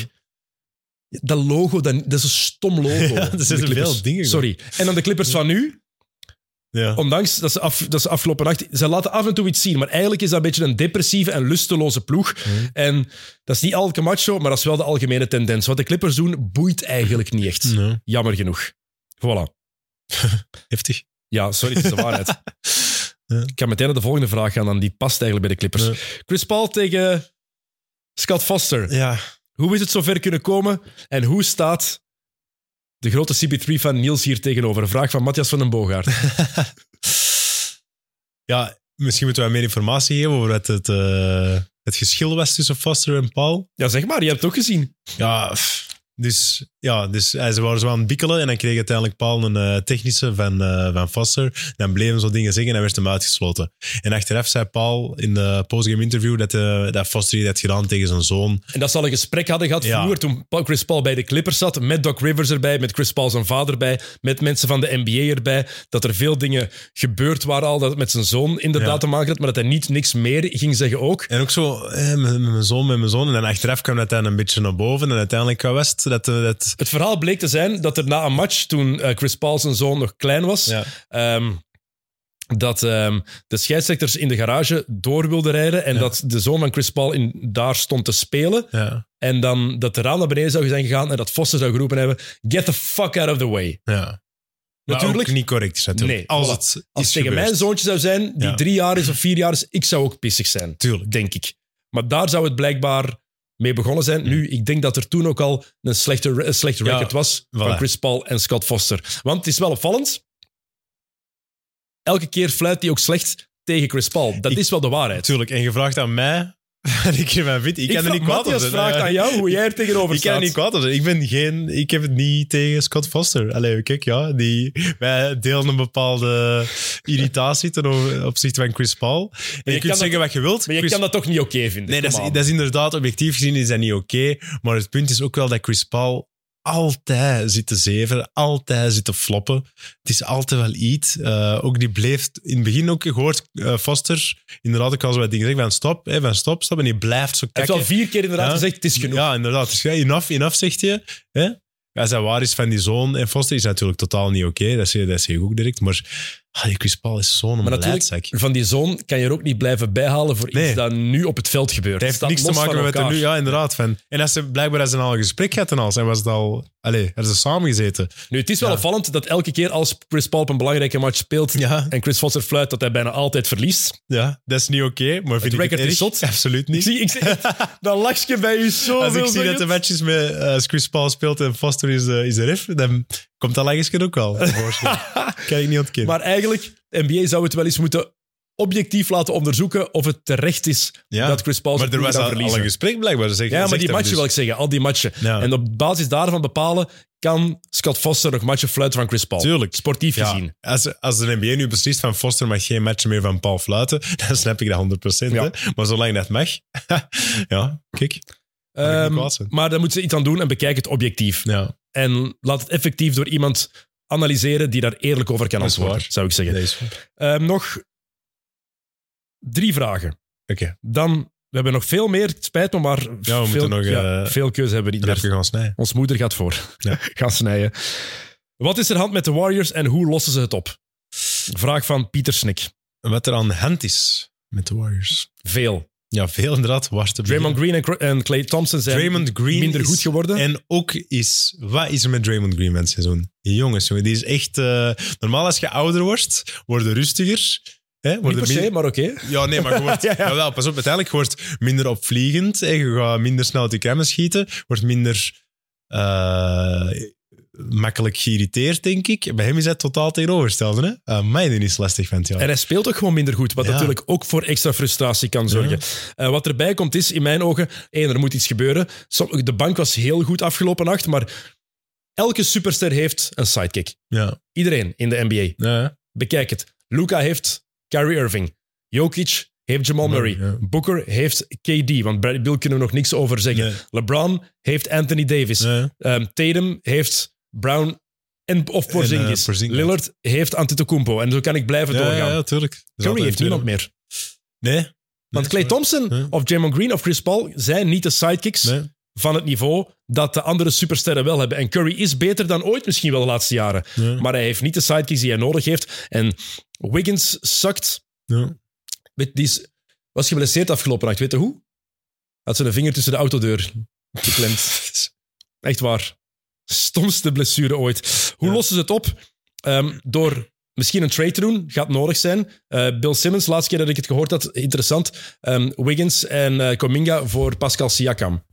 dat logo, dat, dat is een stom logo.
Ja, er
van de
zitten
Clippers.
veel dingen in.
Sorry. En dan de Clippers van nu,
Ja.
ondanks dat ze, af, dat ze afgelopen nacht... Ze laten af en toe iets zien, maar eigenlijk is dat een beetje een depressieve en lusteloze ploeg.
Mhm.
En dat is niet elke macho, maar dat is wel de algemene tendens. Wat de Clippers doen, boeit eigenlijk niet echt.
Ja.
Jammer genoeg. Voilà.
Heftig.
Ja, sorry, het is de waarheid.
Ja.
Ik ga meteen naar de volgende vraag gaan, dan die past eigenlijk bij de Clippers. Chris Paul tegen Scott Foster.
Ja,
Hoe is het zover kunnen komen en hoe staat de grote CB3-fan Niels hier tegenover? Een vraag van Matthias van den Boogaard.
ja misschien moeten wij meer informatie geven over wat het, eh, het geschil was tussen Foster en Paul.
Ja, zeg maar, je hebt het ook gezien.
Ja, pff. dus, ja, dus hij- ze waren zo aan het bikkelen en dan kreeg uiteindelijk Paul een eh, technische van, eh, van Foster. Dan bleven zo dingen zeggen en hij werd hem uitgesloten. En achteraf zei Paul in de postgame interview dat, eh, dat Foster dit had gedaan tegen zijn zoon.
En dat ze al een gesprek hadden gehad
Ja.
vroeger, toen Paul- Chris Paul bij de Clippers zat, met Doc Rivers erbij, met Chris Paul zijn vader erbij, met mensen van de NBA erbij, dat er veel dingen gebeurd waren al, dat het met zijn zoon inderdaad
Ja.
te maken had, maar dat hij niet niks meer ging zeggen ook.
En ook zo, eh, met, met mijn zoon, met mijn zoon. En dan achteraf kwam dat dan een beetje naar boven. En uiteindelijk was het dat... eh, dat
Het verhaal bleek te zijn dat er na een match, toen eh, Chris Paul zijn zoon nog klein was,
ja.
ehm, dat ehm, de scheidsrechters in de garage door wilden rijden en
Ja.
dat de zoon van Chris Paul in, daar stond te spelen.
Ja,
En dan dat de raam naar beneden zou zijn gegaan en dat Foster zou geroepen hebben, get the fuck out of the way.
ja. Maar
Natuurlijk,
ook niet correct is natuurlijk.
Nee,
als
voilà.
het
als
is
het tegen
gebeurd.
mijn zoontje zou zijn, die
Ja.
drie jaar is of vier jaar is, ik zou ook pissig zijn,
Tuurlijk.
denk ik. Maar daar zou het blijkbaar mee begonnen zijn. Nu, ik denk dat er toen ook al een slechte, re- een slecht record was van
voilà.
Chris Paul en Scott Foster. Want het is wel opvallend. Elke keer fluit hij ook slecht tegen Chris Paul. Dat
Ik-
is wel de waarheid.
Tuurlijk. En gevraagd aan mij. En ik geef mijn vind. Ik, kan er
vraag-
niet kwaad op
Matthias
zijn.
vraagt
Ja.
aan jou hoe jij er tegenover
Ik kan er
staat.
niet kwaad op zijn. Ik ben geen... Ik heb het niet tegen Scott Foster. Allee, kijk, ja. Die, wij delen een bepaalde irritatie ten over- opzichte van Chris Paul. En je,
je
kunt
kan
zeggen wat je wilt.
maar je
Chris
kan dat toch niet oké vinden?
Nee, dat is,
Come on.
dat is inderdaad, objectief gezien is dat niet oké. maar het punt is ook wel dat Chris Paul altijd zit te zeven, altijd zit te floppen. Het is altijd wel iets. Eh, ook die bleef in het begin ook gehoord, eh, Foster, inderdaad ook al zo wat dingen zeggen van stop, hè, van stop, stop. En die blijft zo
Hij
kijken.
heeft al vier keer inderdaad
Ja.
gezegd, het is genoeg.
Ja, inderdaad. Dus, ja, enough, enough, zegt je. Hè? Als dat waar is van die zoon en Foster, is natuurlijk totaal niet oké. Dat, zeg, dat zeg ik ook direct. Maar ah, die Chris Paul is zo'n
Maar natuurlijk,
beleidzak.
van die zoon kan je er ook niet blijven bijhalen voor iets
Nee.
dat nu op het veld gebeurt.
Het heeft
Staat
niks te
los
maken
van
met wat er
elkaar.
nu... Ja, inderdaad. Van. En als ze, blijkbaar als ze al een gesprek had en al. En was het al... Allee, hadden ze samen gezeten.
Nu, het is wel
Ja.
opvallend dat elke keer als Chris Paul op een belangrijke match speelt
Ja.
en Chris Foster fluit, dat hij bijna altijd verliest.
Ja, dat is niet oké. maar vind ik het
record is
erg?
zot.
Absoluut
Ik
niet.
zie, ik zie dat lachje bij u zo
Als ik zie dat de matches met eh, als Chris Paul speelt en Foster is, eh, is de ref, dan komt dat langsken ook wel. voorslag. kan ik niet ontkennen.
Maar eigenlijk, de NBA zou het wel eens moeten objectief laten onderzoeken of het terecht is
Ja.
dat Chris Paul
maar
zijn
er
ploeg gaat
was al, al
verliezen.
een gesprek blijkbaar. Zeg,
ja, maar
zegt
die
hem
matchen
dus.
wil ik zeggen, al die matchen.
Ja.
En op basis daarvan bepalen, kan Scott Foster nog matchen fluiten van Chris Paul?
Tuurlijk.
Sportief
Ja,
gezien.
als, als de NBA nu beslist van Foster mag geen matchen meer van Paul fluiten, dan snap ik dat 100%.
Ja.
Hè? Maar zolang dat mag, ja, kijk. ik niet
Ehm,
kwaad zijn.
maar daar moeten ze iets aan doen en bekijk het objectief.
Ja,
En laat het effectief door iemand analyseren die daar eerlijk over kan
Dat is
antwoorden,
waar.
zou ik zeggen.
dat is waar.
Ehm, nog drie vragen.
Oké.
Dan, we hebben nog veel meer, het spijt me, maar
Ja, we
veel,
moeten nog,
ja,
eh,
veel keuze hebben we niet. meer.
Daar heb je gewoon snijden.
Ons moeder gaat voor.
Ja.
Gaan snijden. Wat is er hand met de Warriors en hoe lossen ze het op? Vraag van Pieter Snik.
Wat er aan de hand is met de Warriors.
Veel.
Ja, veel inderdaad. Waar te beginnen.
Draymond Green en, Cra- en Clay Thompson zijn
Draymond Green
minder
is-
goed geworden.
En ook is, wat is er met Draymond Green van het seizoen? Jongens, jongen, die is echt. eh, normaal als je ouder wordt, word je rustiger. Hè,
niet
word je
per se,
min-
maar oké.
Ja, nee, maar je wordt,
Ja, ja.
Jawel, pas op, uiteindelijk je wordt minder opvliegend. hè, Je gaat minder snel uit de kremmen schieten. Wordt minder eh, makkelijk geïrriteerd, denk ik. Bij hem is dat totaal tegenovergestelde. Hè? Eh, mij die is lastig van het jaar.
En hij speelt ook gewoon minder goed, wat
Ja.
natuurlijk ook voor extra frustratie kan zorgen. Eh, wat erbij komt is, in mijn ogen, één, er moet iets gebeuren. Som- De bank was heel goed afgelopen nacht, maar elke superster heeft een sidekick.
Ja.
Iedereen in de NBA.
Ja.
Bekijk het. Luca heeft Kyrie Irving. Jokic heeft Jamal Murray.
Ja.
Booker heeft KD, want Brad Bill kunnen we nog niks over zeggen.
Nee.
LeBron heeft Anthony Davis.
Ja.
Ehm, Tatum heeft Brown en, of Porzingis.
eh, Porzingis.
Lillard heeft Antetokounmpo. En zo kan ik blijven doorgaan.
Ja, ja, tuurlijk. Er is
Curry
altijd
heeft
een
niemand
tweede.
meer.
Nee.
Want Clay Thompson
Ja.
of Draymond Green of Chris Paul zijn niet de sidekicks
Nee.
van het niveau dat de andere supersterren wel hebben. En Curry is beter dan ooit misschien wel de laatste jaren.
Ja.
Maar hij heeft niet de sidekicks die hij nodig heeft. En Wiggins zakt.
Ja.
Weet, Die is, was geblesseerd afgelopen nacht. Weet je hoe? Had zijn vinger tussen de autodeur geklemd. Echt waar. Stomste blessure ooit. Hoe
Ja.
lossen ze het op? Ehm, door Misschien een trade te doen, gaat nodig zijn. Eh, Bill Simmons, laatste keer dat ik het gehoord had, interessant. Ehm, Wiggins en eh, Cominga voor Pascal Siakam.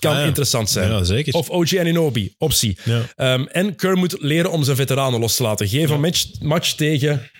Kan
Ah, ja.
interessant zijn.
Ja, zeker.
Of OG Ananobi, optie.
Ja.
Ehm, en Kerr moet leren om zijn veteranen los te laten. Geef een match, match tegen,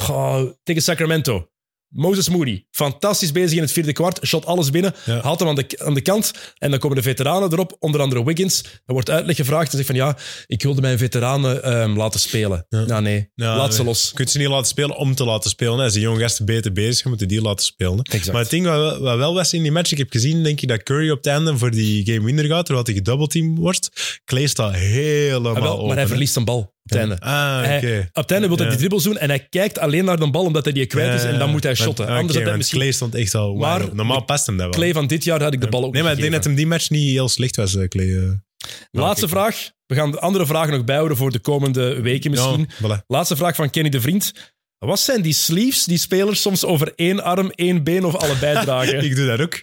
Goh, tegen Sacramento. Moses Moody, fantastisch bezig in het vierde kwart. Shot alles binnen,
Ja.
haalt hem aan de, aan de kant. En dan komen de veteranen erop, onder andere Wiggins. Er wordt uitleg gevraagd en zegt van ja, ik wilde mijn veteranen ehm, laten spelen. Nou nee,
Ja,
laat ze
nee.
los.
Je kunt ze niet laten spelen om te laten spelen. hè. Als die jonge gasten beter bezig zijn, moeten die laten spelen. hè.
Exact.
Maar het ding wat, wat wel was in die match, ik heb gezien, denk ik, dat Curry op het einde voor die game winner gaat, terwijl hij gedoubleteamd wordt. Clay staat helemaal
Ah, wel,
open.
maar hij
hè.
verliest een bal op het einde.
Ah,
Hij-
oké.
Op het einde wil hij
Ja.
die dribbles doen en hij kijkt alleen naar de bal omdat hij die kwijt is.
Ja,
En dan moet hij
maar-
shotten.
ah,
Anders
oké,
had hij
want
misschien...
Clay stond echt al wide
Maar
open. Normaal past hem dat wel.
Clay van dit jaar had ik de bal ook
nee, maar ik
niet
denk dat
gegeven.
hem die match niet heel slecht was, eh, Clay. eh.
Laatste
oké.
vraag. We gaan de andere vragen nog bijhouden voor de komende weken misschien.
Ja, voilà.
Laatste vraag van Kenny de Vriend. Wat zijn die sleeves die spelers soms over één arm, één been of allebei dragen?
Ik doe dat ook.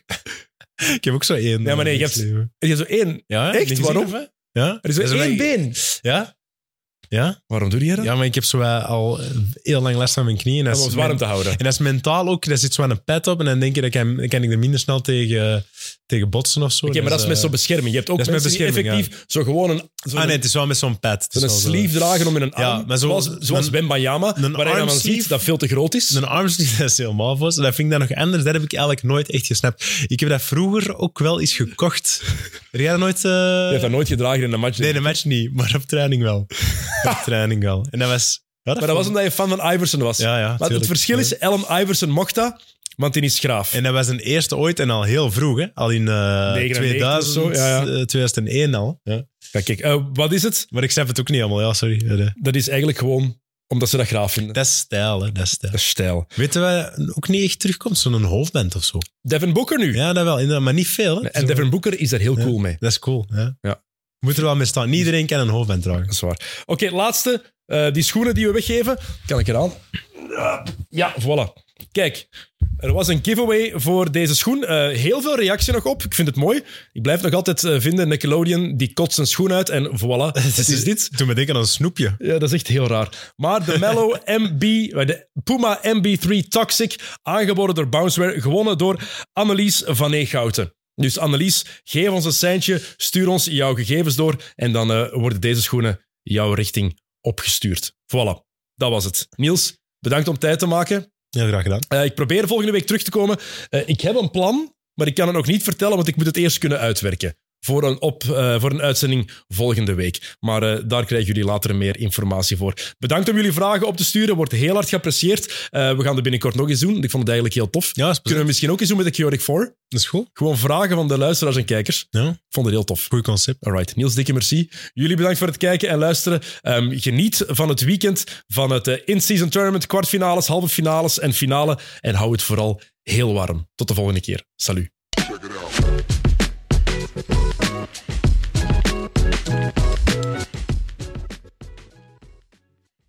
ik heb ook zo één.
Ja, maar nee,
eh,
je hebt-
sleeve.
Er is zo één.
Ja,
Echt?
niet gezien,
Waarom?
of wat? Ja?
Er is zo
Dat is
één
omdat ik-
been.
Ja? Ja?
Waarom doe je dat?
Ja, maar ik heb zo eh, al heel lang last van mijn knieën. En
Om
dat
ons
is
warm
men-
te houden.
en dat is mentaal ook, daar zit zo aan een pet op en dan denk je, dat kan, dan kan ik er minder snel tegen, tegen botsen of zo.
Oké, maar dat is met
eh,
zo'n bescherming. Je hebt ook
dat is met
mensen die
bescherming,
effectief zo gewoon een, zo'n
Ah nee, het is wel met zo'n pet. Het is
zo'n
wel zo-
sleeve dragen om in een
Ja,
arm.
maar zo-
zoals zoals
een-
Wembayama,
een
waar je dan
armsleeve-
ziet dat veel te groot is.
Een armsleeve, dat is helemaal vast. Dat vind ik dan nog anders. Dat heb ik eigenlijk nooit echt gesnapt. Ik heb dat vroeger ook wel eens gekocht. Heb jij dat nooit... eh,
Je hebt dat nooit gedragen in een match.
Nee, de match niet, maar op training wel. op training wel. En dat was... Ja,
maar dat was omdat je fan van Iverson was.
Ja, ja,
maar het
tuurlijk.
verschil is, Ellen Iverson mocht dat, want die is graaf.
En dat was een eerste ooit en al heel vroeg, hè? Al in eh,
99 of
2000,
zo, ja, ja.
eh, 2001 al. Ja.
Ja, kijk, eh, wat is het?
Maar ik snap het ook niet allemaal, ja, sorry. Ja, de-
Dat is eigenlijk gewoon omdat ze dat graaf vinden.
Dat is stijl, hè? Dat is stijl.
Dat is stijl.
Weten we ook niet echt terugkomt, zo'n hoofdband of zo.
Devin Booker nu.
Ja, dat wel, inderdaad, maar niet veel. Hè?
En Devin Booker is daar heel
Ja.
cool mee.
Dat is cool, ja.
Ja.
Je moet er wel mee staan. Niet iedereen kan een hoofdband dragen.
Dat is waar. Oké, laatste. Eh, die schoenen die we weggeven. Kan ik eraan? Ja, voilà. Kijk, er was een giveaway voor deze schoen. Eh, heel veel reactie nog op. Ik vind het mooi. Ik blijf nog altijd eh, vinden, Nickelodeon, die kot zijn schoen uit. En voilà, het is dit.
Toen me denken aan een snoepje.
Ja, dat is echt heel raar. Maar de Mellow MB, de Puma MB3 Toxic, aangeboden door Bounceware, gewonnen door Annelies van Eekhouten. Dus Annelies, geef ons een seintje, stuur ons jouw gegevens door en dan eh, worden deze schoenen jouw richting opgestuurd. Voilà, dat was het. Niels, bedankt om tijd te maken.
Ja, graag gedaan.
Eh, ik probeer volgende week terug te komen. Eh, ik heb een plan, maar ik kan het nog niet vertellen, want ik moet het eerst kunnen uitwerken. Voor een, op, eh, voor een uitzending volgende week. Maar eh, daar krijgen jullie later meer informatie voor. Bedankt om jullie vragen op te sturen. Wordt heel hard geapprecieerd. Eh, we gaan dat binnenkort nog eens doen. Ik vond het eigenlijk heel tof.
Ja, dat is,
Kunnen we misschien ook eens doen met de Curic 4?
dat is cool.
Gewoon vragen van de luisteraars en kijkers.
Ja.
Ik vond het heel tof.
Goed concept.
Alright, Niels, dikke merci. Jullie bedankt voor het kijken en luisteren. Ehm, geniet van het weekend, van het eh, in-season tournament, kwartfinales, halve finales en finale. En hou het vooral heel warm. Tot de volgende keer. Salut.
Check it out.